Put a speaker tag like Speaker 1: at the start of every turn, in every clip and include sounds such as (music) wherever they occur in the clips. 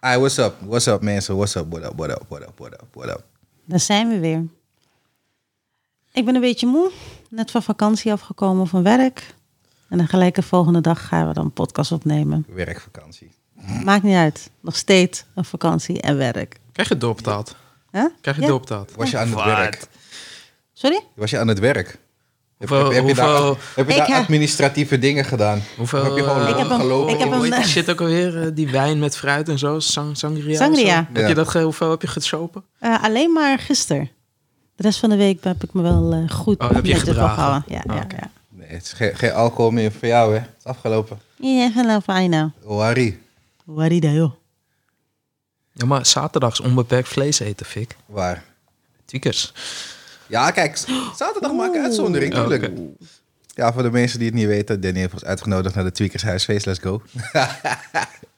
Speaker 1: All right, what's up? What's up, mensen? What's up? What up? What up? What up? What up? What up?
Speaker 2: Daar zijn we weer. Ik ben een beetje moe. Net van vakantie afgekomen van werk. En dan gelijk de volgende dag gaan we dan een podcast opnemen.
Speaker 1: Werkvakantie.
Speaker 2: Maakt niet uit. Nog steeds een vakantie en werk.
Speaker 3: Krijg je doorbetaald?
Speaker 2: Huh?
Speaker 3: Krijg je
Speaker 2: Ja.
Speaker 3: doorbetaald?
Speaker 1: Was je aan het
Speaker 3: Wat?
Speaker 1: werk?
Speaker 2: Sorry?
Speaker 1: Was je aan het werk? Heb,
Speaker 3: Hoeveel-
Speaker 1: heb- heb je daar,
Speaker 3: hoeveel-
Speaker 1: heb je
Speaker 2: Ik
Speaker 1: daar
Speaker 2: heb-
Speaker 1: administratieve dingen gedaan?
Speaker 3: Hoeveel,
Speaker 1: heb je gewoon
Speaker 2: Ik
Speaker 3: eh,
Speaker 2: heb hem-
Speaker 1: rondgelopen?
Speaker 2: ik heb hem-
Speaker 3: Hoe heet die shit ook alweer? eh, Die wijn met fruit en zo? Sang- sangria? of zo?
Speaker 2: Sangria.
Speaker 1: Ja.
Speaker 3: Heb je dat, ge- hoeveel heb je geschopen?
Speaker 2: Eh, alleen maar gisteren. De rest van de week heb ik me wel eh, goed
Speaker 3: Oh, heb je
Speaker 2: netjes
Speaker 3: gedragen?
Speaker 2: opgehouden. Ja,
Speaker 3: Oh,
Speaker 2: ja,
Speaker 3: oké.
Speaker 2: ja.
Speaker 1: Nee, het is geen, geen alcohol meer voor jou, hè? Het is afgelopen.
Speaker 2: Ja, hello, fijn nou.
Speaker 1: Oh, Harry.
Speaker 2: Warida, joh.
Speaker 3: Ja, maar zaterdags onbeperkt vlees eten, Fik.
Speaker 1: Waar?
Speaker 3: Tweakers.
Speaker 1: Ja, kijk, z- zaterdag maak ik een uitzondering,
Speaker 3: Oké.
Speaker 1: tuurlijk. Ja, voor de mensen die het niet weten, Danny heeft ons uitgenodigd naar de Tweakers Huisfeest. Let's go.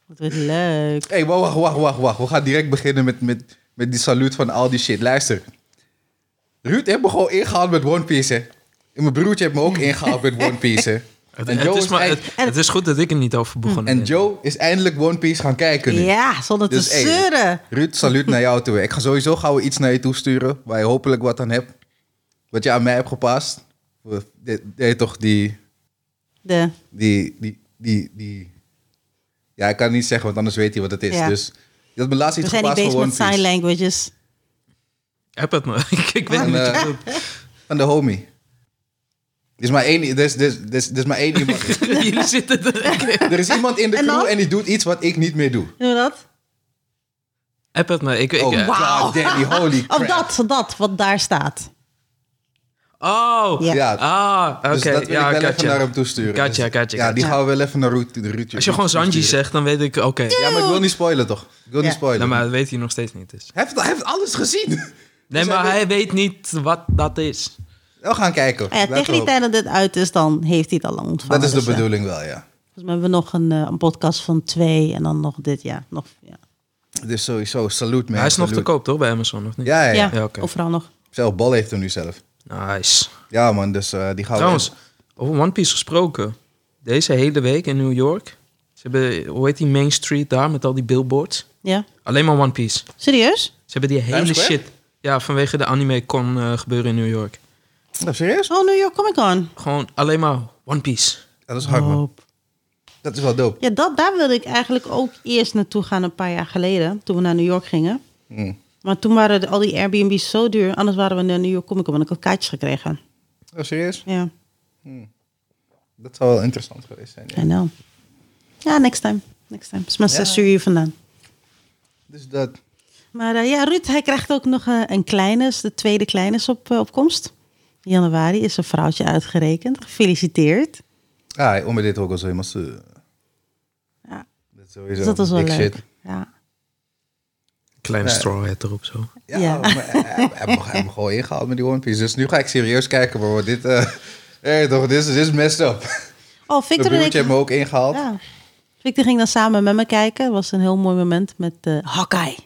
Speaker 2: Wat wordt leuk.
Speaker 1: Hé, hey, wacht, wacht, wacht, wacht, wacht. We gaan direct beginnen met, met, met die saluut van al die shit. Luister. Ruud heeft me gewoon ingehaald met One Piece, hè. En mijn broertje heeft me ook ingehaald met One Piece, hè.
Speaker 3: (laughs) Het,
Speaker 1: En
Speaker 3: het
Speaker 1: Joe
Speaker 3: is
Speaker 1: is
Speaker 3: maar,
Speaker 1: eind-
Speaker 3: het, het is goed dat ik er niet over begonnen
Speaker 1: En
Speaker 3: ben.
Speaker 1: Joe is eindelijk One Piece gaan kijken nu.
Speaker 2: Ja, zonder te
Speaker 1: Dus, hey.
Speaker 2: zeuren.
Speaker 1: Ruud, saluut naar jou toe. Ik ga sowieso gauw iets naar je toe sturen, waar je hopelijk wat aan hebt. Wat je aan mij hebt gepast. We- de- de- toch die,
Speaker 2: De,
Speaker 1: die, die, die, die... Ja, ik kan het niet zeggen, want anders weet hij wat het is.
Speaker 2: Ja.
Speaker 1: Dus je had me laatst
Speaker 2: we
Speaker 1: iets
Speaker 2: zijn niet
Speaker 1: gepast van
Speaker 2: bezig
Speaker 1: One
Speaker 2: met sign
Speaker 1: Piece.
Speaker 2: languages.
Speaker 3: Heb het me. (laughs) ik, ik weet
Speaker 1: Van,
Speaker 3: niet wat je
Speaker 1: eh,
Speaker 3: doet.
Speaker 1: Van de homie. Er is maar één, er is, er is, er is, er is maar één iemand.
Speaker 3: (laughs) (laughs) Jullie zitten er.
Speaker 1: er is iemand in de
Speaker 2: En
Speaker 1: crew
Speaker 2: dan?
Speaker 1: en die doet iets wat ik niet meer doe.
Speaker 2: Doen we dat?
Speaker 3: App het me. Ik, ik,
Speaker 1: Oh,
Speaker 3: eh,
Speaker 1: wow. God, Danny,
Speaker 3: (laughs)
Speaker 1: holy crap.
Speaker 2: Of dat, dat, wat daar staat.
Speaker 3: Oh.
Speaker 2: Ja.
Speaker 1: Ja,
Speaker 3: Ah, oké.
Speaker 1: dus dat wil
Speaker 3: ja,
Speaker 1: ik wel even
Speaker 3: gotcha.
Speaker 1: naar hem toe sturen.
Speaker 3: Gotcha,
Speaker 1: Dus-
Speaker 3: gotcha,
Speaker 1: Ja,
Speaker 3: gotcha.
Speaker 1: die gaan we wel even naar Ruud, de Ruud
Speaker 3: Als je gewoon Sanji
Speaker 1: toesturen.
Speaker 3: zegt, dan weet ik, oké.
Speaker 1: Ja, maar ik wil niet spoilen, toch? Ik wil niet
Speaker 2: Ja.
Speaker 1: spoilen.
Speaker 3: Nou, maar dat weet hij nog steeds niet. Dus.
Speaker 1: Hij, heeft, hij heeft alles gezien. (laughs)
Speaker 3: Nee,
Speaker 1: Dus
Speaker 3: maar
Speaker 1: wil-
Speaker 3: hij weet niet wat dat is.
Speaker 1: We gaan kijken.
Speaker 2: Ah ja,
Speaker 1: Laten
Speaker 2: tegen
Speaker 1: we
Speaker 2: die
Speaker 1: hopen.
Speaker 2: tijd dat dit uit is, dan heeft hij het al lang ontvangen.
Speaker 1: Dat is de
Speaker 2: Dus, eh,
Speaker 1: bedoeling wel, ja.
Speaker 2: Volgens mij hebben we nog een, eh, een podcast van twee en dan nog dit jaar. Nog, ja,
Speaker 1: Dus sowieso, salut man.
Speaker 3: hij is nog te
Speaker 1: salut.
Speaker 3: koop, toch, bij Amazon, of niet?
Speaker 1: Ja, ja. ja.
Speaker 2: ja,
Speaker 3: oké.
Speaker 2: overal nog.
Speaker 1: Zelf Bal heeft hem nu zelf.
Speaker 3: Nice.
Speaker 1: Ja man, dus eh, die gaan
Speaker 3: Trouwens,
Speaker 1: we...
Speaker 3: over One Piece gesproken. Deze hele week in New York. Ze hebben, hoe heet die Main Street daar met al die billboards?
Speaker 2: Ja.
Speaker 3: Alleen maar One Piece. Ze
Speaker 2: Serieus?
Speaker 3: hebben die hele
Speaker 1: Square?
Speaker 3: shit. Ja, vanwege de anime kon eh, gebeuren in New York.
Speaker 1: Nou, serieus?
Speaker 2: Oh, New York Comic Con.
Speaker 3: Gewoon alleen maar One Piece.
Speaker 1: Dat is hard
Speaker 3: Oh.
Speaker 1: man.
Speaker 2: Dope.
Speaker 1: Dat is wel dope.
Speaker 2: Ja, dat, daar wilde ik eigenlijk ook eerst naartoe gaan een paar jaar geleden, toen we naar New York gingen.
Speaker 1: Mm.
Speaker 2: Maar toen waren de- al die Airbnbs zo duur, anders waren we naar New York Comic Con, want ik had kaartjes gekregen.
Speaker 1: Oh, serieus?
Speaker 2: Ja,
Speaker 1: Dat zou wel interessant geweest zijn. ja.
Speaker 2: I know. Ja, next time. Next time. Het is maar zes uur hier vandaan.
Speaker 1: Dus dat...
Speaker 2: Maar eh, ja, Ruud, hij krijgt ook nog eh, een kleine, de tweede kleine is op, eh, op komst. In januari is een vrouwtje uitgerekend. Gefeliciteerd.
Speaker 1: Ah, om dit ook al zo helemaal zo.
Speaker 2: Ja.
Speaker 1: Dat is sowieso
Speaker 2: Dus dat was wel
Speaker 1: dik
Speaker 2: leuk.
Speaker 1: shit.
Speaker 2: Ja.
Speaker 3: Kleine
Speaker 1: Nee.
Speaker 3: straw hat erop zo.
Speaker 1: Ja,
Speaker 2: Ja.
Speaker 1: maar eh, hij, hij- hij heeft me- hij heeft me gewoon ingehaald met die One Piece. Dus nu ga ik serieus kijken, bro. Dit, eh hey, toch, dit, is- dit is messed up.
Speaker 2: Oh,
Speaker 1: De
Speaker 2: Victor en ik.
Speaker 1: broertje heeft me ook ingehaald.
Speaker 2: Ja. Victor ging dan samen met me kijken. Het was een heel mooi moment met eh Hawkeye.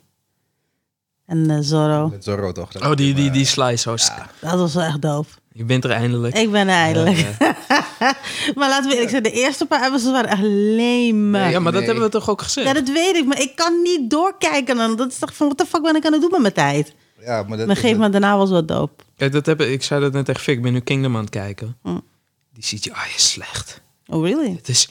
Speaker 2: En eh Zorro.
Speaker 1: Met Zorro toch? dat-
Speaker 3: Oh, die, die, die slice. Oh,
Speaker 2: Dat was wel echt doof.
Speaker 3: Je bent er eindelijk.
Speaker 2: Ik ben eindelijk. (laughs) maar laten we eerlijk zijn, de eerste paar episodes waren echt lame.
Speaker 3: ja, maar dat
Speaker 1: Nee.
Speaker 3: hebben we toch ook gezegd?
Speaker 2: Ja, dat weet ik, maar ik kan niet doorkijken. Dan. Dat is toch van, wat de fuck ben ik aan het doen met mijn tijd?
Speaker 1: Ja, maar dat
Speaker 2: Maar
Speaker 1: is-
Speaker 2: geef me daarna was wat doop.
Speaker 3: Kijk, Eh, dat heb, ik ik zei dat net echt Fik. Ik ben nu Kingdom aan het kijken.
Speaker 2: Mm.
Speaker 3: Die ziet je, ah, je is slecht.
Speaker 2: Oh, really?
Speaker 3: Het is,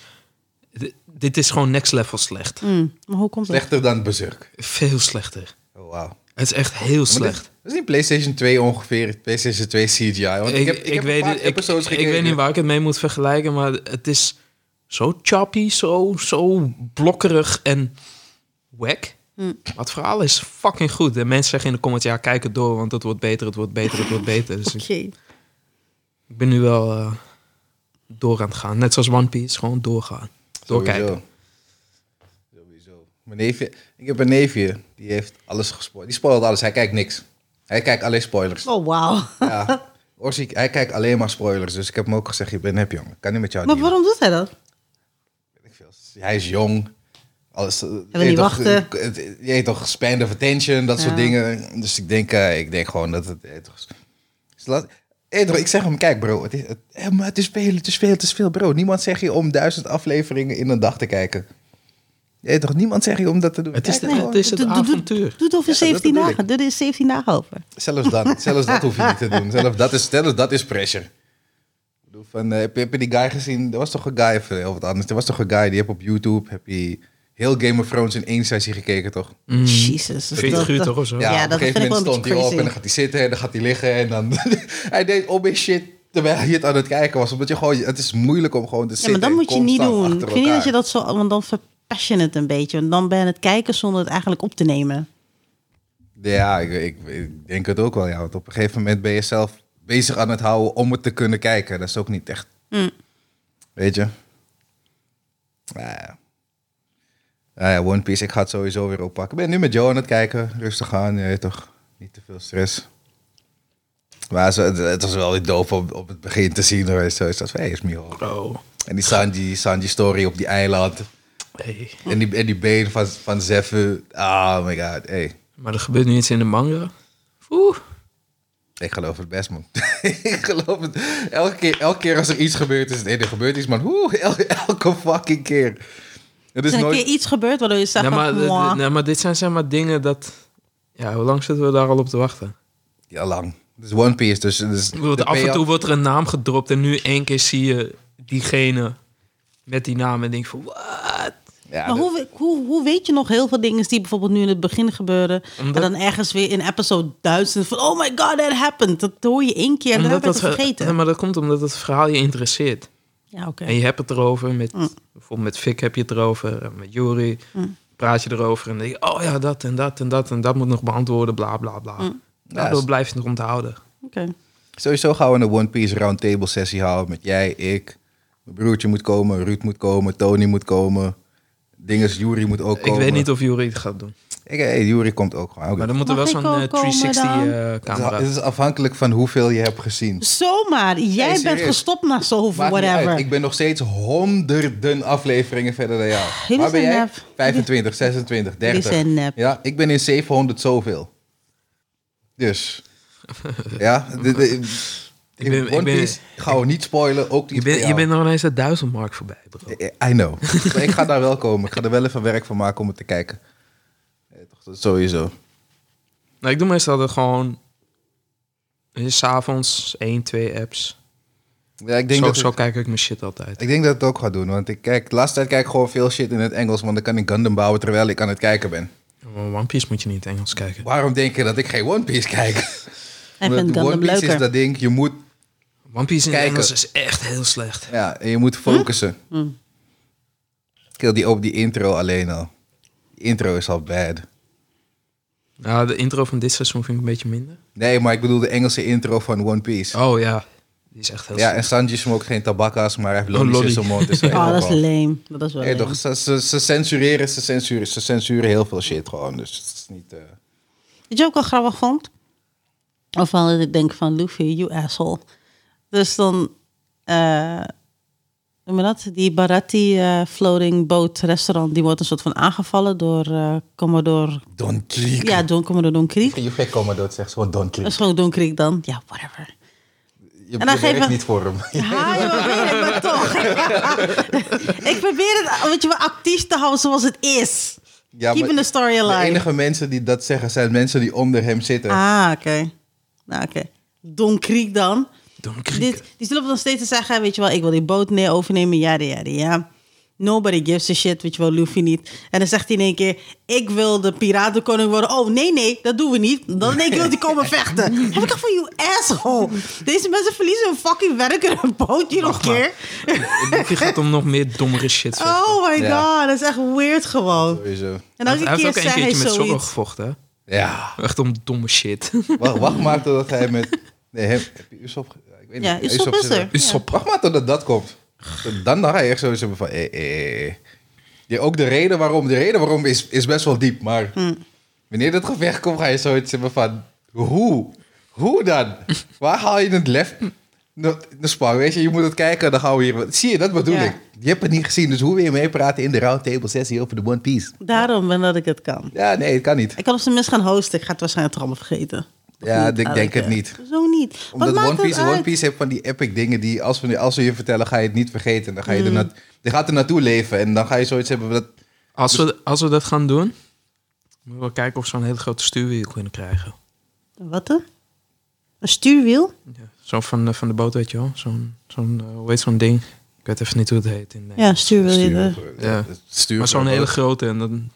Speaker 3: dit- dit is gewoon next level slecht.
Speaker 2: Mm, Maar hoe komt dat?
Speaker 1: Slechter dan Berserk.
Speaker 3: Veel slechter.
Speaker 1: Oh, wauw.
Speaker 3: Het is echt heel
Speaker 1: Maar
Speaker 3: slecht.
Speaker 1: Dit, dat is niet PlayStation 2 ongeveer, PlayStation 2 CGI. Want ik, heb, ik, heb
Speaker 3: weet,
Speaker 1: een paar
Speaker 3: niet- ik,
Speaker 1: episodes
Speaker 3: ik weet
Speaker 1: gekeken.
Speaker 3: niet waar ik het mee moet vergelijken, maar het is zo choppy, zo, zo blokkerig en wack.
Speaker 2: Mm.
Speaker 3: Maar het verhaal is fucking goed. En mensen zeggen in de comments, ja, kijk het door, want het wordt beter, het wordt beter, het wordt beter.
Speaker 2: (laughs)
Speaker 3: Dus
Speaker 2: Oké.
Speaker 3: ik, ik ben nu wel eh, door aan het gaan. Net zoals One Piece, gewoon doorgaan. Doorkijken.
Speaker 1: Sowieso. Sowieso. Mijn neefje, ik heb een neefje, die heeft alles gespoild. Die spoilt alles, hij kijkt niks. Hij kijkt alleen
Speaker 2: (laughs)
Speaker 1: spoilers.
Speaker 2: Oh, wauw.
Speaker 1: Ja. Orsi, hij kijkt alleen maar spoilers. Dus ik heb hem ook gezegd, je bent nep, jongen. Kan niet met jou
Speaker 2: Maar
Speaker 1: dealen.
Speaker 2: waarom doet hij dat?
Speaker 1: Weet ik veel. Hij is jong. Alles, eh, je
Speaker 2: niet
Speaker 1: weet toch,
Speaker 2: wachten.
Speaker 1: eh, het- Je weet toch, span of attention, dat soort
Speaker 2: Ja.
Speaker 1: dingen. Dus ik denk, eh, ik denk gewoon dat het... je weet toch, is- is laat- je weet toch, ik zeg hem, kijk bro, het is, het, eh, maar het is veel, het is veel, het is veel. Bro, niemand zegt je om duizend afleveringen in een dag te kijken. Jij toch niemand zeg je om dat te doen?
Speaker 3: Het is, de,
Speaker 1: Kijk,
Speaker 2: nee.
Speaker 3: het, is het
Speaker 2: Doe- doe- doe-
Speaker 3: avontuur.
Speaker 2: Doe het over
Speaker 1: Ja, dat
Speaker 2: 17
Speaker 1: bedoel
Speaker 2: dagen. Doe er 17 dagen over.
Speaker 1: Zelfs, (laughs) dan, zelfs dat hoef je niet te doen. Zelfs dat is, zelfs dat is pressure. Ik bedoel, van, eh, heb, je, heb je die guy gezien? Er was toch een guy of heel wat anders. Er was toch een guy die heb op YouTube heb je heel Game of Thrones in één sessie gekeken, toch?
Speaker 2: Jezus. dat-
Speaker 3: 40 uur
Speaker 2: dat-
Speaker 3: toch of zo?
Speaker 1: Ja,
Speaker 2: Ja,
Speaker 1: op een
Speaker 2: dat
Speaker 1: gegeven
Speaker 2: vind ik
Speaker 1: moment
Speaker 2: wel een
Speaker 1: stond hij
Speaker 2: beetje
Speaker 1: op en
Speaker 2: crazy.
Speaker 1: dan gaat hij zitten en dan gaat hij liggen. En dan, (laughs) hij deed om in shit terwijl hij het aan het kijken was. Omdat je gewoon, het is moeilijk om gewoon te
Speaker 2: Ja,
Speaker 1: zitten.
Speaker 2: maar dan
Speaker 1: en
Speaker 2: moet je niet
Speaker 1: constant
Speaker 2: doen.
Speaker 1: achter
Speaker 2: Ik vind niet dat je
Speaker 1: elkaar.
Speaker 2: dat zo... Want dan verpest je het een beetje. En dan ben je aan het kijken zonder het eigenlijk op te nemen.
Speaker 1: Ja, ik, ik, ik denk het ook wel. Ja, want op een gegeven moment ben je zelf bezig aan het houden om het te kunnen kijken. Dat is ook niet echt.
Speaker 2: Mm.
Speaker 1: Weet je? Nou ja. Nou ja, One Piece, ik ga het sowieso weer oppakken. Ik ben nu met Joe aan het kijken. Rustig aan, je weet toch? Niet te veel stress. Maar zo- het, het was wel weer doof om op het begin te zien. hoor. Zo is dat, hey, is Mio.
Speaker 3: Oh,
Speaker 1: En die Sanji, Sanji story op die eiland.
Speaker 3: hey.
Speaker 1: En die, en die been van, van Zeffen. Oh my god, hey.
Speaker 3: Maar er gebeurt nu iets in de manga.
Speaker 2: (laughs)
Speaker 3: Oeh.
Speaker 1: Ik geloof het best, man. (laughs) ik geloof het. Elke keer, elke keer als er iets gebeurt, is het nee, er gebeurt iets, man. Oeh, (laughs) el- elke fucking keer. Het is
Speaker 2: Er is een
Speaker 1: nooit...
Speaker 2: keer iets gebeurd waardoor je zegt...
Speaker 3: Nee, maar,
Speaker 2: van,
Speaker 3: d- d-
Speaker 2: "Mwah."
Speaker 3: nee, maar dit zijn zeg maar dingen dat... Ja, hoe lang zitten we daar al op te wachten?
Speaker 1: Ja, lang. Het is One Piece, dus... dus
Speaker 3: Ik bedoel,
Speaker 1: de
Speaker 3: af en toe
Speaker 1: payoff-
Speaker 3: wordt er een naam gedropt en nu één keer zie je diegene met die naam en denk van... What?
Speaker 1: Ja,
Speaker 2: Maar
Speaker 1: dat-
Speaker 2: hoe, we- hoe, hoe weet je nog heel veel dingen die bijvoorbeeld nu in het begin gebeuren...
Speaker 3: Omdat-
Speaker 2: en dan ergens weer in episode 1000 van... Oh my god, that happened. Dat hoor je één keer en dan heb je het
Speaker 3: ge-
Speaker 2: vergeten.
Speaker 3: Nee, maar dat komt omdat het verhaal je interesseert.
Speaker 2: Ja, oké.
Speaker 3: En je hebt het erover. Met,
Speaker 2: Mm.
Speaker 3: Bijvoorbeeld met Fik heb je het erover. en Met Jury praat je erover. En denk je, oh ja, dat en dat en dat en dat moet nog beantwoorden. Bla, bla, bla.
Speaker 2: Mm.
Speaker 3: Daardoor
Speaker 1: Ja, is-
Speaker 3: blijf je het nog onthouden.
Speaker 2: Oké.
Speaker 1: Sowieso gaan we een One Piece roundtable sessie houden met jij, ik. Mijn broertje moet komen, Ruud moet komen, Tony moet komen. Dinges, Jury moet ook komen.
Speaker 3: Ik weet niet of Jury het gaat doen.
Speaker 1: Ik, hey, Jury komt ook gewoon. oké.
Speaker 3: Maar dan moet er
Speaker 2: Mag
Speaker 3: wel
Speaker 2: ik
Speaker 3: zo'n
Speaker 2: ook
Speaker 3: eh,
Speaker 2: komen
Speaker 3: 360
Speaker 2: dan?
Speaker 3: eh,
Speaker 1: Het is-
Speaker 3: camera.
Speaker 1: Het is afhankelijk van hoeveel je hebt gezien.
Speaker 2: Zomaar, jij bent
Speaker 1: serieus.
Speaker 2: gestopt na zoveel,
Speaker 1: Maakt niet
Speaker 2: whatever.
Speaker 1: uit. Ik ben nog steeds honderden afleveringen verder dan jou.
Speaker 2: Jullie
Speaker 1: Waar ben
Speaker 2: zijn
Speaker 1: jij?
Speaker 2: nep.
Speaker 1: 25, 26, 30.
Speaker 2: zijn nep.
Speaker 1: Ja, ik ben in 700 zoveel. Dus. Ja, de, de,
Speaker 3: (laughs) Ik ben- ik
Speaker 1: One
Speaker 3: ben-
Speaker 1: Piece gaan we niet spoilen, ook niet
Speaker 3: je, bent
Speaker 1: voor
Speaker 3: je
Speaker 1: jou. Eh,
Speaker 3: bent nog ineens de duizendmark voorbij, bro.
Speaker 1: I know. Maar ik ga daar wel komen. Ik ga er wel even werk van maken om het te kijken. Eh, toch, dat is Sowieso.
Speaker 3: Nou, ik doe meestal dat gewoon... eh, 's avonds één, twee apps.
Speaker 1: Ja, ik denk
Speaker 3: Zo,
Speaker 1: dat
Speaker 3: zo
Speaker 1: ik,
Speaker 3: kijk ik mijn shit altijd.
Speaker 1: ik denk dat ik het ook ga doen. Want ik kijk, de laatste tijd kijk ik gewoon veel shit in het Engels. Want dan kan ik Gundam bouwen terwijl ik aan het kijken ben.
Speaker 3: Maar Oh, One Piece moet je niet in Engels kijken.
Speaker 1: Waarom denk je dat ik geen One Piece
Speaker 2: (laughs)
Speaker 1: kijk?
Speaker 2: Hij
Speaker 1: Omdat
Speaker 2: vindt
Speaker 1: One
Speaker 2: Gundam
Speaker 1: Piece is
Speaker 2: leuker.
Speaker 1: dat ding, je moet,
Speaker 3: One Piece in het
Speaker 1: Kijken.
Speaker 3: Engels is echt heel slecht.
Speaker 1: ja, en je moet focussen.
Speaker 2: Hm?
Speaker 1: Kill die op die intro alleen al. Die intro is al bad.
Speaker 3: Nou, de intro van dit seizoen vind ik een beetje minder.
Speaker 1: Nee, maar ik bedoel de Engelse intro van One Piece.
Speaker 3: Oh ja, die is echt heel
Speaker 1: ja,
Speaker 3: slecht.
Speaker 1: en Sanji smokes geen tabakka's, maar hij heeft lollies
Speaker 3: lolly.
Speaker 1: in zijn mond. Dus hij
Speaker 2: (laughs) Oh,
Speaker 1: ook
Speaker 2: dat is
Speaker 1: al.
Speaker 2: leem. Dat is wel
Speaker 1: Nee,
Speaker 2: lame.
Speaker 1: toch, ze, ze, ze censureren, ze censureren, ze censureren heel veel shit gewoon. Dus het is niet... eh,
Speaker 2: Wat je ook wel grappig vond? Of wel dat ik denk van Luffy, you asshole. Dus dan, eh noem je dat? Die Baratti eh, floating boat restaurant, die wordt een soort van aangevallen door eh Commodore...
Speaker 1: Don Krieg.
Speaker 2: Ja, Don, Commodore Don Krieg.
Speaker 1: Je gek komen dood, zegt gewoon Don
Speaker 2: Dat
Speaker 1: Krieg.
Speaker 2: is gewoon Don Krieg dan. Ja, whatever.
Speaker 1: Je,
Speaker 2: dan
Speaker 1: je
Speaker 2: geven-
Speaker 1: werkt niet voor hem.
Speaker 2: Ja, ja, dat weet ik, maar toch. (laughs) ik probeer het weet je, wel, actief te houden zoals het is.
Speaker 1: Ja, maar
Speaker 2: Keeping the story
Speaker 1: de
Speaker 2: alive.
Speaker 1: enige mensen die dat zeggen zijn mensen die onder hem zitten.
Speaker 2: Ah, oké. Nou, oké. Don Krieg dan.
Speaker 3: Don
Speaker 2: Dit, die zullen nog steeds te zeggen, weet je wel, ik wil die boot neer overnemen, ja, ja, ja. Nobody gives a shit, weet je wel, Luffy niet. En dan zegt hij in één keer, ik wil de piratenkoning worden. Oh, nee, nee, dat doen we niet. Dan in één keer wil hij komen vechten.
Speaker 3: (laughs)
Speaker 2: Heb ik al van you asshole. Deze mensen verliezen hun fucking werk in een bootje nog
Speaker 3: maar.
Speaker 2: keer.
Speaker 1: (laughs)
Speaker 3: Die gaat om nog meer dommere shit. vechten.
Speaker 2: (laughs) Oh my
Speaker 1: Ja.
Speaker 2: god, dat is echt weird gewoon.
Speaker 1: Sowieso.
Speaker 2: En
Speaker 3: Hij
Speaker 2: elke
Speaker 3: heeft
Speaker 2: keer
Speaker 3: ook een
Speaker 2: zei hij
Speaker 3: keertje met Zorro
Speaker 2: zoiets.
Speaker 3: gevochten. hè?
Speaker 1: Ja.
Speaker 3: Echt om domme
Speaker 2: (laughs)
Speaker 3: shit.
Speaker 1: Wacht, wacht maar totdat hij met... Nee, hem, heb je Usopp... ge- Ik weet
Speaker 2: Ja,
Speaker 1: niet.
Speaker 2: Usopp is
Speaker 1: zit
Speaker 2: er. Ja.
Speaker 3: Usopp.
Speaker 1: Wacht maar totdat dat komt. Dan, dan ga je echt zo zeggen van... Eh, eh, eh. Ja, ook de reden waarom... De reden waarom is, is best wel diep, maar...
Speaker 2: Hm.
Speaker 1: Wanneer dat gevecht komt, ga je zoiets hebben van... Hoe? Hoe dan? Waar haal je het lef? Nou, De span, weet je, je moet het kijken, dan gaan we hier... Zie je, dat bedoel
Speaker 2: Ja.
Speaker 1: ik. Je hebt het niet gezien, dus hoe wil je meepraten in de roundtable sessie over de One Piece?
Speaker 2: Daarom ben dat ik het kan.
Speaker 1: Ja, nee, het kan niet.
Speaker 2: Ik kan op zijn minst gaan hosten. Ik ga het waarschijnlijk toch allemaal vergeten. Of
Speaker 1: Ja,
Speaker 2: niet,
Speaker 1: ik denk
Speaker 2: eigenlijk,
Speaker 1: het
Speaker 2: eh,
Speaker 1: niet.
Speaker 2: Zo niet. Wat
Speaker 1: Omdat
Speaker 2: maakt
Speaker 1: One Piece,
Speaker 2: het
Speaker 1: One
Speaker 2: uit?
Speaker 1: Piece heeft van die epic dingen die als
Speaker 2: Mm.
Speaker 1: we, als we je vertellen, ga je het niet vergeten. Dan ga je er, nat, je gaat er naartoe leven en dan ga je zoiets hebben dat...
Speaker 3: Als we, als we dat gaan doen, moeten we wel kijken of we zo'n hele grote stuurwiel kunnen krijgen.
Speaker 2: Wat dan? Een stuurwiel?
Speaker 3: Ja. Zo van, eh, van de boot, weet je wel. Zo'n, zo'n, eh, hoe heet zo'n ding? Ik weet even niet hoe het heet. In Nederland.
Speaker 2: Ja, een stuurwiel.
Speaker 1: Stuur,
Speaker 2: eh,
Speaker 3: Ja.
Speaker 1: stuur
Speaker 3: Maar zo'n hele grote. En dan,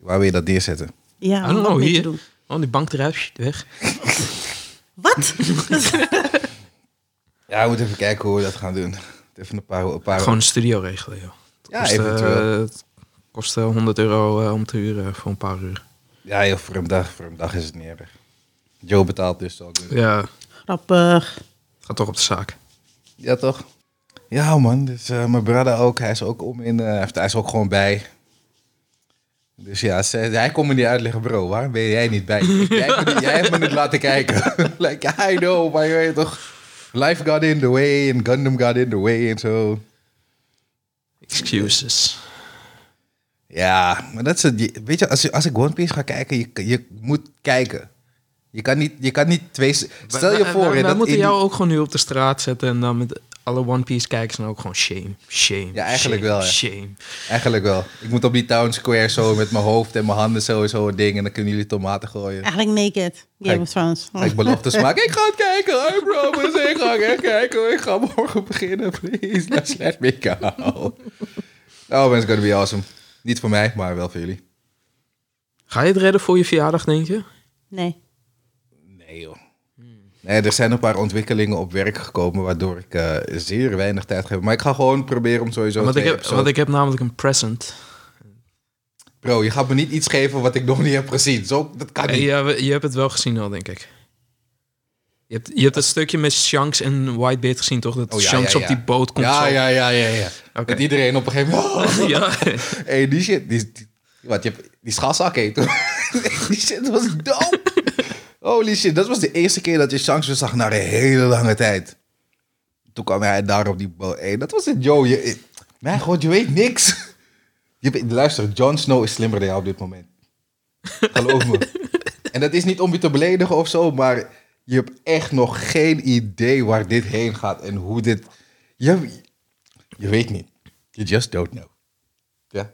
Speaker 1: Waar wil je dat neerzetten?
Speaker 2: Ja,
Speaker 3: I don't
Speaker 2: om wat
Speaker 3: know,
Speaker 2: mee te
Speaker 3: hier.
Speaker 2: doen.
Speaker 3: Oh, die bank eruit, sst, weg.
Speaker 2: (laughs) Wat?
Speaker 1: Ja, we moeten even kijken hoe we dat gaan doen. (laughs) Even een paar... Een paar
Speaker 3: Gewoon een studio regelen, joh. Het
Speaker 1: Ja,
Speaker 3: kost, eh,
Speaker 1: eventueel.
Speaker 3: het kost eh, 100 euro eh, om te huren voor een paar uur.
Speaker 1: Ja, joh, voor een dag, voor een dag is het niet erg. Joe betaalt dus al. dus-
Speaker 3: Ja,
Speaker 2: Grappig.
Speaker 3: het gaat toch op de zaak.
Speaker 1: Ja, toch? Ja, man. Dus eh, mijn brother ook. Hij is ook om in... eh, of hij is ook gewoon bij. Dus ja, ze- hij kon me niet uitleggen, bro. Waarom ben jij niet (laughs) bij? Jij, hebt me niet- jij hebt me niet laten kijken. (laughs) like, I know, maar je weet toch... Life got in the way en Gundam got in the way en zo.
Speaker 3: Excuses.
Speaker 1: Ja, maar dat is het. Je- Weet je, als, je- als ik One Piece ga kijken, je, je moet kijken. Je kan niet, je kan niet twee... Stel je
Speaker 3: Wij- wij-
Speaker 1: voor... hè,
Speaker 3: wij, wij
Speaker 1: dat
Speaker 3: moeten
Speaker 1: in-
Speaker 3: jou ook gewoon nu op de straat zetten en dan met alle One Piece kijkers dan ook gewoon shame, shame.
Speaker 1: Ja, eigenlijk
Speaker 3: shame,
Speaker 1: wel, ja.
Speaker 3: Shame.
Speaker 1: Eigenlijk wel. Ik moet op die town square zo met mijn hoofd en mijn handen zo, zo een ding. En dan kunnen jullie tomaten gooien.
Speaker 2: Eigenlijk naked. Game
Speaker 1: Kijk.
Speaker 2: of Thrones. Oh.
Speaker 1: Ga ik beloftes maken. Ik ga het kijken. I promise. Ik ga het kijken. Ik ga morgen beginnen. Please. Let's let me go. Oh, that's gonna be awesome. Niet voor mij, maar wel voor jullie.
Speaker 3: Ga je het redden voor je verjaardag, denk je?
Speaker 2: (laughs) Nee.
Speaker 1: Nee, joh. Nee, er zijn een paar ontwikkelingen op werk gekomen, waardoor ik eh, zeer weinig tijd heb. Maar ik ga gewoon proberen om sowieso.
Speaker 3: Want ik,
Speaker 1: twee
Speaker 3: heb,
Speaker 1: episodes-
Speaker 3: want ik heb namelijk een present.
Speaker 1: Bro, je gaat me niet iets geven wat ik nog niet heb gezien. Zo, dat kan
Speaker 3: Eh,
Speaker 1: niet.
Speaker 3: Ja, we- je hebt het wel gezien al, denk ik. Je hebt, je hebt dat stukje met Shanks en Whitebeard gezien, toch? Dat
Speaker 1: Oh, ja,
Speaker 3: Shanks
Speaker 1: ja,
Speaker 3: op
Speaker 1: ja.
Speaker 3: die boot komt.
Speaker 1: Ja,
Speaker 3: zo.
Speaker 1: ja, ja, ja, ja.
Speaker 3: Oké.
Speaker 1: Dat iedereen op een gegeven moment...
Speaker 3: (laughs)
Speaker 1: (laughs)
Speaker 3: ja.
Speaker 1: Hey, die shit, die, die- wat, je hebt die schaalzak heet. (laughs) die shit was dope. Holy shit, dat was de eerste keer dat je Shanks weer zag na een hele lange tijd. Toen kwam hij daar op die boot. Hey, dat was het, yo. Je, mijn god, je weet niks. Je, weet- luister, Jon Snow is slimmer dan jou op dit moment. Geloof me. En dat is niet om je te beledigen of zo, maar je hebt echt nog geen idee waar dit heen gaat en hoe dit. Je, je weet niet. You just don't know. Ja.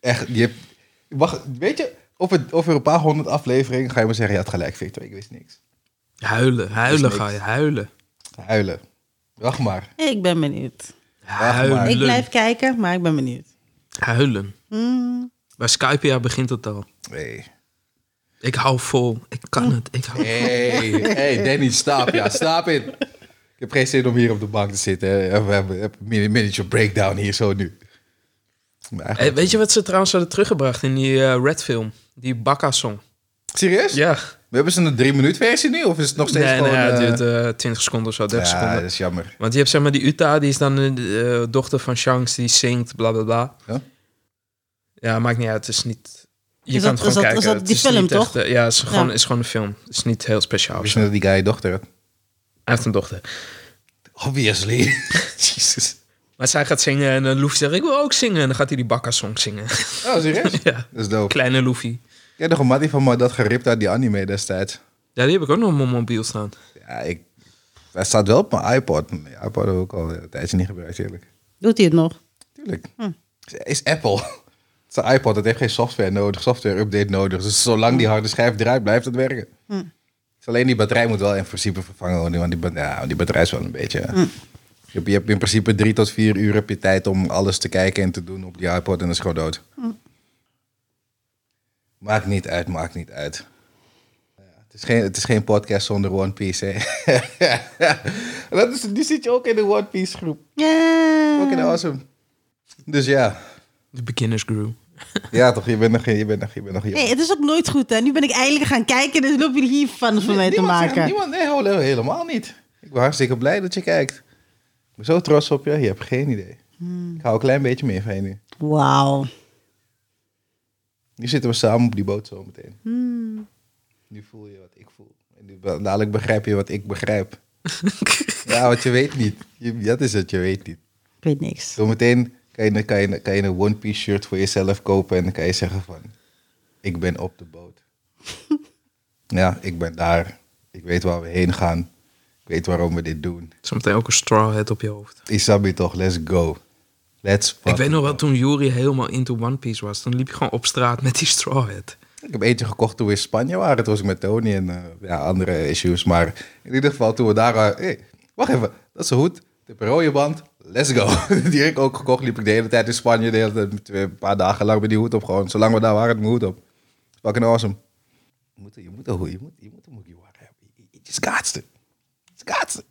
Speaker 1: Echt, je hebt... Wacht, weet je, over, over een paar honderd afleveringen ga je maar zeggen, ja, het gelijk, Victor, ik wist niks.
Speaker 3: Huilen, huilen
Speaker 1: niks.
Speaker 3: ga je, huilen.
Speaker 1: Huilen. Wacht maar.
Speaker 2: Ik ben benieuwd.
Speaker 3: Huilen.
Speaker 2: Ik blijf kijken, maar ik ben benieuwd.
Speaker 3: Huilen.
Speaker 2: Hmm.
Speaker 3: Bij Skypia begint het al.
Speaker 1: Hey.
Speaker 3: Ik hou vol. Ik
Speaker 2: Hmm.
Speaker 3: kan het. Ik hou
Speaker 1: Hey, hey, Danny, stap, ja, stap in. Ik heb geen zin om hier op de bank te zitten. hè. We hebben we hebben een mini- miniature breakdown hier zo nu. Maar
Speaker 3: Hey,
Speaker 1: eigenlijk-
Speaker 3: weet je wat ze trouwens hadden teruggebracht in die eh, Red film? Die Bakka-song.
Speaker 1: Serieus?
Speaker 3: Ja.
Speaker 1: We hebben ze een drie minuut versie nu? Of is het nog steeds
Speaker 3: Nee, nee,
Speaker 1: gewoon...
Speaker 3: het
Speaker 1: eh,
Speaker 3: duurt eh, 20 seconden of zo, 30
Speaker 1: ja,
Speaker 3: seconden.
Speaker 1: dat is jammer.
Speaker 3: Want je hebt zeg maar die Uta, die is dan de eh, dochter van Shanks, die zingt, bla bla bla.
Speaker 1: Ja?
Speaker 3: Ja, maakt niet uit, het is niet... Je
Speaker 2: Is
Speaker 3: kan
Speaker 2: dat-
Speaker 3: het gewoon
Speaker 2: is dat-
Speaker 3: kijken.
Speaker 2: is dat
Speaker 3: het
Speaker 2: die
Speaker 3: niet
Speaker 2: film,
Speaker 3: echt,
Speaker 2: toch?
Speaker 3: eh, ja, het is gewoon,
Speaker 2: Ja.
Speaker 3: is gewoon een film. Het is niet heel speciaal. of
Speaker 1: Wist
Speaker 3: zo.
Speaker 1: je dat die guy dochter had?
Speaker 3: Hij heeft een dochter.
Speaker 1: Obviously. (laughs) Jesus.
Speaker 3: Maar zij gaat zingen en dan Luffy zegt, ik wil ook zingen. En dan gaat hij die Bakka-song zingen. (laughs)
Speaker 1: Oh, serieus?
Speaker 3: Ja.
Speaker 1: Dat is dope.
Speaker 3: Kleine Luffy.
Speaker 1: Ik heb nog een mattie van me dat geript uit die anime destijds.
Speaker 3: Ja, die heb ik ook nog op mijn mobiel staan.
Speaker 1: Ja, ik... Hij staat wel op mijn iPod. Mijn iPod heb ik al een tijdje niet gebruikt, eerlijk.
Speaker 2: Doet hij het nog?
Speaker 1: Tuurlijk. Is- Is Apple. Het is een iPod, dat heeft geen software nodig, software-update nodig. Dus zolang die harde schijf eruit blijft het werken. Dus alleen die batterij moet wel in principe vervangen worden, want die, ba- ja, die batterij is wel een beetje... Je, hebt, je hebt in principe drie tot vier uur heb je tijd om alles te kijken en te doen op die iPod en dat is gewoon dood. Maakt niet uit, maakt niet uit. Ja, het, is geen, het is geen podcast zonder One Piece, hè. (laughs) dat is, die zit je ook in de One Piece groep.
Speaker 2: Ja.
Speaker 1: Fucking awesome. Dus ja,
Speaker 3: De beginners grew.
Speaker 1: ja toch, je bent nog, je bent nog, je bent nog jong.
Speaker 2: Nee, het is ook nooit goed, hè. Nu ben ik eindelijk gaan kijken, dus loop je hier van van mij te
Speaker 1: niemand zegt-
Speaker 2: maken.
Speaker 1: niemand, nee, hallo, helemaal niet. Ik ben hartstikke blij dat je kijkt. Ik ben zo trots op je, je hebt geen idee.
Speaker 2: Hmm.
Speaker 1: Ik hou een klein beetje meer van je nu.
Speaker 2: Wauw.
Speaker 1: Nu zitten we samen op die boot zo meteen.
Speaker 2: Hmm.
Speaker 1: Nu voel je wat ik voel. En nu, be- dadelijk begrijp je wat ik
Speaker 2: (laughs)
Speaker 1: begrijp. ja, want je weet niet. Je- dat is het, je weet niet.
Speaker 2: Ik weet niks.
Speaker 1: Zometeen kan je, kan, je, kan je een One Piece shirt voor jezelf kopen en dan kan je zeggen van, ik ben op de boot. ja, ik ben daar. Ik weet waar we heen gaan. Ik weet waarom we dit doen.
Speaker 3: Zometeen ook een straw hat op je hoofd.
Speaker 1: Isabi toch, let's go. Let's
Speaker 3: Ik weet
Speaker 1: fucking
Speaker 3: nog wel,
Speaker 1: go.
Speaker 3: toen Yuri helemaal into One Piece was, toen liep je gewoon op straat met die straw hat.
Speaker 1: Ik heb eentje gekocht toen we in Spanje waren. Toen was ik met Tony en eh, ja, andere issues. Maar in ieder geval toen we daar waren... hey, wacht even, dat is een hoed. De rode band. Let's go. (laughs) Die heb ik ook gekocht. Liep ik de hele tijd in Spanje. De hele tijd, met- een paar dagen lang met die hoed op. Gewoon zolang we daar waren, had ik mijn hoed op. Fucking awesome. Je moet, je moet een hoed, je moet, je moet een Mugiwara hebben. Je- je- Je schaatste. Schaatste.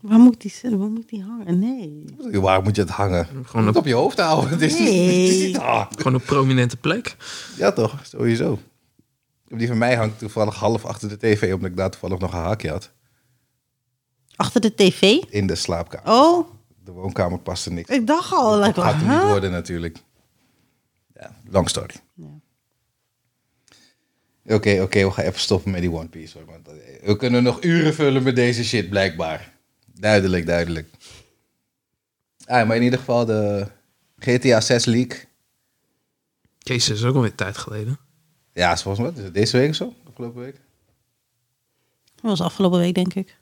Speaker 2: Waar moet die, zitten? waar moet die hangen? Nee.
Speaker 1: Waar moet je het hangen? Gewoon
Speaker 3: Gewoon
Speaker 1: het
Speaker 3: op-
Speaker 1: op je hoofd houden. Het is niet- het is niet- ah.
Speaker 3: Gewoon een prominente plek.
Speaker 1: Ja, toch? Sowieso. Die van mij hangt toevallig half achter de tv, omdat ik daar toevallig nog een haakje had.
Speaker 2: Achter de tv?
Speaker 1: In de slaapkamer.
Speaker 2: Oh,
Speaker 1: De woonkamer paste niks.
Speaker 2: ik dacht al.
Speaker 1: Dat
Speaker 2: Like,
Speaker 1: gaat hem
Speaker 2: huh?
Speaker 1: niet worden natuurlijk. Ja, long story.
Speaker 2: Ja.
Speaker 1: Oké, oké, we gaan even stoppen met die One Piece. hoor, want eh, we kunnen nog uren vullen met deze shit, blijkbaar. Duidelijk, duidelijk. Ah, maar in ieder geval de GTA 6 leak.
Speaker 3: Kees is ook alweer tijd geleden.
Speaker 1: Ja, is volgens mij is het deze week of zo, afgelopen week.
Speaker 2: Dat was afgelopen week, denk ik.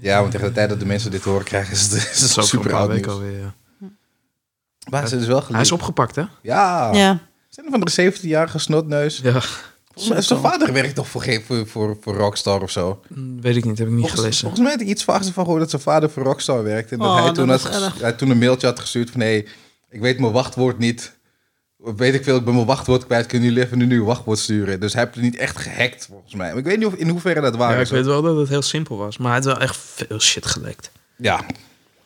Speaker 1: Ja, want tegen de tijd dat de mensen dit horen krijgen, is het, is het
Speaker 3: Dat is ook
Speaker 1: super
Speaker 3: een paar
Speaker 1: oud
Speaker 3: weken
Speaker 1: nieuws.
Speaker 3: alweer. ja.
Speaker 1: Maar ze is wel
Speaker 3: Hij
Speaker 1: geleakt.
Speaker 3: is opgepakt, hè?
Speaker 1: Ja.
Speaker 2: Ja.
Speaker 1: Zijn er van de 17-jarige snotneus?
Speaker 3: Ja.
Speaker 1: Volgens mij- Zijn vader werkt toch voor, geen- voor, voor, voor Rockstar of zo?
Speaker 3: Weet ik niet, heb ik niet
Speaker 1: Volgens,
Speaker 3: gelezen.
Speaker 1: volgens mij had ik iets vaags van gehoord dat zijn vader voor Rockstar werkte. En dat
Speaker 2: Oh,
Speaker 1: hij,
Speaker 2: dat
Speaker 1: toen
Speaker 2: is
Speaker 1: had ges-
Speaker 2: erg.
Speaker 1: hij toen een mailtje had gestuurd van... hé, hey, ik weet mijn wachtwoord niet. Weet ik veel, ik ben mijn wachtwoord kwijt. Kunnen jullie even een nieuw wachtwoord sturen? Dus hij heeft het niet echt gehackt, volgens mij. Maar ik weet niet of, in hoeverre dat waar
Speaker 3: Ja, ik
Speaker 1: is.
Speaker 3: weet wel dat het heel simpel was, maar hij had wel echt veel shit gelekt.
Speaker 1: Ja,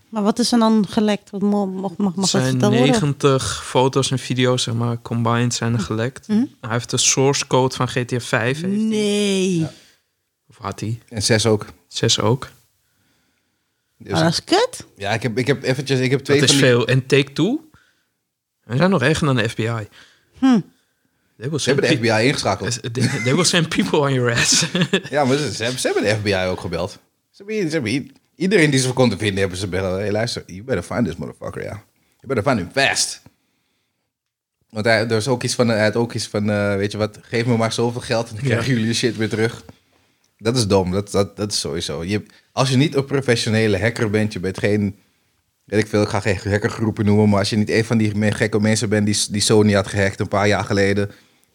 Speaker 2: Maar wat is er dan gelekt? Wat mo- mag, mag,
Speaker 3: Er
Speaker 2: mag dat
Speaker 3: zijn
Speaker 2: verteld worden?
Speaker 3: 90 foto's en video's, zeg maar, combined zijn er gelekt. Hij heeft de source code van GTA 5.
Speaker 2: Mhm.
Speaker 3: heeft hij.
Speaker 2: Nee.
Speaker 3: Of had hij?
Speaker 1: en zes ook.
Speaker 3: 6 ook.
Speaker 1: Dus-
Speaker 2: Maar Ah, dat is kut.
Speaker 1: ja, ik heb, ik heb eventjes... Ik heb twee
Speaker 3: Dat is
Speaker 1: van die-
Speaker 3: veel. En Take-Two? We zijn nog erger dan de FBI. They,
Speaker 1: Ze
Speaker 3: will send
Speaker 1: hebben de
Speaker 3: pe-
Speaker 1: FBI ingeschakeld.
Speaker 3: they, they will send people on your (laughs) ass.
Speaker 1: Ja, maar ze, ze hebben, ze hebben de FBI ook gebeld. Ze hebben, i- ze hebben i- iedereen die ze kon te vinden, hebben ze bellen. Hey, luister, you better find this motherfucker, ja. You better find him fast. Want hij, er is ook iets van, hij had ook iets van, eh, weet je wat, geef me maar zoveel geld en dan krijgen jullie je shit weer terug. Dat is dom, dat, dat, dat is sowieso. Je, als je niet een professionele hacker bent, je bent geen, weet ik veel, ik ga geen hackergroepen noemen, maar als je niet een van die me- gekke mensen bent die, die Sony had gehackt een paar jaar geleden,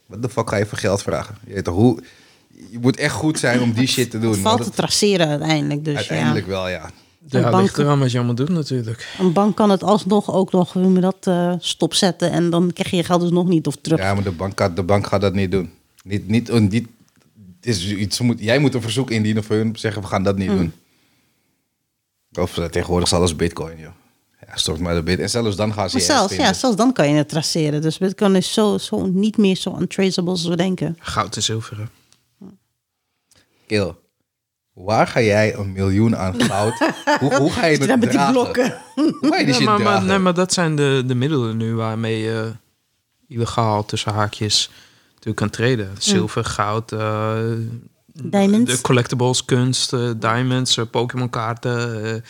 Speaker 1: wat de fuck ga je voor geld vragen? Je, weet toch, hoe, je moet echt goed zijn om die shit te doen.
Speaker 2: Het valt
Speaker 1: want
Speaker 2: te
Speaker 1: het-
Speaker 2: traceren uiteindelijk. Dus
Speaker 1: uiteindelijk wel, ja.
Speaker 2: Een
Speaker 3: ja,
Speaker 2: bank-
Speaker 3: ligt eraan wat je allemaal doet natuurlijk.
Speaker 2: ja, een bank kan het alsnog ook nog, hoe noem je dat, eh, stopzetten. En dan krijg je je geld dus nog niet of terug.
Speaker 1: Ja, maar de bank, gaat- de bank gaat dat niet doen. Niet, niet, een- niet, het is iets, moet, jij moet een verzoek indienen voor hun zeggen, we gaan dat
Speaker 2: Hmm.
Speaker 1: niet doen. Of eh, tegenwoordig is alles bitcoin, joh. Ja, stort maar de bit. En zelfs dan gaan ze
Speaker 2: Maar
Speaker 1: je echt
Speaker 2: zelfs, ja,
Speaker 1: vinden.
Speaker 2: zelfs dan kan je het traceren. Dus Bitcoin is zo, zo niet meer zo untraceable als we denken.
Speaker 3: Goud en zilver. hè.
Speaker 1: Kill. Waar ga jij een miljoen
Speaker 2: (laughs)
Speaker 1: aan goud? hoe, hoe ga je
Speaker 2: Zit daar
Speaker 1: het
Speaker 2: met die
Speaker 1: dragen?
Speaker 2: blokken.
Speaker 1: Hoe ga je die
Speaker 3: Ja,
Speaker 1: shit
Speaker 3: maar, maar,
Speaker 1: dragen?
Speaker 3: nee, maar dat zijn de, de middelen nu waarmee je illegaal tussen haakjes natuurlijk kan treden. Zilver, goud, eh,
Speaker 2: Diamonds.
Speaker 3: de collectibles, kunst, eh, diamonds, eh, Pokémon kaarten. eh,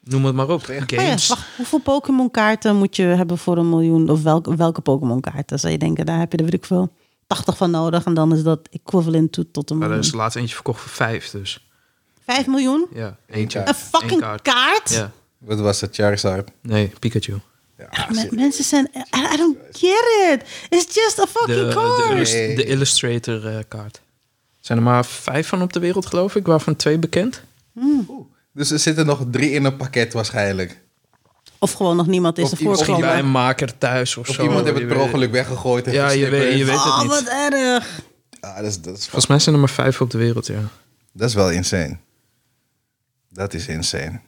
Speaker 3: noem het maar op.
Speaker 2: Oh ja,
Speaker 3: Games.
Speaker 2: wacht, hoeveel Pokémon kaarten moet je hebben voor een miljoen? Of welke, welke Pokémon kaarten? Zou je denken, daar heb je er weet ik veel 80 van nodig. En dan is dat equivalent toe tot een
Speaker 3: Maar er
Speaker 2: miljoen.
Speaker 3: is laatst eentje verkocht voor vijf, dus
Speaker 2: 5 miljoen?
Speaker 3: ja, eentje.
Speaker 1: kaart.
Speaker 2: Een fucking
Speaker 3: Eén kaart.
Speaker 2: kaart?
Speaker 3: Ja,
Speaker 1: Wat was dat, Charizard?
Speaker 3: nee, Pikachu.
Speaker 1: Ja,
Speaker 2: Me-
Speaker 1: shit.
Speaker 2: mensen zijn... I, I don't get it. It's just a
Speaker 3: De,
Speaker 2: fucking
Speaker 3: de,
Speaker 2: card.
Speaker 3: illus-
Speaker 1: Nee.
Speaker 3: de Illustrator eh, kaart. Zijn er maar vijf van op de wereld, geloof ik, waarvan twee bekend.
Speaker 1: Dus er zitten nog drie in een pakket waarschijnlijk.
Speaker 2: Of gewoon nog niemand is
Speaker 1: Of
Speaker 2: ervoor
Speaker 1: iemand- of
Speaker 3: Bij
Speaker 2: gekomen.
Speaker 3: een maker thuis of,
Speaker 1: Of
Speaker 3: zo.
Speaker 1: iemand heeft
Speaker 3: Je
Speaker 1: het per
Speaker 3: weet-
Speaker 1: ongeluk weggegooid. en
Speaker 3: Ja, je weet, je weet
Speaker 1: gesnipperd.
Speaker 3: het
Speaker 2: Oh,
Speaker 3: niet.
Speaker 2: wat erg.
Speaker 1: Ah, dat is, dat is
Speaker 3: Volgens mij zijn er maar vijf op de wereld, ja.
Speaker 1: Dat is wel insane. Dat is insane.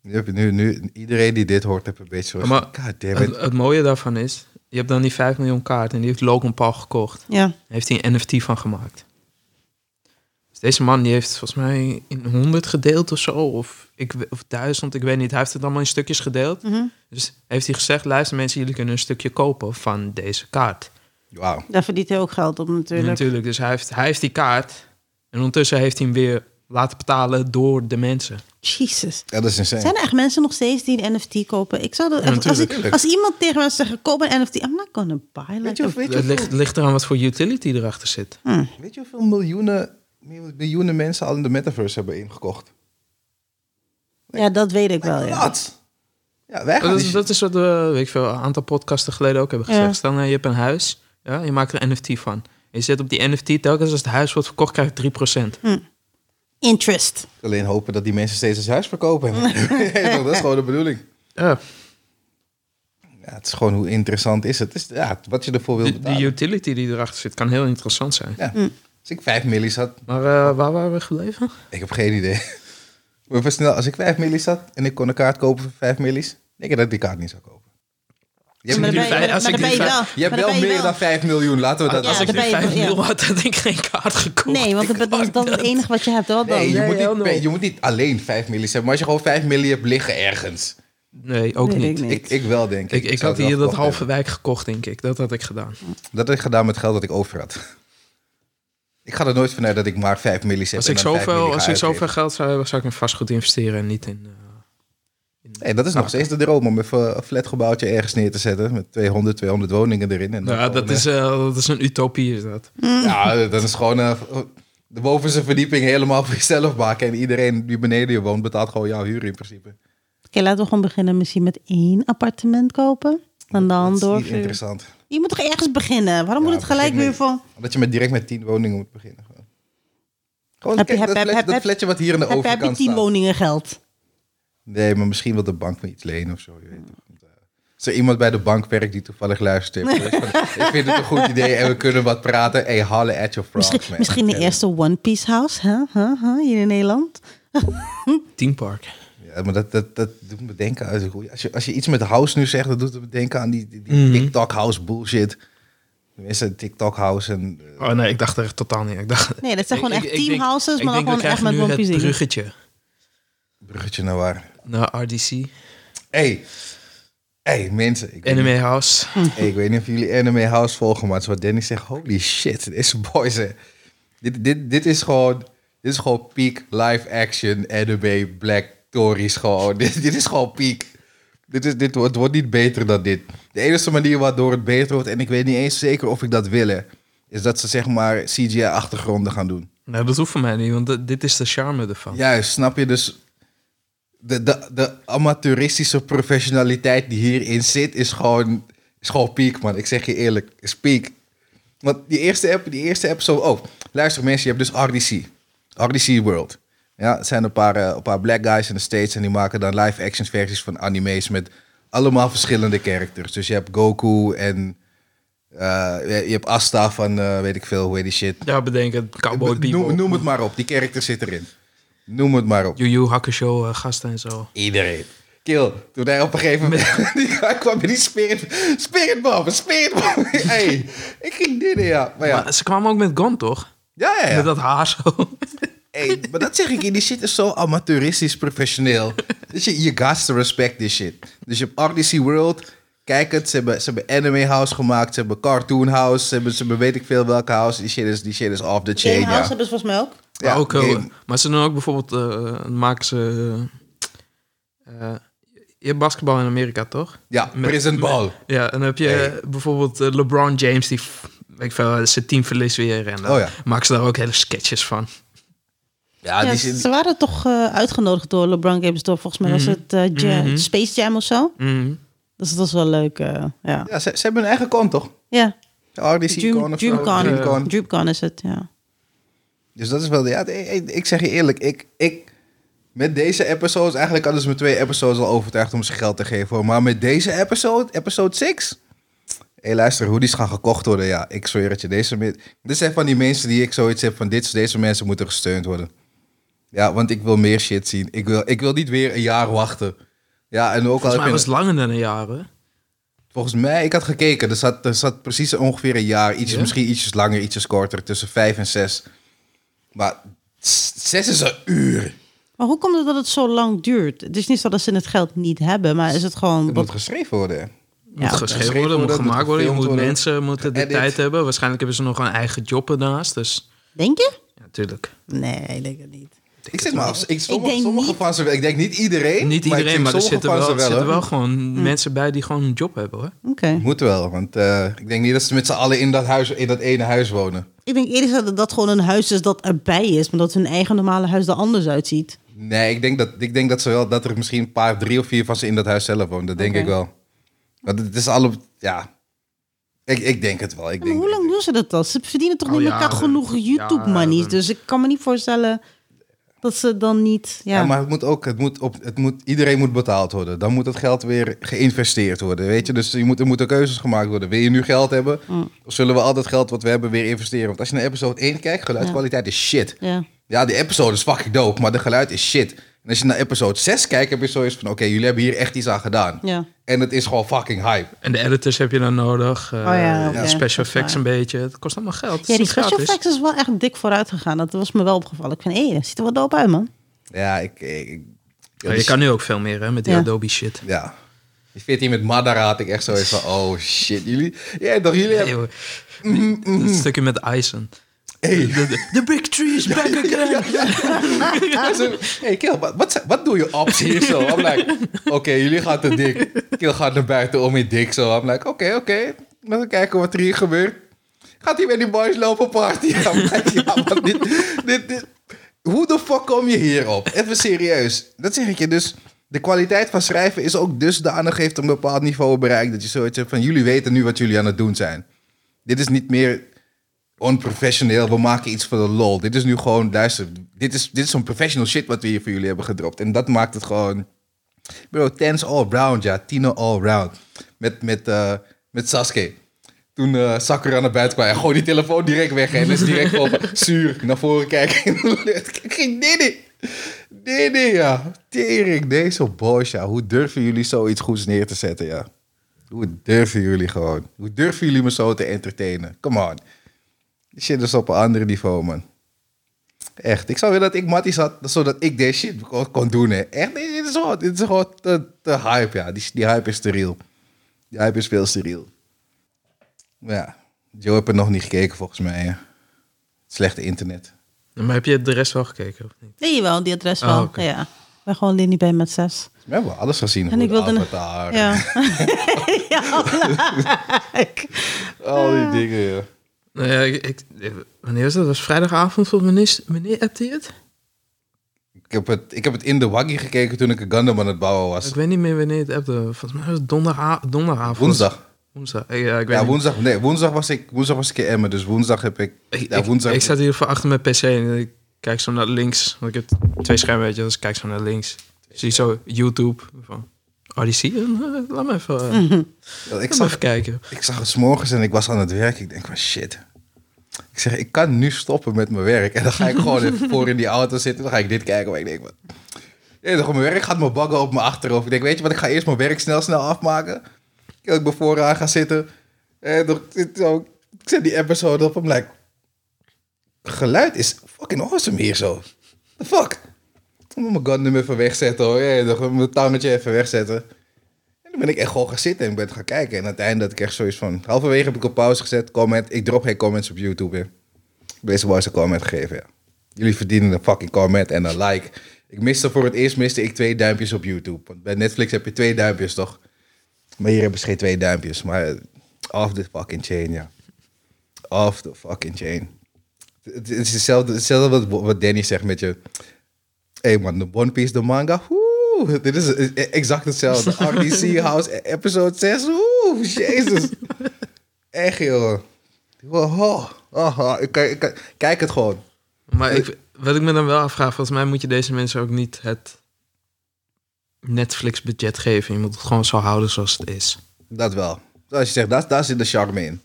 Speaker 1: Nu heb je nu, nu iedereen die dit hoort, heeft een beetje zo.
Speaker 3: Maar
Speaker 1: God damn it.
Speaker 3: het, het mooie daarvan is, je hebt dan die 5 miljoen kaart en die heeft Logan Paul gekocht.
Speaker 2: Ja.
Speaker 3: Daar heeft hij een NFT van gemaakt. Dus deze man die heeft volgens mij in 100 gedeeld of zo, of, ik, we- of 1000, ik weet niet. Hij heeft het allemaal in stukjes gedeeld.
Speaker 1: Mhm.
Speaker 3: Dus heeft hij gezegd, luister mensen, jullie kunnen een stukje kopen van deze kaart.
Speaker 1: Wauw.
Speaker 2: Daar verdient hij ook geld op natuurlijk.
Speaker 3: Natuurlijk, dus hij heeft, hij heeft die kaart en ondertussen heeft hij hem weer laten betalen door de mensen.
Speaker 2: Jezus.
Speaker 1: Ja, dat is insane.
Speaker 2: Zijn er echt mensen nog steeds die een NFT kopen? Ik zou dat, als- als,
Speaker 1: natuurlijk.
Speaker 2: ik- als iemand tegen mij zegt, koop een NFT. I'm not gonna buy.
Speaker 1: Weet je,
Speaker 2: Like a-
Speaker 1: hoe- weet, je
Speaker 3: Het ligt,
Speaker 1: hoeveel,
Speaker 3: ligt eraan wat voor utility erachter zit.
Speaker 1: weet je hoeveel miljoenen, miljoenen mensen al in de metaverse hebben ingekocht?
Speaker 2: Ja, dat weet ik wel,
Speaker 1: Wel,
Speaker 2: Oh, ja.
Speaker 1: Wat? Ja, wij gaan
Speaker 3: Dat
Speaker 1: die
Speaker 3: is,
Speaker 1: shit-
Speaker 3: dat is wat we, weet ik veel, een aantal podcasten geleden ook hebben gezegd.
Speaker 2: Ja.
Speaker 3: Stel nou, je hebt een huis, ja, je maakt er een NFT van. Je zet op die NFT, telkens als het huis wordt verkocht, krijg je
Speaker 2: Hm.
Speaker 3: 3%.
Speaker 2: Interest.
Speaker 1: Alleen hopen dat die mensen steeds eens huis verkopen. (laughs) Ja, dat is gewoon de bedoeling.
Speaker 3: Ja,
Speaker 1: Ja, het is gewoon hoe interessant is het. het is, ja, wat je ervoor wil
Speaker 3: de,
Speaker 1: betalen.
Speaker 3: de utility die erachter zit kan heel interessant zijn.
Speaker 1: ja. Als ik vijf millies had,
Speaker 3: Maar eh, waar waren we gebleven?
Speaker 1: ik heb geen idee. (laughs) Maar even snel, als ik vijf millies had en ik kon een kaart kopen voor vijf millies, denk ik dat ik die kaart niet zou kopen. Je hebt,
Speaker 2: Maar dan
Speaker 1: nu vijf-
Speaker 2: ben je-
Speaker 3: vijf-
Speaker 2: maar
Speaker 3: als
Speaker 2: dan
Speaker 3: ik
Speaker 2: ben
Speaker 3: die
Speaker 2: je
Speaker 3: vijf-
Speaker 2: wel.
Speaker 1: je hebt
Speaker 2: maar dan
Speaker 1: wel
Speaker 2: ben
Speaker 1: meer dan vijf miljoen, laten we dat...
Speaker 2: Ja,
Speaker 3: als ik
Speaker 2: dat
Speaker 3: nu
Speaker 2: ben je-
Speaker 3: 5
Speaker 2: ja.
Speaker 3: miljoen had, had ik geen kaart gekocht.
Speaker 2: Nee,
Speaker 3: (laughs)
Speaker 2: want dat, dat, dat is het enige wat je hebt. Wat dan?
Speaker 1: Nee, je,
Speaker 3: Nee,
Speaker 1: moet
Speaker 3: heel
Speaker 1: niet, per-
Speaker 3: nooit.
Speaker 1: je moet niet alleen vijf millies hebben, maar als je gewoon vijf miljoen hebt liggen ergens.
Speaker 3: Nee, ook
Speaker 2: Weet
Speaker 3: niet.
Speaker 2: ik niet.
Speaker 1: Ik, ik wel, denk ik.
Speaker 3: Ik, ik
Speaker 1: zou
Speaker 3: had
Speaker 1: het
Speaker 3: hier
Speaker 1: wel
Speaker 3: dat
Speaker 1: gekocht
Speaker 3: halve wijk gekocht, denk ik. Dat had ik gedaan.
Speaker 1: hebben. Dat heb ik gedaan met geld dat ik over had. (laughs) Ik ga er nooit vanuit dat ik maar vijf millies heb.
Speaker 3: Als
Speaker 1: en
Speaker 3: ik,
Speaker 1: dan vijf miljoen
Speaker 3: zoveel,
Speaker 1: ga
Speaker 3: als ik
Speaker 1: uitgeven.
Speaker 3: zoveel geld zou hebben, zou ik in vastgoed investeren en niet in... eh,
Speaker 1: Nee, dat is
Speaker 3: Nou.
Speaker 1: nog steeds de droom om even een flatgebouwtje ergens neer te zetten met 200, 200 woningen erin. En dan
Speaker 3: nou, dat
Speaker 1: gewoon,
Speaker 3: is, eh, dat is een utopie, is dat.
Speaker 1: eh, Ja, dat is gewoon eh, de bovenste verdieping helemaal voor jezelf maken. En iedereen die beneden je woont betaalt gewoon jouw huur in principe.
Speaker 2: Oké, laten we gewoon beginnen misschien met één appartement kopen. En dan
Speaker 1: dat is
Speaker 2: door.
Speaker 1: niet interessant.
Speaker 2: Je moet toch ergens beginnen? Waarom moet
Speaker 1: Ja,
Speaker 2: het gelijk
Speaker 1: begin
Speaker 2: weer
Speaker 1: met-
Speaker 2: van...
Speaker 1: Omdat je met, direct met 10 woningen moet beginnen. Gewoon, gewoon
Speaker 2: Heb je-
Speaker 1: kijk, dat,
Speaker 2: heb- heb-
Speaker 1: flat-
Speaker 2: heb-
Speaker 1: dat
Speaker 2: heb-
Speaker 1: flatje wat hier aan de
Speaker 2: Heb, heb je
Speaker 1: overkant
Speaker 2: tien
Speaker 1: staat.
Speaker 2: woningen geld?
Speaker 1: Nee, maar misschien wil de bank me iets lenen of zo. Je weet toch niet, eh. Als er iemand bij de bank werkt die toevallig
Speaker 2: (laughs)
Speaker 1: luistert. ik vind het een goed idee en we kunnen wat praten. Hey, halle at your frogs,
Speaker 2: Misschien,
Speaker 1: man.
Speaker 2: misschien de
Speaker 1: (laughs) Ja,
Speaker 2: eerste One Piece house hè? Huh? Huh? Huh? hier in Nederland.
Speaker 3: Teampark.
Speaker 1: Ja, maar dat, dat, dat doet me denken aan... Als je, als je iets met house nu zegt, dat doet me denken aan die, die, die
Speaker 3: Mhm.
Speaker 1: TikTok house bullshit. Tenminste, TikTok house en... eh,
Speaker 3: Oh nee, ik dacht er echt totaal niet. Ik dacht,
Speaker 2: Nee, dat zijn gewoon
Speaker 3: Ik-
Speaker 2: echt
Speaker 3: ik- ik
Speaker 2: team
Speaker 3: denk-
Speaker 2: houses,
Speaker 3: ik
Speaker 2: maar dan
Speaker 3: denk, we
Speaker 2: gewoon echt met
Speaker 3: krijgen
Speaker 2: One
Speaker 3: nu
Speaker 2: Piece dingen.
Speaker 3: het bruggetje
Speaker 1: bruggetje naar waar.
Speaker 3: naar RDC.
Speaker 1: Hey. Hey, mensen. Ik, weet
Speaker 3: Anime House.
Speaker 2: Hm.
Speaker 1: niet- hey, ik weet niet of jullie Anime House volgen, maar het is wat Danny zegt. Holy shit, deze boys. Hè. Dit, dit, dit is gewoon... Dit is gewoon peak live action anime black stories gewoon. (laughs) Dit, dit is gewoon peak. Dit, is, dit wordt, het wordt niet beter dan dit. De enige manier waardoor het beter wordt, en ik weet niet eens zeker of ik dat wil, hè, is dat ze zeg maar CGI-achtergronden gaan doen.
Speaker 3: Nou, dat hoeft voor mij niet, want dat- dit is de charme ervan.
Speaker 1: Juist, snap je? Dus de, de, de amateuristische professionaliteit die hierin zit, is gewoon, is gewoon piek, man. Ik zeg je eerlijk, is piek. Want die eerste, app, die eerste episode... Oh, luister mensen, je hebt dus RDC. RDC World. Ja, het zijn een paar, eh, een paar black guys in de States... en die maken dan live-action versies van anime's... met allemaal verschillende characters. Dus je hebt Goku en... eh, je je hebt Asta van, eh, weet ik veel, hoe heet die shit.
Speaker 3: Ja, bedenken, Cowboy Bebop,
Speaker 1: Noem, noem het maar op, die character zit erin. Noem het maar op.
Speaker 3: Yu Yu Hakusho, eh, gasten en zo.
Speaker 1: Iedereen. Kill, toen hij op een gegeven moment (laughs) die guy kwam met die spirit, spirit bomb, spirit bomb. hey, ik ging dit ja. Maar ja,
Speaker 3: Maar ze kwamen ook met Gon, toch?
Speaker 1: ja, ja. ja.
Speaker 3: Met dat haar zo. (laughs)
Speaker 1: Hey, maar dat zeg ik je, die shit is zo amateuristisch (laughs) professioneel. Dus je, je got to respect this shit. Dus je hebt RDC World, kijk het, ze hebben, ze hebben Anime House gemaakt, ze hebben Cartoon House, ze hebben, ze hebben weet ik veel welke house. Die shit is, die shit is off the chain,
Speaker 2: Game house
Speaker 1: ja.
Speaker 2: hebben ze volgens mij ook.
Speaker 1: Ja,
Speaker 3: maar, ook, eh,
Speaker 1: game.
Speaker 3: maar ze doen ook bijvoorbeeld, eh, maken ze... eh, eh, je hebt basketbal in Amerika, toch?
Speaker 1: Ja,
Speaker 3: Met-
Speaker 1: Prison Ball.
Speaker 3: Ja, en dan heb je eh, bijvoorbeeld eh, LeBron James, die f- weet ik veel, eh, zijn team verliest weer. En dan
Speaker 1: Oh ja.
Speaker 3: maken ze daar ook hele sketches van.
Speaker 1: Ja,
Speaker 2: Ja,
Speaker 1: Ah, die
Speaker 2: ze
Speaker 1: shit...
Speaker 2: ze waren toch eh, uitgenodigd door LeBron Games door volgens mij was het eh, Ja-
Speaker 3: Mhm.
Speaker 2: Space Jam of zo.
Speaker 3: Mhm.
Speaker 2: Dus dat was wel leuk. eh, ja.
Speaker 1: Ja, ze, ze hebben hun eigen kant, toch?
Speaker 2: ja,
Speaker 1: RDC Con
Speaker 2: Dream-
Speaker 1: of zo, Dreamcon.
Speaker 2: Dreamcon. Dreamcon is het. Ja.
Speaker 1: Dus dat is wel... Ja, ik, ik zeg je eerlijk, ik, ik... Met deze episodes... Eigenlijk hadden ze me twee episodes al overtuigd om ze geld te geven. hoor. Maar met deze episode, episode 6... Hé, hey, luister, hoe die gaan gekocht worden. Ja, ik zweer het je. Deze, me- dit zijn van die mensen die ik zoiets heb van... Dit, deze mensen moeten gesteund worden. Ja, want ik wil meer shit zien. Ik wil, ik wil niet weer een jaar wachten. Ja, en ook al...
Speaker 3: Volgens mij
Speaker 1: heb
Speaker 3: was
Speaker 1: je-
Speaker 3: het langer dan een jaar, hè?
Speaker 1: Volgens mij, ik had gekeken, er zat, er zat precies ongeveer een jaar, ietsjes,
Speaker 3: Ja?
Speaker 1: misschien ietsjes langer, ietsjes korter, tussen vijf en zes. Maar s- zes is een uur.
Speaker 2: Maar hoe komt het dat het zo lang duurt? Het is niet zo dat ze het geld niet hebben, maar is het gewoon...
Speaker 1: Het moet geschreven worden. hè?
Speaker 3: moet
Speaker 2: ja.
Speaker 3: geschreven worden, moet
Speaker 1: worden,
Speaker 3: gemaakt
Speaker 1: moet
Speaker 3: worden. Je moet
Speaker 1: gefilmd worden,
Speaker 3: mensen moeten de
Speaker 1: geëdit.
Speaker 3: tijd hebben. Waarschijnlijk hebben ze nog een eigen job ernaast. Dus
Speaker 2: Denk je?
Speaker 3: ja, natuurlijk.
Speaker 2: Nee, ik denk het niet.
Speaker 1: Ik, zit maar af. Ik, sommige,
Speaker 2: denk
Speaker 1: sommige
Speaker 2: niet-
Speaker 1: van ze, ik denk niet iedereen.
Speaker 3: Niet
Speaker 1: ik
Speaker 3: iedereen,
Speaker 1: denk
Speaker 3: maar er
Speaker 1: sommige
Speaker 3: zitten
Speaker 1: van
Speaker 3: wel, Mhm.
Speaker 1: ze
Speaker 3: er zitten
Speaker 1: hoor.
Speaker 3: wel gewoon mensen bij die gewoon een job hebben, hoor.
Speaker 2: Oké.
Speaker 1: Moet wel, want eh, ik denk niet dat ze met z'n allen in dat, huis, in dat ene huis wonen.
Speaker 2: Ik denk eerder dat dat gewoon een huis is dat erbij is, maar dat hun eigen normale huis er anders uitziet.
Speaker 1: Nee, ik denk, dat, ik denk dat, ze wel, dat er misschien een paar, drie of vier van ze in dat huis zelf wonen. Dat denk
Speaker 2: Oké.
Speaker 1: ik wel. Want het is alle... Ja. Ik, ik denk het wel. Ik
Speaker 2: Ja, maar
Speaker 1: denk
Speaker 2: hoe lang
Speaker 1: het.
Speaker 2: doen ze dat dan? Ze verdienen toch
Speaker 3: Al
Speaker 2: niet meer
Speaker 3: jaren.
Speaker 2: genoeg YouTube-money's.
Speaker 3: Jaren.
Speaker 2: Dus ik kan me niet voorstellen dat ze dan niet... Ja,
Speaker 1: Ja. maar het moet ook... Het moet op, het moet, iedereen moet betaald worden. Dan moet het geld weer geïnvesteerd worden, weet je. Dus je moet, er moeten keuzes gemaakt worden. Wil je nu geld hebben? Of zullen we al dat geld wat we hebben weer investeren? Want als je naar episode 1 kijkt, geluidskwaliteit is shit.
Speaker 2: ja.
Speaker 1: Ja, die episode is fucking dope, maar de geluid is shit. En als je naar episode 6 kijkt, heb je zoiets van... Oké, jullie hebben hier echt iets aan gedaan.
Speaker 2: Ja.
Speaker 1: En het is gewoon fucking hype.
Speaker 3: En de editors heb je dan nodig. eh,
Speaker 2: Oh ja, oké, dat is
Speaker 3: special effects
Speaker 2: waar.
Speaker 3: een beetje. Het kost allemaal geld. Het
Speaker 2: ja die
Speaker 3: is niet
Speaker 2: special
Speaker 3: gratis.
Speaker 2: effects is wel echt dik vooruit gegaan. Dat was me wel opgevallen. Ik vind, hé, dat ziet er wel dope uit, man.
Speaker 1: Ja, ik... ik, ik- dus-
Speaker 3: Ja, je kan nu ook veel meer hè, met die
Speaker 2: Ja.
Speaker 3: Adobe shit.
Speaker 1: Ja. Die 14 met Madara had ik echt zoiets van... Oh shit, jullie... Ja, toch jullie
Speaker 3: Nee,
Speaker 1: hebben...
Speaker 3: hoor. Dat stukje met Ison.
Speaker 1: Hey.
Speaker 3: The, the big tree is back again.
Speaker 1: (laughs) Zo, hey Kill, wat, wat, zijn- wat doen je ops hier zo? I'm like, oké, jullie gaan te dik. Kill gaat naar buiten om je dik zo. I'm like, oké, oké. Laten we kijken wat er hier gebeurt. Gaat hij met die boys lopen party? (laughs) I'm like, ja, maar dit, dit, dit- Hoe de fuck kom je hierop? Even serieus. Dat zeg ik je dus. De kwaliteit van schrijven is ook dusdanig, heeft een bepaald niveau bereikt. Dat je zoiets hebt van, jullie weten nu wat jullie aan het doen zijn. Dit is niet meer onprofessioneel, we maken iets voor de lol. Dit is nu gewoon, luister, dit is, dit is zo'n professional shit wat we hier voor jullie hebben gedropt. En dat maakt het gewoon, bro, tens all round, ja, Tino all round. Met, met, eh, met Sasuke. Toen eh, Sakura naar buiten kwam, hij gooi die telefoon direct weg. En is direct op zuur naar voren kijken. (laughs) Geen Diddy. Diddy, ja. Tering, deze boys, ja. Hoe durven jullie zoiets goeds neer te zetten, ja. Hoe durven jullie gewoon? Hoe durven jullie me zo te entertainen? Come on. Die shit is op een ander niveau, man. Echt. Ik zou willen dat ik Matties had, zodat ik deze shit kon, kon doen, hè. Echt, nee, dit is gewoon, dit is gewoon te, te hype, ja. Die, die hype is te real. Die hype is veel te real. Maar ja, Joe heeft er nog niet gekeken, volgens mij. hè. Slechte internet.
Speaker 3: Maar heb je de rest wel gekeken of niet?
Speaker 2: Nee, wel, die adres
Speaker 3: Oh,
Speaker 2: wel.
Speaker 3: oké.
Speaker 2: Ja. Ik ben gewoon Lindy bij met zes.
Speaker 1: We hebben alles gezien.
Speaker 2: En ik
Speaker 1: Goed,
Speaker 2: wilde...
Speaker 1: Avatar,
Speaker 2: Ja. (laughs) ja, like.
Speaker 1: al die dingen, ja.
Speaker 3: Nou ja, ik, ik- wanneer was dat? Dat was vrijdagavond volgens meneer, meneer appte hij het?
Speaker 1: Ik heb, het, ik heb het in de waggie gekeken toen ik een Gundam aan het bouwen was.
Speaker 3: Ik weet niet meer wanneer het appte. Volgens mij was het donderha- donderdagavond.
Speaker 1: Woensdag.
Speaker 3: Woensdag. Eh, Ja, ik weet
Speaker 1: Ja,
Speaker 3: niet.
Speaker 1: woensdag, nee, woensdag was ik, woensdag was ik in Emmen, dus woensdag heb ik...
Speaker 3: Ik,
Speaker 1: ja,
Speaker 3: ik-
Speaker 1: woensdag,
Speaker 3: ik zat hier voor achter mijn PC en ik kijk zo naar links. Want ik heb twee schermen, weet je, dus ik kijk zo naar links. Zie zo YouTube van. Oh, die zie je? (laughs) Eh, Laat me even, eh,
Speaker 1: Mhm. ik
Speaker 3: laat me
Speaker 1: zag
Speaker 3: even kijken.
Speaker 1: Ik zag het 's morgens en ik was aan het werk. Ik denk van shit. Ik zeg, ik kan nu stoppen met mijn werk. En dan ga ik gewoon even voor in die auto zitten. Dan ga ik dit kijken. Maar ik denk, wat? Ja, toch, mijn werk gaat me baggen op mijn achterhoofd. Ik denk, weet je wat, ik ga eerst mijn werk snel, snel afmaken. Dat ik me vooraan ga zitten. En toch, ik zit zo- ik zet die episode op. en like, geluid is fucking awesome hier zo. The fuck? Ik moet mijn Gundam even wegzetten hoor. Ja, toch, mijn tangetje even wegzetten. En dan ben ik echt gewoon gaan zitten en ben gaan kijken. En aan het einde had ik echt zoiets van... Halverwege heb ik op pauze gezet. Comment. Ik drop geen comments op YouTube weer. Ik heb deze boys een comment gegeven, ja. Jullie verdienen een fucking comment en een like. Ik miste voor het eerst miste ik twee duimpjes op YouTube. Want bij Netflix heb je twee duimpjes, toch? Maar hier hebben ze geen twee duimpjes. Maar eh, off the fucking chain, ja. Off the fucking chain. Het het is hetzelfde, hetzelfde wat, wat Danny zegt met je... Hé hey man, de One Piece, de manga. Oeh, dit is eh, exact hetzelfde. RDC House, eh, episode 6. Oeh, jezus. Echt, joh. Wow. Oh, oh, ik, kan- ik kan- kijk het gewoon.
Speaker 3: Maar ik, wat ik me dan wel afvraag, volgens mij moet je deze mensen ook niet het Netflix-budget geven. Je moet het gewoon zo houden zoals het is.
Speaker 1: Dat wel. Zoals je zegt, daar, daar zit de charme in.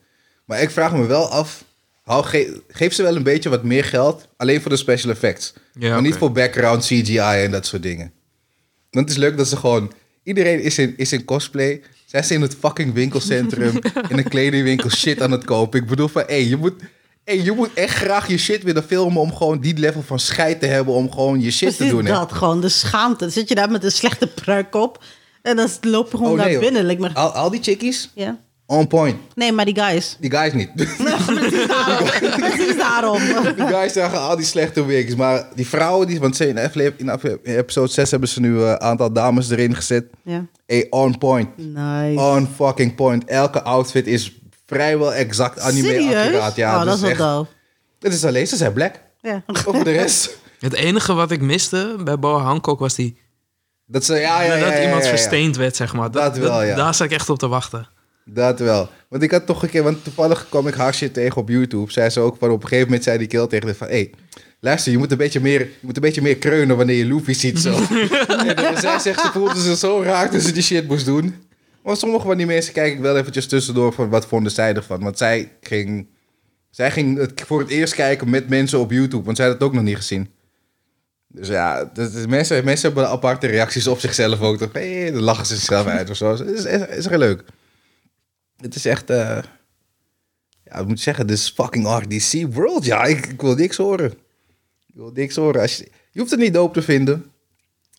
Speaker 1: Maar ik vraag me wel af... Hou, ge- geef ze wel een beetje wat meer geld. Alleen voor de special effects.
Speaker 3: Ja,
Speaker 1: maar niet
Speaker 3: oké.
Speaker 1: voor background, CGI en dat soort dingen. Want het is leuk dat ze gewoon... Iedereen is in, is in cosplay. Zij zijn in het fucking
Speaker 3: (laughs)
Speaker 1: winkelcentrum. in een kledingwinkel shit aan het kopen. Ik bedoel van, hé, je moet... hé, je moet echt graag je shit willen filmen om gewoon die level van scheid te hebben. Om gewoon je shit te
Speaker 2: Precies
Speaker 1: doen. hè.
Speaker 2: dat, gewoon de schaamte. Dan zit je daar met een slechte pruik op en dan loop je gewoon
Speaker 1: Oh, nee,
Speaker 2: naar
Speaker 1: hoor.
Speaker 2: binnen. Like, maar,
Speaker 1: Al, al die chickies,
Speaker 2: ja.
Speaker 1: on point.
Speaker 2: Nee, maar die
Speaker 1: (laughs)
Speaker 2: guys.
Speaker 1: Die guys niet.
Speaker 2: Precies daarom. Precies daarom.
Speaker 1: Die guys zagen al die slechte wigs. Maar die vrouwen, die, want ze in, afle- in afle- in episode 6 hebben ze nu een aantal dames erin gezet.
Speaker 2: Ja.
Speaker 1: Hey, on point.
Speaker 2: Nice.
Speaker 1: On fucking point. Elke outfit is vrijwel exact anime
Speaker 2: Serieus?
Speaker 1: accuraat. Ja,
Speaker 2: oh, dat is wel
Speaker 1: echt,
Speaker 2: doof.
Speaker 1: Het is alleen, ze zijn black.
Speaker 2: Ja.
Speaker 1: Over de rest.
Speaker 3: Het enige wat ik miste bij Boa Hancock was die...
Speaker 1: Dat ze, ja, ja, ja,
Speaker 3: dat
Speaker 1: ja, ja,
Speaker 3: iemand
Speaker 1: ja, ja.
Speaker 3: versteend werd, zeg maar.
Speaker 1: Dat wel, ja.
Speaker 3: Daar zat ik echt op te wachten.
Speaker 1: Dat wel. Want ik had toch een keer, want toevallig kwam ik Harsje tegen op YouTube. Zei ze ook van op een gegeven moment zei die kill tegen haar van, hé, hey, luister, je moet een beetje meer, je moet een beetje meer kreunen wanneer je Luffy ziet zo. en eh, zij zegt, ze voelde ze zo raak dat ze die shit moest doen. Maar sommige van die mensen kijk ik wel eventjes tussendoor van wat vonden zij ervan. Want zij ging, zij ging het voor het eerst kijken met mensen op YouTube, want zij had het ook nog niet gezien. Dus ja, dat is- mensen, mensen hebben aparte reacties op zichzelf ook. Toch? Hey, dan lachen ze zichzelf uit of zo. Het is, is, is heel leuk. Het is echt. eh, ja, ik moet zeggen, dit is fucking RDC World. Ja, ik, ik wil niks horen. Ik wil niks horen. Als je, je hoeft het niet doop te vinden.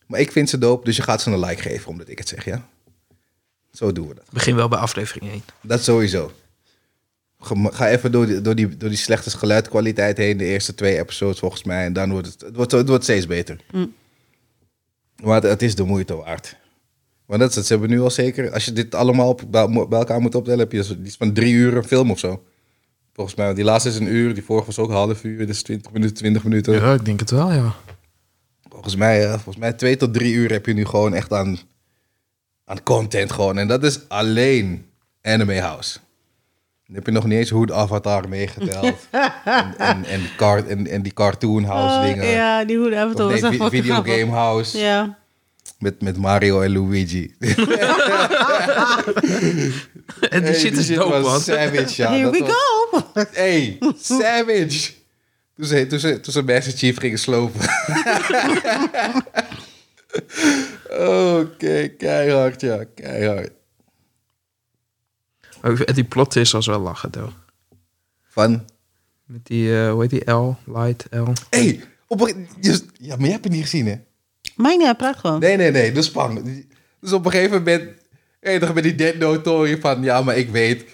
Speaker 1: Maar ik vind ze doop, dus je gaat ze een like geven omdat ik het zeg, ja? Zo doen we dat.
Speaker 3: Begin wel bij aflevering 1.
Speaker 1: Dat sowieso. Ge- Ga even door die, door die, door die slechte geluidkwaliteit heen, de eerste twee episodes volgens mij. En dan wordt het, het, wordt, het wordt steeds beter. Maar het, het is de moeite waard. Want dat is het, ze hebben nu al zeker, als je dit allemaal op- bij bij elkaar moet optellen, heb je zo- iets van drie uur een film of zo. Volgens mij, want die laatste is een uur, die vorige was ook een half uur, dus 20 minuten, 20 minuten.
Speaker 3: ik denk het wel, ja.
Speaker 1: Volgens mij, eh, volgens mij twee tot drie uur heb je nu gewoon echt aan, aan content gewoon. En dat is alleen Anime House. Dan heb je nog niet eens Hood Avatar
Speaker 2: (laughs)
Speaker 1: meegeteld. en, en, en, car- en, en die Cartoon House
Speaker 2: Oh,
Speaker 1: dingen.
Speaker 2: ja, die hoed af en toe
Speaker 1: Of
Speaker 2: was
Speaker 1: nee,
Speaker 2: echt
Speaker 1: vi-
Speaker 2: wel grappig.
Speaker 1: videogame House
Speaker 2: Ja.
Speaker 1: met, met Mario en Luigi.
Speaker 3: (laughs) En die
Speaker 1: Hey, (laughs)
Speaker 3: shit is dope,
Speaker 1: was
Speaker 3: man.
Speaker 1: savage, ja.
Speaker 2: Here
Speaker 1: dat
Speaker 2: we
Speaker 1: was-
Speaker 2: go.
Speaker 1: Hey, savage! Toen ze, toen ze, toen ze Master Chief gingen slopen. (laughs) Oké, keihard, ja, keihard.
Speaker 3: Maar ik vind- Die plot is als wel lachen, though.
Speaker 1: Van,
Speaker 3: Met die, eh, hoe heet die? L, Light, L.
Speaker 1: hey, op een, je- ja, maar jij hebt het niet gezien, hè?
Speaker 2: Mijn ja, praat gewoon.
Speaker 1: Nee, nee, nee, dat is bang. Dus op een gegeven moment, enige met die dead note theorie van, ja, maar ik weet.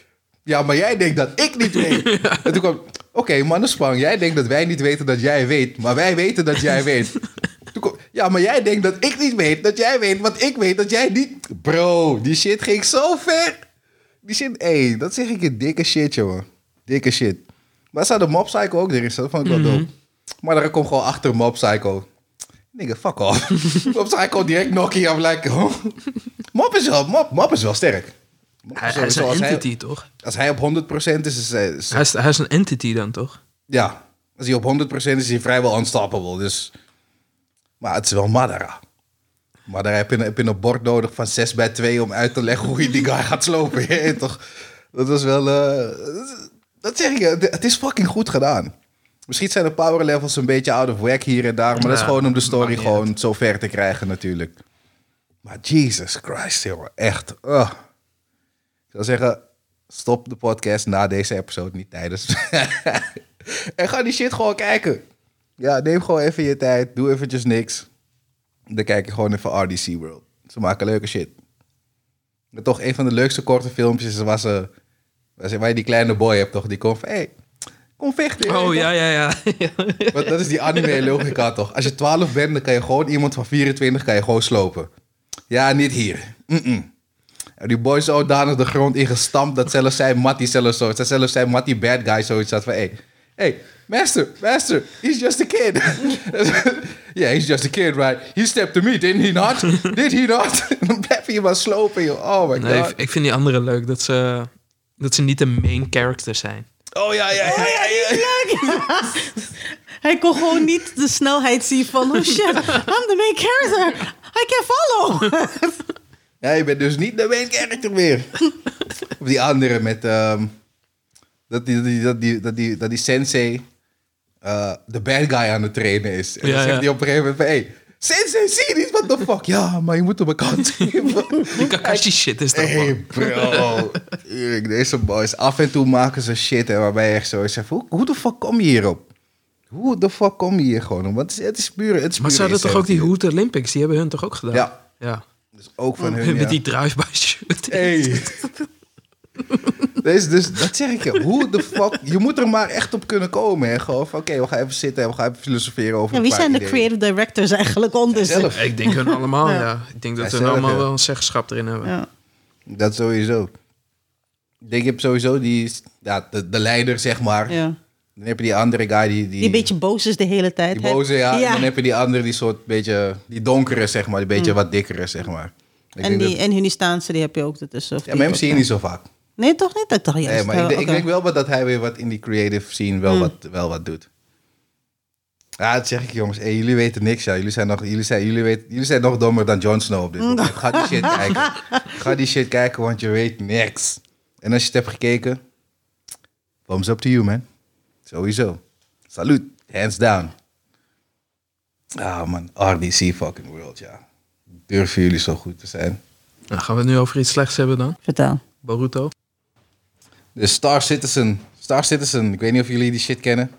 Speaker 1: Ja, maar jij denkt dat ik niet weet. En toen kwam, oké, man, dat is bang. Jij denkt dat wij niet weten dat jij weet, maar wij weten dat jij weet. Toen kwam, ja, maar jij denkt dat ik niet weet dat jij weet, want ik weet dat jij niet. Bro, die shit ging zo ver. Die shit, hé, dat zeg ik je, dikke shit, jongen. Dikke shit. Maar zou de Mob Psycho ook erin, dat vond ik wel dope. Maar daar kom gewoon achter Mob Psycho. Nigga, fuck off. (laughs) Mob Psycho direct knocking. I'm like, oh. Mob is wel, Mob, Mob is wel sterk. Mob
Speaker 3: Hij,
Speaker 1: is
Speaker 3: hij is een
Speaker 1: sowieso- als hij-
Speaker 3: entity, toch?
Speaker 1: Als hij op 100% is, is, hij- is-
Speaker 3: Hij is, hij is een entity dan, toch?
Speaker 1: ja. Als hij op 100% is, is hij vrijwel unstoppable. Dus. Maar het is wel Madara. Madara heb je, een- heb je een bord nodig van 6 bij 2 om uit te leggen hoe je die guy gaat slopen. (laughs) Je weet toch? Dat was wel. eh, dat is- dat zeg ik, je, het- het is fucking goed gedaan. Misschien zijn de power levels een beetje out of whack hier en daar, maar dat is
Speaker 3: Ja,
Speaker 1: gewoon om de story
Speaker 3: maakt niet
Speaker 1: gewoon zo ver te krijgen, natuurlijk. Maar Jesus Christ, jongen, echt. Ugh. Ik zou zeggen, stop de podcast na deze episode, niet tijdens. (laughs) en ga die shit gewoon kijken. Ja, neem gewoon even je tijd. Doe eventjes niks. Dan kijk je gewoon even RDC World. Ze maken leuke shit. En toch een van de leukste korte filmpjes is waar, ze, waar, ze, waar je die kleine boy hebt, toch? Die komt van, hey, kom vechten.
Speaker 3: Oh, ja, ja, ja.
Speaker 1: Want dat is die anime-logica toch? Als je 12 bent, dan kan je gewoon iemand van 24 kan je gewoon slopen. Ja, niet hier. Mm-mm. En die boy is zodanig de grond ingestampt dat zelfs zijn mattie zelfs zo, dat zelfs zijn mattie bad guy zoiets had van, hey, hey, master, master, he's just a kid. (laughs) yeah, he's just a kid, right? He stepped to me, didn't he not? Did he not? (laughs) dan blijf je maar slopen, joh. Oh my
Speaker 3: (laughs) Nee,
Speaker 1: god.
Speaker 3: ik- ik vind die andere leuk, dat ze, dat ze niet de main character zijn.
Speaker 1: Oh ja, ja, ja, ja. ja.
Speaker 2: (laughs) Hij kon gewoon niet de snelheid zien van... Oh shit, I'm the main character. I can (laughs) follow.
Speaker 1: Ja, je bent dus niet de main character
Speaker 3: (laughs)
Speaker 1: meer. of die andere met... ehm, dat, die, die, dat, die, dat, die, dat die sensei eh, de bad guy aan het trainen is. En
Speaker 3: Ja,
Speaker 1: dan zegt
Speaker 3: ja.
Speaker 1: hij op een gegeven moment van... Hey, sensei, zie je niet? What the fuck? Ja, maar je moet op mijn kant
Speaker 3: (laughs)
Speaker 1: geven.
Speaker 3: Die Kakashi shit is dat, man.
Speaker 1: Hm? Hey bro, Tuurlijk, deze boys. Af en toe maken ze shit en waarbij je echt zo zegt, hoe, hoe de fuck kom je hierop? Hoe de fuck kom je hier gewoon op? Want het is, het is puur... Het is
Speaker 3: Maar ze
Speaker 1: pure
Speaker 3: hadden toch ook die
Speaker 1: insanity.
Speaker 3: Hoed Olympics, die hebben hun toch ook gedaan?
Speaker 1: Ja.
Speaker 3: ja.
Speaker 1: Dus ook van hun, ja.
Speaker 3: (laughs) Met die drive-by shooting.
Speaker 1: (laughs) Hey. dus, dus dat zeg ik je. Hoe de fuck... Je moet er maar echt op kunnen komen. Hè? Gewoon van, oké, we gaan even zitten en we gaan even filosoferen over
Speaker 2: Ja, wie
Speaker 1: een paar
Speaker 2: zijn de
Speaker 1: ideeën.
Speaker 2: creative directors eigenlijk onder ze?
Speaker 1: Zelf.
Speaker 3: Ik denk hun allemaal, ja. Ik denk dat
Speaker 1: Ja,
Speaker 3: hun
Speaker 1: zelf,
Speaker 3: allemaal
Speaker 1: ja.
Speaker 3: wel een zeggenschap erin hebben.
Speaker 2: Ja.
Speaker 1: Dat sowieso. Ik denk, je hebt sowieso die... Ja, de, de leider, zeg maar.
Speaker 2: Ja.
Speaker 1: Dan heb je die andere guy die...
Speaker 2: Die een beetje boos is de hele tijd.
Speaker 1: Die
Speaker 2: hè?
Speaker 1: boze, ja. En dan heb je die andere, die soort beetje... Die donkere, zeg maar. Die beetje wat dikkere, zeg maar. Ik
Speaker 2: Mm. en,
Speaker 1: denk
Speaker 2: die,
Speaker 1: dat-
Speaker 2: en Hunistaanse, die heb je ook ertussen. of
Speaker 1: ja,
Speaker 2: die
Speaker 1: maar hem
Speaker 2: ook,
Speaker 1: zie je
Speaker 2: ja.
Speaker 1: niet zo vaak.
Speaker 2: Nee, toch niet? Ik dacht juist. Oh,
Speaker 1: Nee, maar ik, denk- ik
Speaker 2: oké.
Speaker 1: denk wel wat dat hij weer wat in die creative scene wel, wat, wel wat doet. Ja, dat zeg ik jongens. Hey, jullie weten niks, ja. Jullie zijn nog, jullie zijn, jullie weten, jullie zijn nog dommer dan Jon Snow op dit moment. Ga die shit kijken. Ga die shit kijken, want je weet niks. En als je het hebt gekeken, thumbs up to you, man. Sowieso. Salut. Hands down. Ah, man. RDC fucking world, ja. Durven jullie zo goed te zijn?
Speaker 3: Nou, gaan we het nu over iets slechts hebben dan?
Speaker 2: Vertel.
Speaker 3: Boruto?
Speaker 1: De Star Citizen. Star Citizen. Ik weet niet of jullie die shit kennen.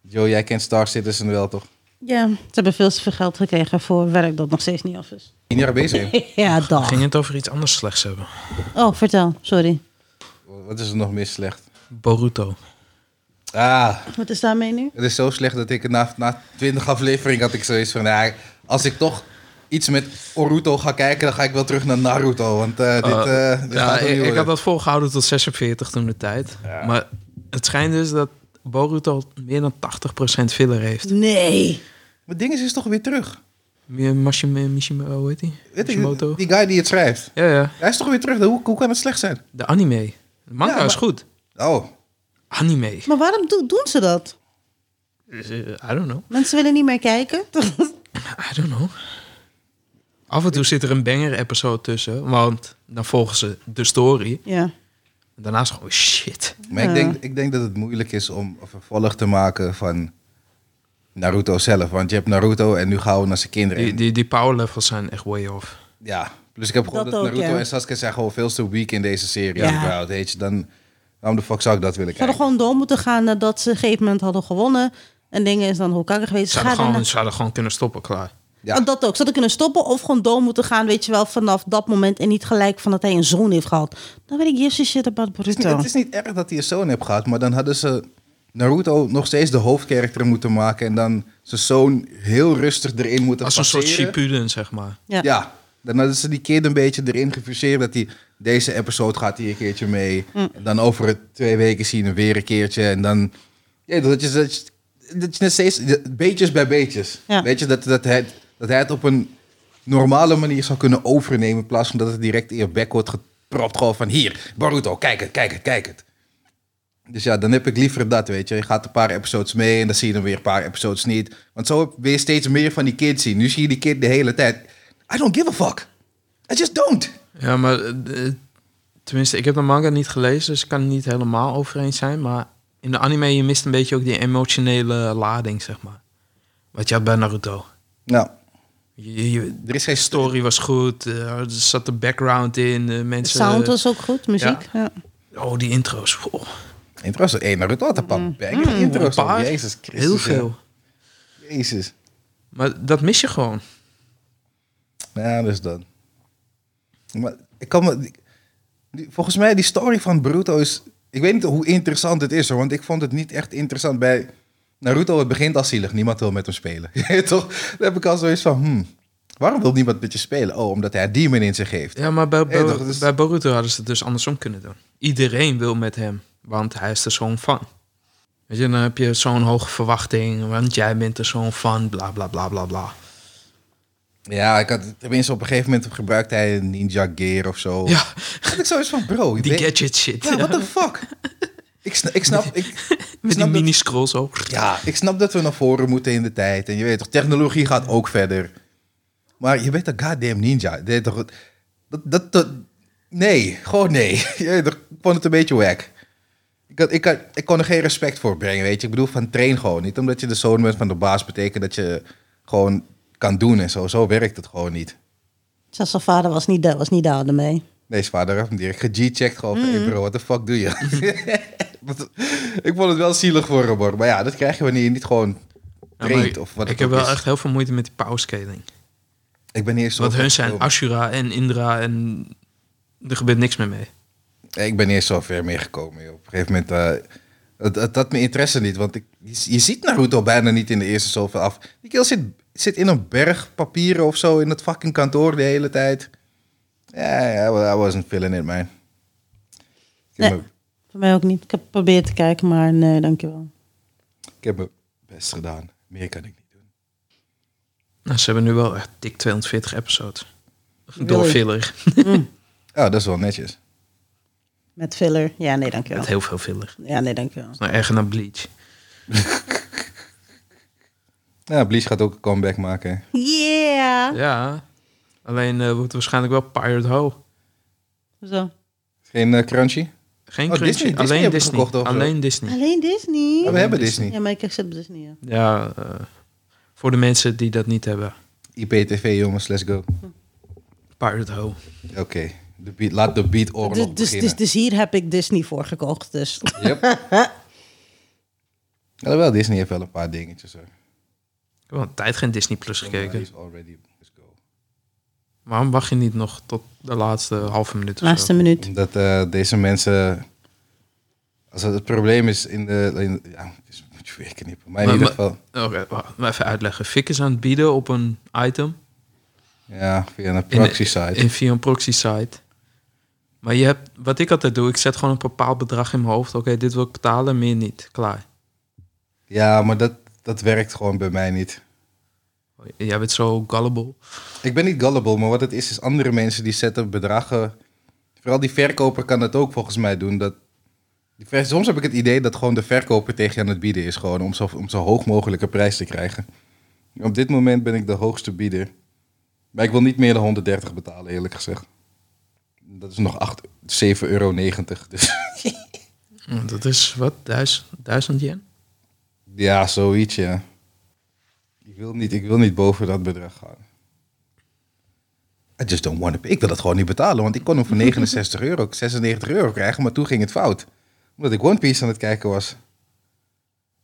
Speaker 1: Joe, jij kent Star Citizen wel, toch?
Speaker 2: Ja, ze hebben veel te veel geld gekregen voor werk dat nog steeds niet af is. (laughs)
Speaker 1: Tien jaar bezig.
Speaker 2: ja, dag.
Speaker 3: Ging het over iets anders slechts hebben?
Speaker 2: Oh, vertel. Sorry.
Speaker 1: Wat is er nog meer slecht?
Speaker 3: Boruto.
Speaker 1: Ah,
Speaker 2: Wat is daarmee nu?
Speaker 1: het is zo slecht dat ik het na, na 20 aflevering had ik zoiets van... ja, als ik toch iets met Oruto ga kijken, dan ga ik wel terug naar Naruto. Want eh, dit,
Speaker 3: Eh,
Speaker 1: eh, dit
Speaker 3: ja,
Speaker 1: gaat er niet
Speaker 3: ik, ik
Speaker 1: worden.
Speaker 3: had dat volgehouden tot 46 toen de tijd. Maar het schijnt dus dat Boruto meer dan 80% filler heeft.
Speaker 2: Nee.
Speaker 1: Maar ding is, is toch weer terug.
Speaker 3: Mi- Mashima, Mishima, oh, hoe heet die?
Speaker 1: Weet ik,
Speaker 3: Mishimoto.
Speaker 1: die guy die het schrijft.
Speaker 3: Ja, ja.
Speaker 1: Hij is toch weer terug. Hoe, hoe kan het slecht zijn?
Speaker 3: De anime. De manga
Speaker 1: Ja, maar-
Speaker 3: is goed.
Speaker 1: Oh,
Speaker 3: Anime.
Speaker 2: Maar waarom do- doen ze dat?
Speaker 3: Dus, eh, I don't know.
Speaker 2: Mensen willen niet meer kijken. (laughs)
Speaker 3: I don't know. Af en toe zit er een banger-episode tussen. Want dan volgen ze de story.
Speaker 2: ja.
Speaker 3: En daarna is het gewoon oh, shit.
Speaker 1: Maar ik, denk, ik denk dat het moeilijk is om een vervolg te maken van Naruto zelf. Want je hebt Naruto en nu gaan we naar zijn kinderen.
Speaker 3: Die, die, die power levels zijn echt way off.
Speaker 1: Ja, plus ik heb gehoord dat,
Speaker 2: Dat ook,
Speaker 1: Naruto
Speaker 2: ja.
Speaker 1: en Sasuke zijn gewoon veel te weak in deze serie.
Speaker 2: Ja.
Speaker 1: überhaupt, weet je. Dan, waarom de fuck zou ik dat willen
Speaker 2: Ze hadden
Speaker 1: kijken?
Speaker 2: gewoon door moeten gaan nadat ze een gegeven moment hadden gewonnen. En dingen is dan Hokage geweest.
Speaker 3: Ze hadden
Speaker 2: Ga daarna-
Speaker 3: gewoon, ze hadden gewoon kunnen stoppen, klaar.
Speaker 1: Ja.
Speaker 2: Oh, Dat ook. Ze hadden kunnen stoppen of gewoon door moeten gaan, weet je wel, vanaf dat moment. En niet gelijk van dat hij een zoon heeft gehad. Dan weet ik yes shit about
Speaker 1: Het, is niet,
Speaker 2: Boruto.
Speaker 1: (laughs) het is niet erg dat hij een zoon heeft gehad, maar dan hadden ze Naruto nog steeds de hoofdkarakter moeten maken. En dan zijn zoon heel rustig erin moeten
Speaker 3: Als een soort
Speaker 1: placeren.
Speaker 3: Shippuden, zeg maar.
Speaker 2: Ja.
Speaker 1: Ja, dan hadden ze die kid een beetje erin gefuseerd. Dat die, deze episode gaat hier een keertje mee. En dan over het twee weken zien we weer een keertje. En dan, ja, dat je, dat je, dat je net steeds, beetjes bij beetjes.
Speaker 2: Ja.
Speaker 1: Weet je, dat, dat, hij, het- dat hij het op een normale manier zou kunnen overnemen. In plaats van dat het direct in je bek wordt gepropt. Gewoon van hier, Baruto, kijk het, kijk het, kijk het. Dus ja, dan heb ik liever dat, weet je. Je gaat een paar episodes mee en dan zie je dan weer een paar episodes niet. Want zo heb- wil je steeds meer van die kid zien. Nu zie je die kid de hele tijd. I don't give a fuck. I just don't.
Speaker 3: Ja, maar eh, eh, tenminste, ik heb de manga niet gelezen, dus ik kan er niet helemaal over eens zijn. Maar in de anime, je mist een beetje ook die emotionele lading, zeg maar. Wat je had bij Naruto.
Speaker 1: Nou,
Speaker 3: Je, je-
Speaker 1: er is geen
Speaker 3: de
Speaker 1: story.
Speaker 3: story was goed, eh, er zat de background in, eh,
Speaker 2: De
Speaker 3: mensen...
Speaker 2: sound was ook goed, muziek. Ja.
Speaker 3: Oh, die intro's. wow.
Speaker 1: Intro zo. Hey, Naruto had een paar bangers intro's.
Speaker 3: Mm. Een paar.
Speaker 1: Jezus Christus.
Speaker 3: Heel
Speaker 1: ja.
Speaker 3: veel.
Speaker 1: Jezus.
Speaker 3: Maar dat mis je gewoon.
Speaker 1: Ja, dus dan. Maar ik kan me... die- die- volgens mij, die story van Bruto is... Ik weet niet hoe interessant het is, hoor. Want ik vond het niet echt interessant bij... Naruto, het begint al zielig. Niemand wil met hem spelen. (laughs) Toch? Dan heb ik al zoiets van... hmm, waarom wil niemand met je spelen? Oh, omdat hij een demon in zich heeft.
Speaker 3: Ja, maar bij,
Speaker 1: Hey,
Speaker 3: Bo-
Speaker 1: toch, dus-
Speaker 3: bij Boruto hadden ze het dus andersom kunnen doen. Iedereen wil met hem, want hij is de zoon van. Weet je, dan heb je zo'n hoge verwachting, want jij bent de zoon van, bla bla bla bla bla.
Speaker 1: Ja, ik had... Tenminste, op een gegeven moment gebruikte hij een ninja gear of zo.
Speaker 3: Ja,
Speaker 1: Had ik zoiets van, bro...
Speaker 3: die
Speaker 1: weet-
Speaker 3: gadget shit. (laughs)
Speaker 1: Ja, what the fuck? ik, sna- ik snap... Ik, ik
Speaker 3: Met die
Speaker 1: snap dat-
Speaker 3: mini-scroll zo.
Speaker 1: Ja, ik snap dat we naar voren moeten in de tijd. En je weet toch, technologie gaat ook verder. Maar je bent een goddamn ninja. Je weet toch, dat, dat, dat- nee, gewoon nee. (laughs) Je weet toch, ik vond het een beetje wack. Ik, had, ik, had- ik kon er geen respect voor brengen, weet je. Ik bedoel, van train gewoon. Niet omdat je de zoon bent van de baas, betekent dat je gewoon kan doen en zo. Zo werkt het gewoon niet.
Speaker 2: Zelfs zijn vader was niet, da- was niet daar mee.
Speaker 1: Nee, zijn vader heeft hem direct ge-checkt. Gewoon van,
Speaker 3: Mm.
Speaker 1: hey bro, what the fuck doe je? (laughs) Wat- ik vond het wel zielig voor hem, hoor. Maar ja, dat krijg je wanneer je niet gewoon
Speaker 3: Ja, maar
Speaker 1: traint
Speaker 3: ik-
Speaker 1: of wat
Speaker 3: ik
Speaker 1: het
Speaker 3: heb
Speaker 1: ook
Speaker 3: wel
Speaker 1: is.
Speaker 3: echt heel veel moeite met die powerscaling.
Speaker 1: Ik ben eerst zo.
Speaker 3: Want hun zijn
Speaker 1: film.
Speaker 3: Ashura en Indra en er gebeurt niks meer mee.
Speaker 1: Ik ben eerst zo ver meegekomen. joh. Op een gegeven moment. eh, het, het had mijn interesse niet. Want ik, je, je ziet Naruto bijna niet in de eerste zoveel af. Die kerel zit, zit in een berg papieren of zo. In het fucking kantoor de hele tijd. Ja, ja, I wasn't feeling it, man. Ik heb
Speaker 2: Nee.
Speaker 1: me-
Speaker 2: Voor mij ook niet. Ik heb geprobeerd te kijken, maar nee, dankjewel.
Speaker 1: Ik heb mijn best gedaan. Meer kan ik niet doen.
Speaker 3: Nou, ze hebben nu wel echt dik 240 episodes. Door
Speaker 2: Really?
Speaker 3: filler.
Speaker 1: Ja, dat is wel netjes.
Speaker 2: Met filler. Ja, nee, dankjewel.
Speaker 3: Met heel veel filler.
Speaker 2: Ja, nee, dankjewel.
Speaker 3: Nou, erger naar Bleach.
Speaker 1: Ja, Bleach gaat ook een comeback maken. hè.
Speaker 2: Yeah!
Speaker 3: Ja. Alleen eh, wordt waarschijnlijk wel Pirate Ho.
Speaker 2: Zo.
Speaker 1: Geen eh, crunchy?
Speaker 3: Geen
Speaker 1: Oh, Disney.
Speaker 3: Crunchy.
Speaker 1: Disney
Speaker 3: Alleen
Speaker 1: hebben we
Speaker 3: Disney.
Speaker 1: gekocht, of zo.
Speaker 3: Alleen Disney.
Speaker 2: Alleen Disney?
Speaker 1: Ja, we hebben Disney.
Speaker 2: Ja, maar ik zit op Disney, ja.
Speaker 3: Ja, eh, voor de mensen die dat niet hebben.
Speaker 1: IPTV, jongens, let's go.
Speaker 3: Pirate Ho.
Speaker 1: Oké, de beat- laat de beat oorlog
Speaker 2: Dus, dus, dus,
Speaker 1: beginnen.
Speaker 2: dus hier heb ik Disney voor gekocht, dus... (laughs)
Speaker 1: Yep. Alhoewel, Disney heeft wel een paar dingetjes. Hoor.
Speaker 3: Ik heb al een tijd geen Disney Plus gekeken.
Speaker 1: Is already, let's go.
Speaker 3: Waarom wacht je niet nog tot de laatste halve minuut of
Speaker 2: Laatste
Speaker 3: zo?
Speaker 2: minuut.
Speaker 1: Omdat eh, deze mensen... Als het, het probleem is in de... in- ja, het is, moet je weer knippen. Maar in
Speaker 3: Maar-
Speaker 1: ieder geval...
Speaker 3: Oké, wacht, maar even uitleggen. Fik is aan het bieden op een item
Speaker 1: Ja, via een proxy site.
Speaker 3: in, via een proxy site. Maar je hebt, wat ik altijd doe, ik zet gewoon een bepaald bedrag in mijn hoofd. Oké, dit wil ik betalen, meer niet. Klaar.
Speaker 1: Ja, maar dat, dat werkt gewoon bij mij niet.
Speaker 3: Jij bent zo gullible.
Speaker 1: Ik ben niet gullible, maar wat het is, is andere mensen die zetten bedragen. Vooral die verkoper kan dat ook volgens mij doen. Dat, die ver- soms heb ik het idee dat gewoon de verkoper tegen je aan het bieden is. Gewoon om zo, om zo hoog mogelijke prijs te krijgen. Op dit moment ben ik de hoogste bieder. Maar ik wil niet meer dan 130 betalen, eerlijk gezegd. Dat is nog 8, 7,90 euro. Dus
Speaker 3: Hm, Dat is, wat, duizend, duizend yen?
Speaker 1: ja, zoiets, ja. Ik wil, niet, ik wil niet boven dat bedrag gaan. I just don't want to pay. Ik wil dat gewoon niet betalen, want ik kon (laughs) hem voor 69 euro, 96 euro krijgen, maar toen ging het fout. Omdat ik One Piece aan het kijken was.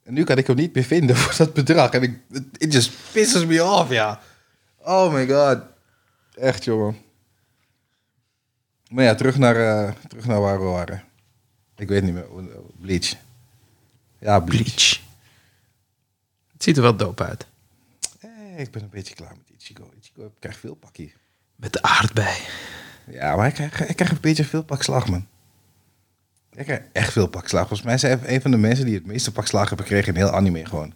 Speaker 1: En nu kan ik hem niet meer vinden (laughs) voor dat bedrag. En ik, it, it just pisses me off, ja. Oh my god. Echt, jongen. Maar ja, terug naar, eh, terug naar waar we waren. Ik weet niet meer. Bleach. Ja, Bleach.
Speaker 3: Bleach. Het ziet er wel dope uit.
Speaker 1: Eh, ik ben een beetje klaar met Ichigo. Ichigo krijgt veel pakkie.
Speaker 3: Met de aardbei.
Speaker 1: Ja, maar ik krijg, hij krijgt een beetje veel pak slaag, man. Ik krijg echt veel pak slaag. Volgens mij zijn hij een van de mensen die het meeste pak slaag hebben gekregen in heel anime gewoon.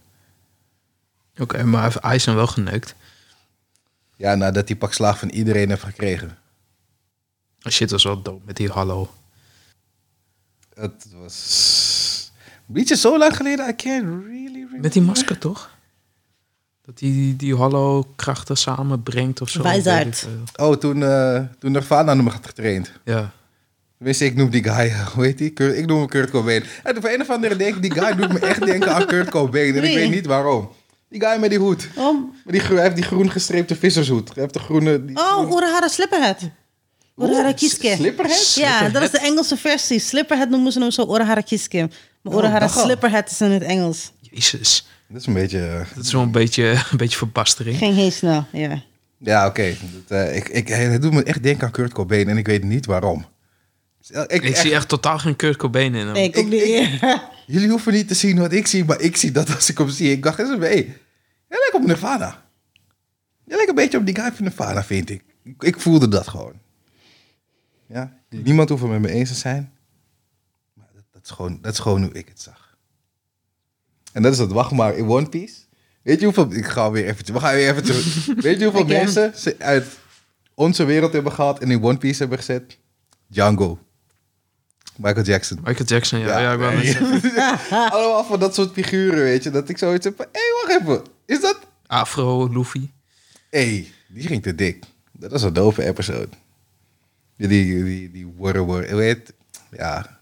Speaker 3: Oké, maar hij heeft Aizen wel geneukt.
Speaker 1: Ja, nadat hij pak slaag van iedereen heeft gekregen.
Speaker 3: Oh, Shit was wel dope met die hallo.
Speaker 1: Het was... Bleach is zo lang geleden, I can't really remember.
Speaker 3: Met die masker toch? Dat die, die hallo krachten samenbrengt of zo.
Speaker 2: Wijzaard.
Speaker 3: weet ik veel.
Speaker 1: Oh, toen, eh toen Nirvana hem had getraind.
Speaker 3: Ja.
Speaker 1: Tenminste, ik noem die guy, eh, hoe heet die? Kurt- ik noem hem Kurt Cobain. En op een of andere denk ik, die guy doet me echt denken aan Kurt Cobain. En ik
Speaker 2: Wie?
Speaker 1: weet niet waarom. Die guy met die hoed.
Speaker 2: Oh,
Speaker 1: Maar die, gro- hij heeft die groen gestreepte vissershoed. Hij heeft de groene... die-
Speaker 2: oh Urahara Slipperhead. Urahara
Speaker 1: Oeh,
Speaker 2: Kiske.
Speaker 1: Slipperhead?
Speaker 2: Ja, dat is de Engelse versie. Slipperhead noemen ze hem zo Urahara Kiske. Maar
Speaker 1: Oh,
Speaker 2: Urahara
Speaker 1: dat al.
Speaker 2: Slipperhead is in het Engels.
Speaker 3: Jezus.
Speaker 1: Dat is een beetje... eh,
Speaker 3: Dat is wel een beetje, (laughs) een beetje verbastering.
Speaker 2: Ging heel snel,
Speaker 1: Oh.
Speaker 2: ja.
Speaker 1: Ja, oké. Dat, eh, ik, ik, hij- hij doet me echt denken aan Kurt Cobain en ik weet niet waarom. Ik,
Speaker 3: Ik
Speaker 1: echt-
Speaker 3: zie echt totaal geen Kurt Cobain in hem.
Speaker 2: Nee, ik ook
Speaker 1: Ik-
Speaker 2: niet.
Speaker 1: (laughs) Jullie hoeven niet te zien wat ik zie, maar ik zie dat als ik hem zie. Ik dacht, hé, hey, jij lijkt op Nirvana. Jij lijkt een beetje op die guy van Nirvana, vind ik. Ik, ik voelde dat gewoon. Ja? Niemand hoeft het met me eens te zijn. Maar dat, dat, is gewoon, dat is gewoon hoe ik het zag. En dat is het, wacht maar, in One Piece. Weet je hoeveel... Ik ga weer even... terug- We gaan weer even terug. Weet je hoeveel
Speaker 2: Again.
Speaker 1: mensen ze uit onze wereld hebben gehad en in One Piece hebben gezet? Django. Michael Jackson.
Speaker 3: Michael Jackson, ja. ja. ik wou net zeggen.
Speaker 1: (laughs) Allemaal van dat soort figuren, weet je. Dat ik zoiets heb van, hé, wacht even. Is dat...
Speaker 3: Afro, Luffy.
Speaker 1: Hé, die ging te dik. Dat was een dove episode. Die, die, die, die worre, worre, weet Ja.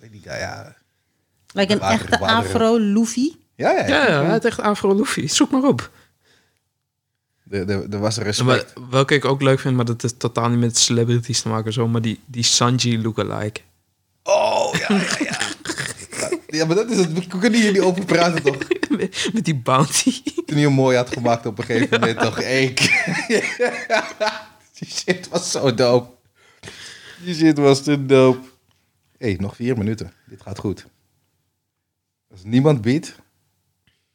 Speaker 1: Weet die guy, ja.
Speaker 2: Like een
Speaker 1: Water-
Speaker 2: echte
Speaker 1: water-
Speaker 2: afro-Luffy.
Speaker 1: Ja, ja.
Speaker 3: Ja, ja, hij had echt Afro, Luffy. Zoek maar op.
Speaker 1: Er- er- er was een
Speaker 3: Maar,
Speaker 1: respect.
Speaker 3: welke ik ook leuk vind, maar dat heeft totaal niet met celebrities te maken. Zo, maar die, die Sanji lookalike.
Speaker 1: Oh, ja, ja, ja. Ja, maar dat is het. We kunnen hier niet over praten, toch?
Speaker 3: (laughs) met, met die bounty.
Speaker 1: Toen hij hem mooi had gemaakt op een gegeven moment, toch? Hey, die shit was zo dope. Die shit was te dope. Hé, hey, nog vier minuten. Dit gaat goed. Als niemand biedt,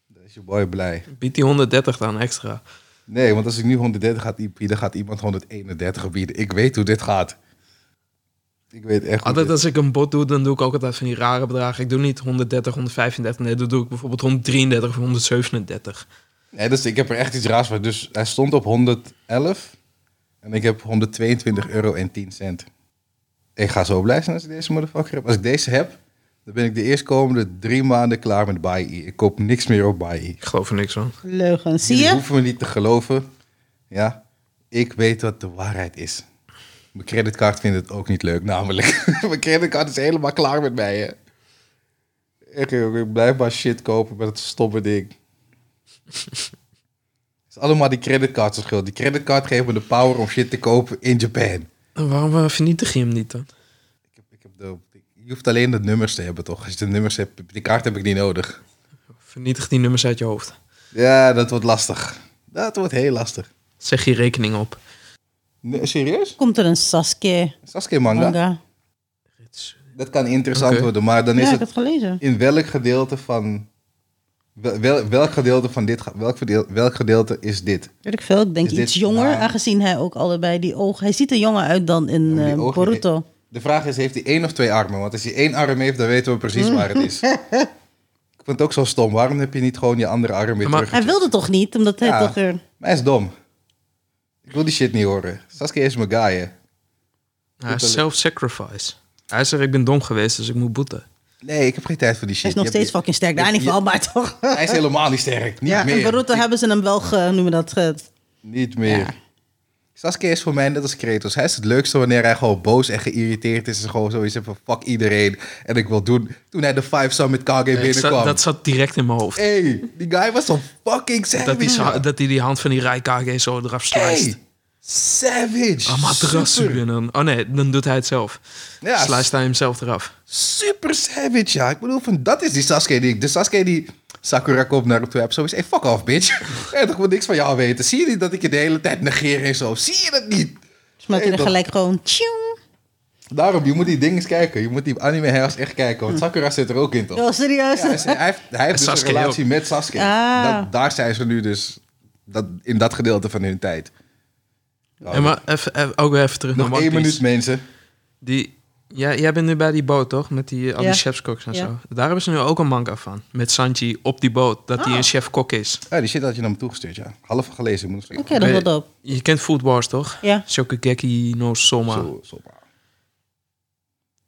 Speaker 1: dan is je boy blij.
Speaker 3: Biedt die 130 dan extra.
Speaker 1: Nee, want als ik nu 130 ga bieden, dan gaat iemand 131 bieden. Ik weet hoe dit gaat. Ik weet echt niet.
Speaker 3: Altijd als ik een bot doe, dan doe ik ook altijd van die rare bedragen. Ik doe niet 130, 135. Nee, dat doe ik bijvoorbeeld 133 of 137.
Speaker 1: Nee, dus ik heb er echt iets raars van. Dus hij stond op 111 en ik heb 122 euro en 10 cent. Ik ga zo blij zijn als ik deze motherfucker heb. Als ik deze heb, dan ben ik de eerstkomende drie maanden klaar met Buy-E. Ik koop niks meer op Buy-E.
Speaker 3: Ik geloof er niks van.
Speaker 2: Leugen. Zie
Speaker 1: Jullie
Speaker 2: je?
Speaker 1: hoeven me niet te geloven. Ja, ik weet wat de waarheid is. Mijn creditcard vindt het ook niet leuk, namelijk. (laughs) Mijn creditcard is helemaal klaar met mij, hè. Echt, jongen, ik blijf maar shit kopen met dat stomme ding. Het is allemaal die creditcard zijn schuld. Die creditcard geeft me de power om shit te kopen in Japan.
Speaker 3: En waarom eh, vernietig je hem niet dan?
Speaker 1: Ik heb, ik heb de, je hoeft alleen de nummers te hebben, toch? Als je de nummers hebt, die kaart heb ik niet nodig.
Speaker 3: Vernietig die nummers uit je hoofd.
Speaker 1: Ja, dat wordt lastig. Dat wordt heel lastig.
Speaker 3: Zeg je rekening op.
Speaker 1: Nee, serieus?
Speaker 2: Komt er een Sasuke
Speaker 1: Sasuke manga?
Speaker 2: manga?
Speaker 1: Dat kan interessant
Speaker 3: Oké.
Speaker 1: worden, maar dan
Speaker 2: Ja,
Speaker 1: is
Speaker 2: ik heb
Speaker 1: het
Speaker 2: het gelezen.
Speaker 1: in welk gedeelte van wel, wel- welk gedeelte van dit ga- welk, verdeel- welk gedeelte is dit?
Speaker 2: Weet ik veel. Ik denk
Speaker 1: Is dit
Speaker 2: iets jonger,
Speaker 1: waar?
Speaker 2: aangezien hij ook allebei die ogen... Hij ziet er jonger uit dan in
Speaker 1: maar die
Speaker 2: eh,
Speaker 1: ogen-
Speaker 2: Boruto.
Speaker 1: De vraag is, heeft hij één of twee armen? Want als hij één arm heeft, dan weten we precies waar het
Speaker 2: (laughs)
Speaker 1: is. Ik vind het ook zo stom. Waarom heb je niet gewoon je andere arm weer
Speaker 3: Maar-
Speaker 1: terug?
Speaker 2: Hij wilde toch niet, omdat hij
Speaker 1: Ja.
Speaker 2: toch er...
Speaker 1: Maar hij is dom. Ik wil die shit niet horen. Sasuke is mijn guy, hè.
Speaker 3: Hij
Speaker 1: Boete-
Speaker 3: is self-sacrifice. Hij zegt, ik ben dom geweest, dus ik moet boeten.
Speaker 1: Nee, ik heb geen tijd voor die
Speaker 2: Hij
Speaker 1: shit.
Speaker 2: is nog
Speaker 1: Je hebt-
Speaker 2: steeds fucking sterk. Daar
Speaker 1: je-
Speaker 2: niet
Speaker 1: je-
Speaker 2: van, maar
Speaker 1: (laughs)
Speaker 2: toch.
Speaker 1: Hij is helemaal niet sterk. Niet
Speaker 2: Ja, in
Speaker 1: meer.
Speaker 2: Boruto hebben ze hem wel, ge, hoe noemen we dat, ge-
Speaker 1: Niet meer. Sasuke is voor mij net als Kratos. Hij is het leukste wanneer hij gewoon boos en geïrriteerd is. En gewoon zoiets van fuck iedereen. En ik wil doen. Toen hij de Five Star met Kage
Speaker 3: Ik zat-
Speaker 1: binnenkwam.
Speaker 3: dat zat direct in mijn hoofd.
Speaker 1: Hey, die guy was zo fucking savage.
Speaker 3: Dat hij, zo- dat hij die hand van die Raikage zo eraf slijst.
Speaker 1: Hey, savage.
Speaker 3: Amaterasu.
Speaker 1: Super,
Speaker 3: En dan, oh nee, dan doet hij het zelf.
Speaker 1: Ja,
Speaker 3: Slijst hij hem zelf eraf.
Speaker 1: super savage, ja. Ik bedoel, van, dat is die Sasuke die ik... De Sasuke die Sakura komt naar hem toe heb. Zo is, hey, fuck off, bitch. (laughs) En toch wil niks van jou weten. Zie je niet dat ik je de hele tijd negeer en zo? Zie je dat niet?
Speaker 2: smaakt hij
Speaker 1: Nee,
Speaker 2: er
Speaker 1: dat-
Speaker 2: gelijk gewoon... Tjoeng.
Speaker 1: Daarom, je moet die dingen eens kijken. Je moet die anime helaas echt kijken. Want Sakura zit er ook in, toch?
Speaker 2: Oh, serieus?
Speaker 1: Ja, hij is- hij heeft, hij heeft dus een
Speaker 3: Sasuke
Speaker 1: relatie met Sasuke.
Speaker 2: Ah.
Speaker 1: Dat- daar zijn ze nu dus dat, in dat gedeelte van hun tijd. Oh,
Speaker 3: En maar even, even- ook weer even terug
Speaker 1: nog
Speaker 3: naar One
Speaker 1: één
Speaker 3: Piece.
Speaker 1: minuut, mensen.
Speaker 3: Die, ja, jij bent nu bij die boot, toch? Met die, eh, al
Speaker 2: Ja.
Speaker 3: die chefskoks en
Speaker 2: Ja.
Speaker 3: zo. Daar hebben ze nu ook een manga van. Met Sanji op die boot. Dat
Speaker 2: Ah.
Speaker 3: hij een chef-kok is.
Speaker 1: Ja, Ah, die shit had je naar me toegestuurd, ja. Half gelezen. Ik Moet nog
Speaker 2: Oké, dat
Speaker 3: Nee.
Speaker 2: wordt op.
Speaker 3: Je kent Food Wars, toch?
Speaker 2: Ja.
Speaker 3: Shokugeki no Soma.
Speaker 1: Zo, zo.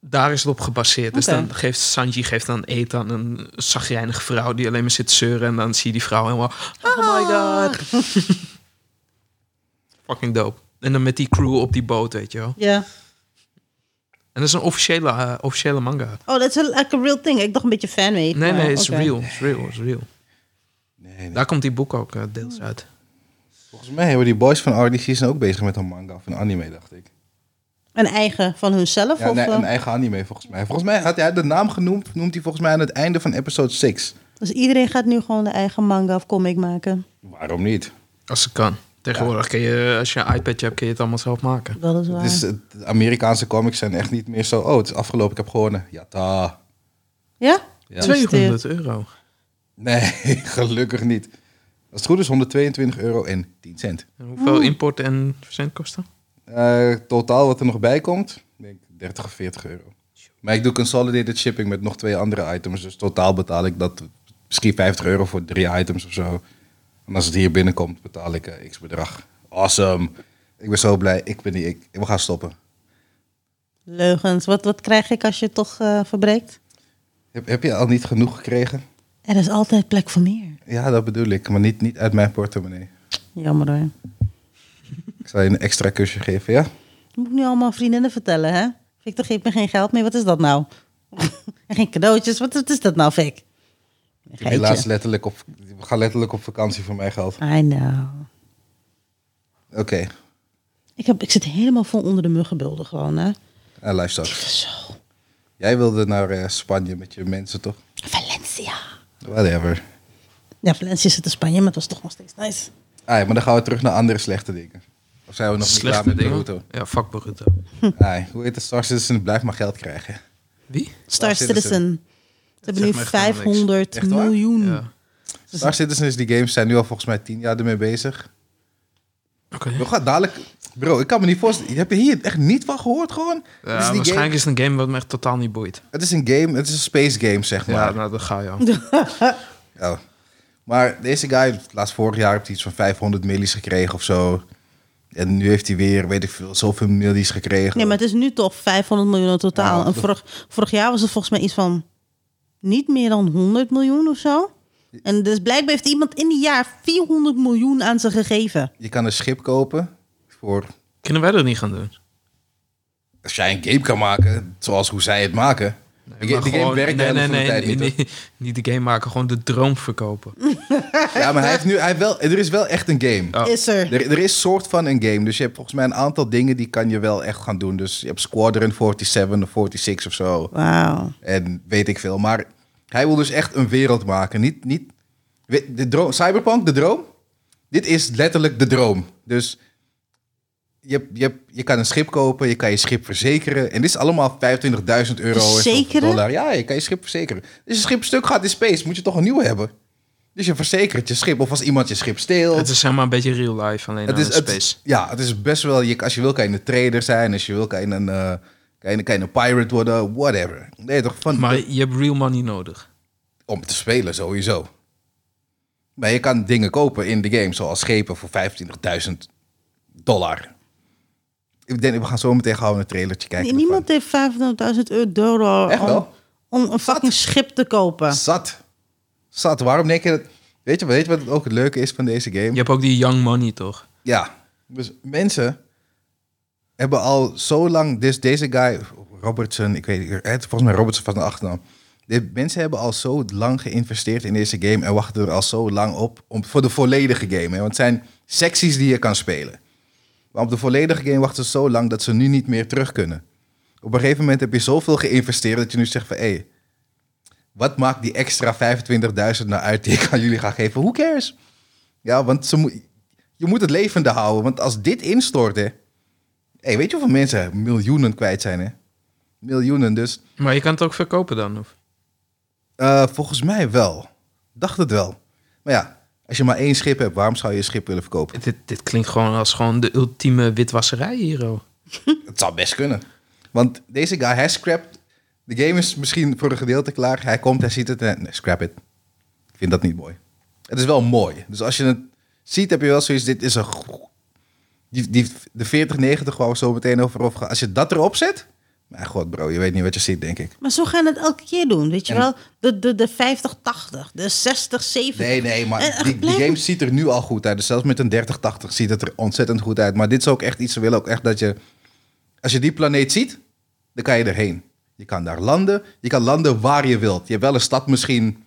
Speaker 3: Daar is het op gebaseerd. Dus
Speaker 2: Oké.
Speaker 3: dan geeft Sanji geeft dan eten aan een zagrijnige vrouw... die alleen maar zit zeuren. En dan zie je die vrouw helemaal... Oh my god. (laughs) Fucking dope. En dan met die crew op die boot, weet je wel.
Speaker 2: Ja.
Speaker 3: En dat is een officiële, eh, officiële manga.
Speaker 2: Oh, dat is een- like a real thing. Ik dacht een beetje fanmade.
Speaker 3: Nee,
Speaker 2: maar
Speaker 3: nee, it's
Speaker 2: oké.
Speaker 3: real. It's real, it's real.
Speaker 1: Nee, nee.
Speaker 3: Daar komt die boek ook eh, deels uit.
Speaker 1: Volgens mij hebben die boys van RDC zijn ook bezig met een manga of een anime, dacht ik.
Speaker 2: Een eigen van hunzelf?
Speaker 1: Ja,
Speaker 2: of,
Speaker 1: nee,
Speaker 2: eh,
Speaker 1: een eigen anime, volgens mij. Volgens mij had hij de naam genoemd, noemt hij volgens mij aan het einde van episode 6.
Speaker 2: Dus iedereen gaat nu gewoon de eigen manga of comic maken.
Speaker 1: Waarom niet?
Speaker 3: Als het kan. Tegenwoordig kun je, als je een iPadje hebt, kun je het allemaal zelf maken.
Speaker 2: Dat is waar.
Speaker 1: Het is, het- Amerikaanse comics zijn echt niet meer zo... Oh, het is afgelopen, ik heb gewonnen. Jata.
Speaker 2: ja?
Speaker 1: Ja.
Speaker 2: Gefeliciteerd.
Speaker 3: 200 euro.
Speaker 1: Nee, (laughs) gelukkig niet. Als het goed is, 122 euro en 10 cent.
Speaker 3: En hoeveel import en verzendkosten?
Speaker 1: Eh, totaal wat er nog bij komt, denk ik 30 of 40 euro. Maar ik doe consolidated shipping met nog twee andere items. Dus totaal betaal ik dat misschien 50 euro voor drie items of zo. En als het hier binnenkomt, betaal ik eh, x bedrag. Awesome. Ik ben zo blij. Ik ben die ik. We gaan stoppen.
Speaker 2: Leugens. Wat, wat krijg ik als je het toch eh, verbreekt?
Speaker 1: Heb, heb je al niet genoeg gekregen?
Speaker 2: Er is altijd plek voor meer.
Speaker 1: Ja, dat bedoel ik. Maar niet, niet uit mijn portemonnee.
Speaker 2: Jammer hoor.
Speaker 1: Ik zal je een extra kusje geven, ja?
Speaker 2: Dat moet ik nu allemaal vriendinnen vertellen, hè? Victor geeft me geen geld meer. Wat is dat nou? (laughs) en geen cadeautjes. Wat, wat is dat nou, Vic?
Speaker 1: Ik heb helaas letterlijk op... We gaan letterlijk op vakantie voor mijn geld.
Speaker 2: I know.
Speaker 1: Oké.
Speaker 2: Ik, heb, ik zit helemaal vol onder de muggenbulden gewoon, hè?
Speaker 1: En livestock.
Speaker 2: Zo.
Speaker 1: eh, Jij wilde naar eh, Spanje met je mensen, toch?
Speaker 2: Valencia.
Speaker 1: Whatever.
Speaker 2: Ja, Valencia zit in Spanje, maar het was toch nog steeds nice.
Speaker 1: Ai, maar dan gaan we terug naar andere slechte dingen. Of zijn we nog niet klaar
Speaker 3: Slechte
Speaker 1: met
Speaker 3: dingen.
Speaker 1: Naruto?
Speaker 3: Ja, fuck Boruto.
Speaker 1: Ai, hoe heet het? Star Citizen blijft maar geld krijgen.
Speaker 3: Wie?
Speaker 2: Star
Speaker 1: Citizen.
Speaker 2: Citizen. Ze hebben nu
Speaker 3: zegt me echt helemaal niks.
Speaker 2: 500
Speaker 1: Echt waar?
Speaker 2: miljoen.
Speaker 3: Ja.
Speaker 1: Star Citizen is die games zijn nu al volgens mij tien jaar ermee bezig. We gaan dadelijk... Bro, ik kan me niet voorstellen. Heb je hier echt niet van gehoord gewoon? het,
Speaker 3: Ja,
Speaker 1: is Dus die
Speaker 3: eh, waarschijnlijk
Speaker 1: game,
Speaker 3: is het een game wat me echt totaal niet boeit.
Speaker 1: het is een game, het is een space game, zeg
Speaker 3: Ja,
Speaker 1: maar.
Speaker 3: nou, dat ga je al.
Speaker 1: Ja. Oh. Maar deze guy, laatst vorig jaar, heeft hij iets van 500 millies gekregen of zo. En nu heeft hij weer, weet ik veel, zoveel millies gekregen.
Speaker 2: Nee, maar het is nu toch 500 miljoen in totaal.
Speaker 1: Ja,
Speaker 2: en
Speaker 1: dat-
Speaker 2: vorig, vorig jaar was het volgens mij iets van niet meer dan 100 miljoen of zo. En dus blijkbaar heeft iemand in een jaar 400 miljoen aan ze gegeven.
Speaker 1: Je kan een schip kopen voor...
Speaker 3: Kunnen wij dat niet gaan doen?
Speaker 1: Als jij een game kan maken, zoals hoe zij het maken. die ga-
Speaker 3: Maar
Speaker 1: die game
Speaker 3: gewoon-
Speaker 1: werkt de helft van de tijd niet. hoor.
Speaker 3: niet, niet de game maken, gewoon de droom verkopen.
Speaker 1: Ja, maar hij heeft nu, hij heeft wel, er is wel echt een game.
Speaker 3: Oh.
Speaker 2: Is er.
Speaker 1: Er, er is soort van een game. Dus je hebt volgens mij een aantal dingen die kan je wel echt gaan doen. Dus je hebt Squadron 47 of 46 of
Speaker 2: Oh.
Speaker 1: zo.
Speaker 2: Wauw.
Speaker 1: En weet ik veel. Maar hij wil dus echt een wereld maken. Niet, niet, we- de droom, Cyberpunk, de droom. Dit is letterlijk de droom. Dus je, hebt- je, hebt- je kan een schip kopen, je kan je schip verzekeren. En dit is allemaal 25.000 euro. en zoveel
Speaker 2: Verzekeren?
Speaker 1: Dollar. Ja, je kan je schip verzekeren. Dus je schip stuk gaat in space, moet je toch een nieuwe hebben. Dus je verzekert je schip. Of als iemand je schip steelt.
Speaker 3: Het is zeg maar een beetje real life, alleen
Speaker 1: Het
Speaker 3: dan
Speaker 1: is,
Speaker 3: in
Speaker 1: het,
Speaker 3: space.
Speaker 1: is- ja, het is best wel... Je, als je wil kan je een trader zijn. Als je wil kan je een, eh, kan je, kan je een pirate worden. Whatever. Nee, toch? Van,
Speaker 3: Maar je hebt real money nodig.
Speaker 1: om te spelen sowieso. Maar je kan dingen kopen in de game. Zoals schepen voor 25.000 dollar. Ik denk, we gaan zo meteen gauw een trailertje kijken.
Speaker 2: Nee, niemand heeft 500.000 euro
Speaker 1: Echt
Speaker 2: om,
Speaker 1: wel?
Speaker 2: om een fucking schip te kopen.
Speaker 1: ervan. Zat. Zat. Waarom denk je dat... Weet je, weet je wat ook het leuke is van deze game?
Speaker 3: Je hebt ook die young money, toch?
Speaker 1: Ja, dus mensen hebben al zo lang... Dus deze guy, Robertson, ik weet niet, eh, het is volgens mij Robertson van de achternaam. De mensen hebben al zo lang geïnvesteerd in deze game... en wachten er al zo lang op om, voor de volledige game. Hè? Want het zijn secties die je kan spelen. Maar op de volledige game wachten ze zo lang dat ze nu niet meer terug kunnen. Op een gegeven moment heb je zoveel geïnvesteerd dat je nu zegt van... hé, hey, wat maakt die extra 25.000 nou uit die ik aan jullie ga geven? Who cares? Ja, want ze moet, je moet het levende houden. Want als dit instort, hè. Hey, weet je hoeveel mensen miljoenen kwijt zijn, hè? Miljoenen, dus.
Speaker 3: Maar je kan het ook verkopen dan, of?
Speaker 1: eh, volgens mij wel. Dacht het wel. Maar ja, als je maar één schip hebt, waarom zou je je schip willen verkopen?
Speaker 3: Dit, dit klinkt gewoon als gewoon de ultieme witwasserij hero.
Speaker 1: Het zou best kunnen. Want deze guy, hij scrapt... De game is misschien voor een gedeelte klaar. Hij komt, hij ziet het en... Nee, scrap it. Ik vind dat niet mooi. Het is wel mooi. Dus als je het ziet, heb je wel zoiets... Dit is een... go- Die, die, de 4090 waar we zo meteen over over gaan. Als je dat erop zet... Mijn god, bro. Je weet niet wat je ziet, denk ik.
Speaker 2: Maar zo gaan het elke keer doen, weet je
Speaker 1: En-
Speaker 2: wel? De, de, de 50, 80, de 60, 70.
Speaker 1: Nee, nee,
Speaker 2: Eh,
Speaker 1: maar
Speaker 2: ach,
Speaker 1: die, die
Speaker 2: blijf-
Speaker 1: game ziet er nu al goed uit. Dus zelfs met een 3080 ziet het er ontzettend goed uit. Maar dit is ook echt iets, ze willen ook echt dat je... Als je die planeet ziet, dan kan je erheen. Je kan daar landen. Je kan landen waar je wilt. Je hebt wel een stad misschien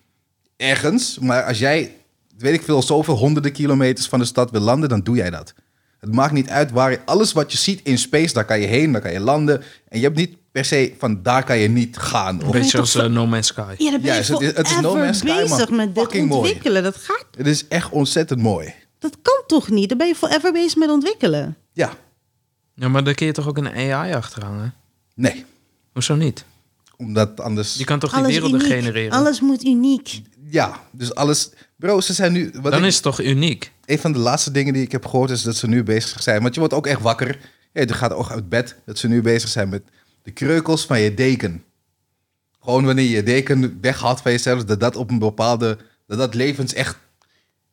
Speaker 1: ergens. Maar als jij, weet ik veel, zoveel honderden kilometers van de stad wil landen, dan doe jij dat. Het maakt niet uit waar je... Alles wat je ziet in space, daar kan je heen, daar kan je landen. En je hebt niet per se van daar kan je niet gaan.
Speaker 3: Een
Speaker 1: Of
Speaker 3: beetje
Speaker 2: toch
Speaker 3: als eh, No Man's Sky.
Speaker 2: Ja, dan ben je
Speaker 1: Juist, het is- het is No
Speaker 2: forever
Speaker 1: Man's Sky, man.
Speaker 2: bezig met dit
Speaker 1: Fucking mooi.
Speaker 2: ontwikkelen. Dat gaat,
Speaker 1: het is echt ontzettend mooi.
Speaker 2: dat kan toch niet? Dan ben je forever bezig met ontwikkelen.
Speaker 1: Ja,
Speaker 3: Ja, maar daar kun je toch ook een AI achteraan, hè?
Speaker 1: nee.
Speaker 3: Hoezo niet?
Speaker 1: Omdat anders...
Speaker 3: Je kan toch die
Speaker 2: Alles
Speaker 3: werelden
Speaker 2: uniek.
Speaker 3: genereren?
Speaker 2: Alles moet uniek.
Speaker 1: Ja, dus alles... Bro, ze zijn nu... Wat
Speaker 3: dan
Speaker 1: ik-
Speaker 3: is het toch uniek?
Speaker 1: Een van de laatste dingen die ik heb gehoord is dat ze nu bezig zijn. Want je wordt ook echt wakker. Ja, je gaat ook uit bed. Dat ze nu bezig zijn met de kreukels van je deken. Gewoon wanneer je je deken weghaalt van jezelf. Dat dat op een bepaalde... Dat dat levens echt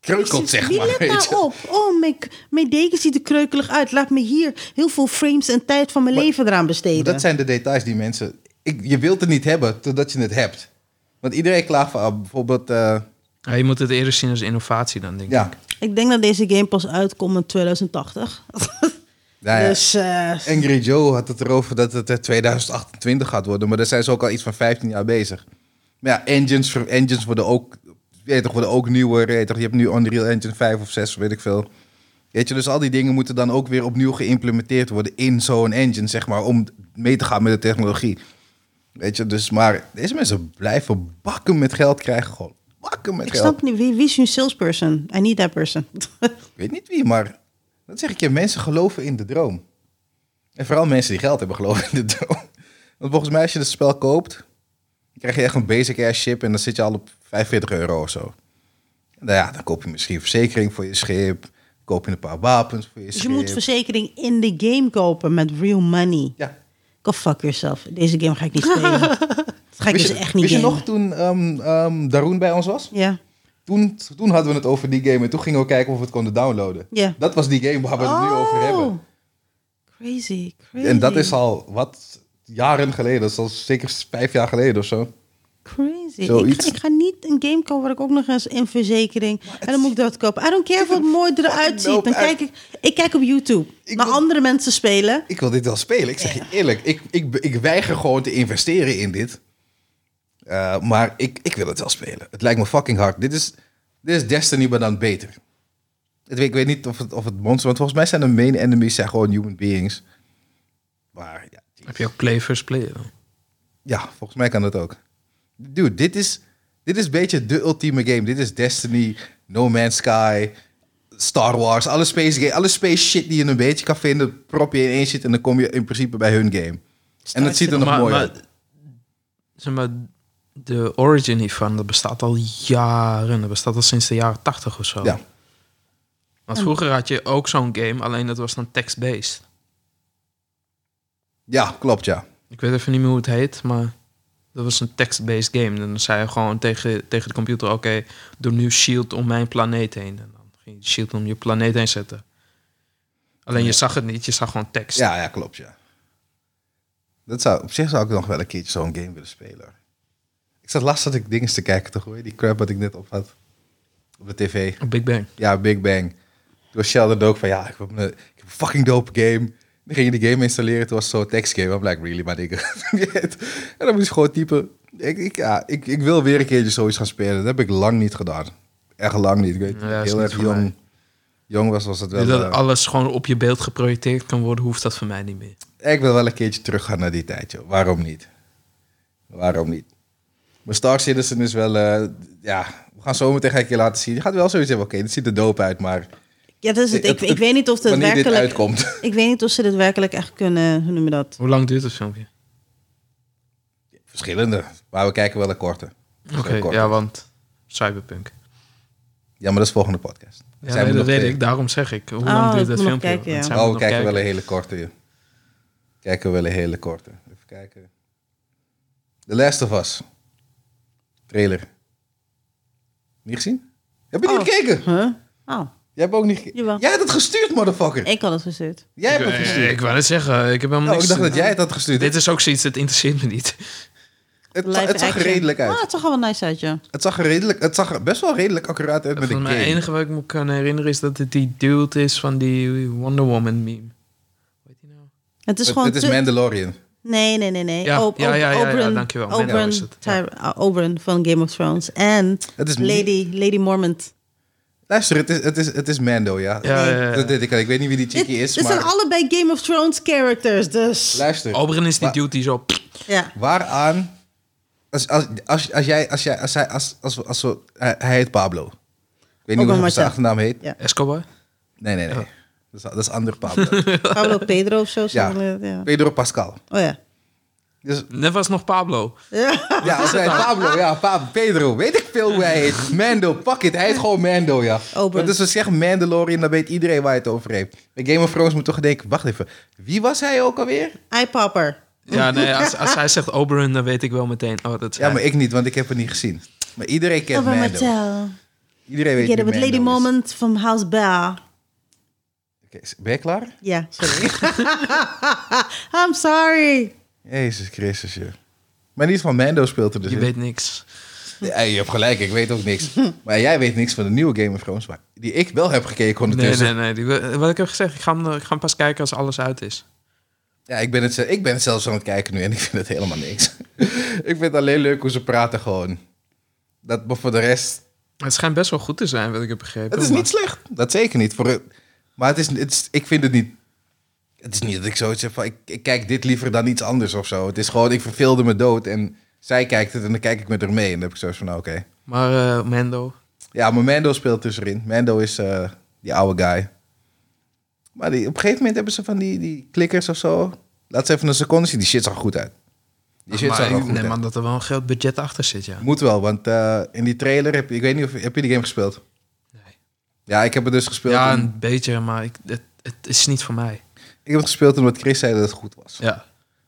Speaker 1: kreukelt, zeg
Speaker 2: Wie
Speaker 1: maar.
Speaker 2: let
Speaker 1: weet je.
Speaker 2: nou op? Oh, mijn, mijn deken ziet er kreukelig uit. Laat me hier heel veel frames en tijd van mijn
Speaker 1: Maar-
Speaker 2: leven eraan besteden.
Speaker 1: Maar dat zijn de details die mensen... Ik, je wilt het niet hebben totdat je het hebt. Want iedereen klaagt van ah, bijvoorbeeld... eh,
Speaker 3: Ja, je moet het eerder zien als innovatie dan, denk
Speaker 1: ja,
Speaker 3: ik.
Speaker 2: Ik denk dat deze game pas uitkomt in 2080.
Speaker 1: nou ja,
Speaker 2: Dus eh,
Speaker 1: Angry Joe had het erover dat het eh, 2028 gaat worden. Maar daar zijn ze ook al iets van 15 jaar bezig. Maar ja, engines, ver- engines worden ook, weet je, toch, worden ook nieuwer. Weet je, toch, je hebt nu Unreal Engine 5 of 6, weet ik veel. Weet je, dus al die dingen moeten dan ook weer opnieuw geïmplementeerd worden in zo'n engine, zeg maar, om mee te gaan met de technologie. Weet je, dus maar deze mensen blijven bakken met geld krijgen. Gewoon bakken met
Speaker 2: ik
Speaker 1: geld.
Speaker 2: snap niet. Wie, wie is hun salesperson? I need that person. (laughs) Dus
Speaker 1: Ik weet niet wie, maar dat zeg ik je. Mensen geloven in de droom. En vooral mensen die geld hebben geloven in de droom. Want volgens mij als je het spel koopt, dan krijg je echt een basic ass chip en dan zit je al op 45 euro of zo. En nou ja, dan koop je misschien verzekering voor je schip. Koop je een paar wapens voor je
Speaker 2: Dus je moet
Speaker 1: schip.
Speaker 2: verzekering in de game kopen met real money.
Speaker 1: Ja.
Speaker 2: Go fuck yourself. Deze game ga ik niet
Speaker 1: (laughs)
Speaker 2: spelen. Dat ga ik
Speaker 1: Wist,
Speaker 2: dus
Speaker 1: je,
Speaker 2: echt niet
Speaker 1: wist je
Speaker 2: gamen.
Speaker 1: nog toen ehm ehm, Darun bij ons was?
Speaker 2: Ja.
Speaker 1: Toen, toen hadden we het over die game en toen gingen we kijken of we het konden downloaden.
Speaker 2: Ja. Oh.
Speaker 1: Dat was die game waar we het nu over hebben.
Speaker 2: Crazy, crazy.
Speaker 1: En dat is al wat jaren geleden. Dat is al zeker vijf jaar geleden of zo.
Speaker 2: Crazy. Ik ga,
Speaker 1: Zoiets.
Speaker 2: ik ga niet een game kopen waar ik ook nog eens in verzekering... En dan moet ik dat kopen. I don't care wat mooi eruit ziet.
Speaker 1: nope
Speaker 2: Dan kijk ik... Ik kijk op YouTube
Speaker 1: Ik
Speaker 2: naar
Speaker 1: wil-
Speaker 2: andere mensen spelen.
Speaker 1: Ik wil dit wel spelen. Ik zeg je eerlijk. Ik, ik, ik weiger gewoon te investeren in dit. Eh, maar ik, ik wil het wel spelen. Het lijkt me fucking hard. Dit is, dit is Destiny, maar dan beter. Het- Ik weet niet of het, of het monster... Want volgens mij zijn de main enemies zijn gewoon human beings. Maar ja,
Speaker 3: Heb je ook play first play dan?
Speaker 1: Ja, volgens mij kan dat ook. Dude, dit is, dit is een beetje de ultieme game. Dit is Destiny, No Man's Sky, Star Wars, alle space, game, alle space shit die je een beetje kan vinden, prop je in één shit en dan kom je in principe bij hun game. en dat ziet er nog
Speaker 3: maar,
Speaker 1: mooi
Speaker 3: maar-
Speaker 1: uit.
Speaker 3: zeg maar, de origin hiervan, dat bestaat al jaren. Dat bestaat al sinds de jaren tachtig of zo.
Speaker 1: Ja.
Speaker 3: Want vroeger had je ook zo'n game, alleen dat was dan text-based.
Speaker 1: Ja, klopt ja.
Speaker 3: Ik weet even niet meer hoe het heet, maar dat was een text-based game. En dan zei je gewoon tegen, tegen de computer, oké, doe nu shield om mijn planeet heen. En dan ging je shield om je planeet heen zetten. Alleen je zag het niet, je zag gewoon tekst.
Speaker 1: Ja, ja, klopt ja. Dat zou, op zich zou ik nog wel een keertje zo'n game willen spelen. Ik zat last dat ik dingen te kijken toch hoor, die crap wat ik net op had. Op de tv.
Speaker 3: Big Bang.
Speaker 1: Ja, Big Bang. Toen was Sheldon ook van, ja, ik heb een, ik heb een fucking dope game. Dan ging je die game installeren, toen was het zo'n tekstgame. I'm like, really, maar dikke. (laughs) en dan moest je gewoon typen. Ik, ik, ja, ik, ik wil weer een keertje zoiets gaan spelen. Dat heb ik lang niet gedaan. Echt lang niet. Ik weet
Speaker 3: Ja, is
Speaker 1: heel
Speaker 3: niet
Speaker 1: erg
Speaker 3: voor
Speaker 1: jong.
Speaker 3: mij.
Speaker 1: Jong was, was het wel.
Speaker 3: dat
Speaker 1: eh,
Speaker 3: alles gewoon op je beeld geprojecteerd kan worden, hoeft dat voor mij niet meer.
Speaker 1: ik wil wel een keertje teruggaan naar die tijd, joh. Waarom niet? Waarom niet? Maar Star Citizen is wel, eh, ja, we gaan zo meteen ga ik je laten zien. Je gaat wel zoiets hebben, oké, dit ziet er dope uit, maar
Speaker 2: Ja, dat is Dus het. Ik,
Speaker 1: Het-
Speaker 2: ik weet niet of dat
Speaker 1: wanneer dit
Speaker 2: werkelijk...
Speaker 1: uitkomt.
Speaker 2: Ik weet niet of ze dit werkelijk echt kunnen... Hoe noem je dat?
Speaker 3: Hoe lang duurt het filmpje?
Speaker 1: Verschillende. Maar we kijken wel een korte.
Speaker 3: Oké,
Speaker 1: Een korte.
Speaker 3: ja, want Cyberpunk.
Speaker 1: Ja, maar dat is volgende podcast.
Speaker 3: Ja,
Speaker 1: Zijn we
Speaker 3: nee, dat
Speaker 1: nog
Speaker 3: weet
Speaker 1: tegen?
Speaker 3: ik. Daarom zeg ik. Hoe
Speaker 2: Oh,
Speaker 3: lang duurt
Speaker 2: ik moet
Speaker 3: dat
Speaker 2: nog
Speaker 3: filmpje?
Speaker 2: kijken, ja.
Speaker 3: Want zijn
Speaker 1: Oh, we
Speaker 3: nog
Speaker 1: kijken
Speaker 3: kijken.
Speaker 1: wel een hele korte. joh. Kijken we wel een hele korte. Even kijken. The Last of Us. Trailer. Niet gezien? Heb je niet
Speaker 2: Oh.
Speaker 1: gekeken?
Speaker 2: Huh? Oh,
Speaker 1: Jij hebt ook niet gekeken.
Speaker 2: Jawel.
Speaker 1: Jij hebt het gestuurd, motherfucker.
Speaker 2: ik had het verstuurd.
Speaker 1: Jij hebt het
Speaker 3: Ik,
Speaker 1: gestuurd.
Speaker 3: ik wou net zeggen, ik heb helemaal
Speaker 1: Oh,
Speaker 3: niks
Speaker 1: ik dacht
Speaker 3: te-
Speaker 1: dat jij het had gestuurd.
Speaker 3: Dit
Speaker 1: Het,
Speaker 3: is ook zoiets, dat interesseert me niet.
Speaker 1: het,
Speaker 2: Live
Speaker 1: zag er
Speaker 2: action.
Speaker 1: redelijk
Speaker 2: Ah,
Speaker 1: uit.
Speaker 2: het zag er wel nice uit, ja.
Speaker 1: Het zag, er redelijk, het zag er best wel redelijk accuraat uit met een
Speaker 3: Het
Speaker 1: game.
Speaker 3: enige wat ik me kan herinneren is dat het die dude is van die Wonder Woman meme. Weet je nou?
Speaker 2: Het is
Speaker 1: Het,
Speaker 2: gewoon...
Speaker 1: het is
Speaker 2: te-
Speaker 1: Mandalorian.
Speaker 2: Nee, nee, nee, nee.
Speaker 3: Ja,
Speaker 2: Ob-
Speaker 3: ja,
Speaker 2: Ob-
Speaker 3: ja, ja, ja,
Speaker 2: Oberyn-
Speaker 3: dankjewel.
Speaker 2: Oberyn
Speaker 3: Mando is het, ja.
Speaker 2: Tyr- uh, Oberyn van Game of Thrones. En
Speaker 1: Het is
Speaker 2: Lady, Lady Mormont.
Speaker 1: Luister, het is, het is, het is Mando, ja.
Speaker 3: Ja, ja, ja.
Speaker 1: Dat deed ik al. Ik weet niet wie die
Speaker 2: Dit,
Speaker 1: chickie is,
Speaker 2: dit
Speaker 1: maar...
Speaker 2: zijn allebei Game of Thrones characters, dus...
Speaker 1: Luister.
Speaker 3: Oberyn is die
Speaker 1: Wa-
Speaker 3: dude die zo...
Speaker 2: Ja.
Speaker 1: Waaraan... Als, als, als, als jij... Als jij als hij, als, als, als, we- hij hij heet Pablo. Ik weet niet
Speaker 2: Ook
Speaker 1: hoe hij
Speaker 2: een
Speaker 1: zijn
Speaker 2: Marcel.
Speaker 1: achternaam heet.
Speaker 2: Ja.
Speaker 3: Escobar?
Speaker 1: Nee, nee, nee. Dat, is, dat is ander Pablo.
Speaker 2: (laughs) Pablo Pedro of zo.
Speaker 1: ja.
Speaker 2: zo- ja.
Speaker 1: Pedro Pascal.
Speaker 2: Oh ja. (laughs)
Speaker 1: Dus,
Speaker 3: Net was nog Pablo.
Speaker 1: ja, als hij Pablo, ja, Pa- Pedro. Weet ik veel hoe hij heet. Mando, pak het. Hij heet gewoon Mando, ja.
Speaker 2: Open.
Speaker 1: Maar dus we zeggen Mandalorian, dan weet iedereen waar hij het over heeft. Bij Game of Thrones moet toch denken, wacht even. Wie was hij ook alweer?
Speaker 2: Eyepopper.
Speaker 1: (laughs)
Speaker 3: Ja, nee, als, als hij zegt Oberyn, dan weet ik wel meteen. Oh, dat is
Speaker 1: Ja,
Speaker 3: hij.
Speaker 1: maar ik niet, want ik heb het niet gezien. Maar iedereen kent
Speaker 2: Oberyn
Speaker 1: Mando.
Speaker 2: Martell.
Speaker 1: Iedereen weet
Speaker 2: Oh, Ik
Speaker 1: wie
Speaker 2: met
Speaker 1: Mando
Speaker 2: Lady
Speaker 1: is.
Speaker 2: Mormont van House Bell.
Speaker 1: Oké, ben je klaar?
Speaker 2: Ja, (laughs) sorry. I'm sorry.
Speaker 1: Jezus Christus, je. Maar niet van Mando speelt er dus
Speaker 3: Je
Speaker 1: in.
Speaker 3: weet niks.
Speaker 1: Ja, je hebt gelijk, ik weet ook
Speaker 2: (laughs)
Speaker 1: niks. maar jij weet niks van de nieuwe Game of Thrones, maar die ik wel heb gekeken
Speaker 3: Nee,
Speaker 1: ondertussen.
Speaker 3: nee, nee. die- wat ik heb gezegd, ik ga, hem, ik ga hem pas kijken als alles uit is.
Speaker 1: Ja, ik ben, het, ze- ik ben het zelfs aan het kijken nu en ik vind het helemaal niks. (laughs) ik vind het alleen leuk hoe ze praten gewoon. Dat, maar voor de rest,
Speaker 3: Het schijnt best wel goed te zijn, wat ik heb begrepen.
Speaker 1: het is
Speaker 3: maar-
Speaker 1: niet slecht. Dat zeker niet. Voor, maar het is, het is, ik vind het niet... Het is niet dat ik zoiets heb van, ik, ik kijk dit liever dan iets anders of zo. Het is gewoon, ik verveelde me dood en zij kijkt het en dan kijk ik met haar mee. En dan heb ik zoiets van, nou, oké.
Speaker 3: Maar eh, Mando,
Speaker 1: Ja, maar Mando speelt tussenin. Mando is eh, die oude guy. Maar die, op een gegeven moment hebben ze van die, die klikkers of zo. Laat ze even een seconde zien. Die shit zag er goed uit. Die shit
Speaker 3: maar
Speaker 1: zag er
Speaker 3: ik
Speaker 1: goed
Speaker 3: neem
Speaker 1: uit.
Speaker 3: aan dat er wel een groot budget achter zit, ja.
Speaker 1: Moet wel, want eh, in die trailer heb je... Ik weet niet of... Heb je die game gespeeld?
Speaker 3: Nee.
Speaker 1: Ja, ik heb het dus gespeeld.
Speaker 3: Ja,
Speaker 1: om-
Speaker 3: een beetje, maar ik, het, het is niet voor mij.
Speaker 1: Ik heb het gespeeld omdat Chris zei dat het goed was. Ja,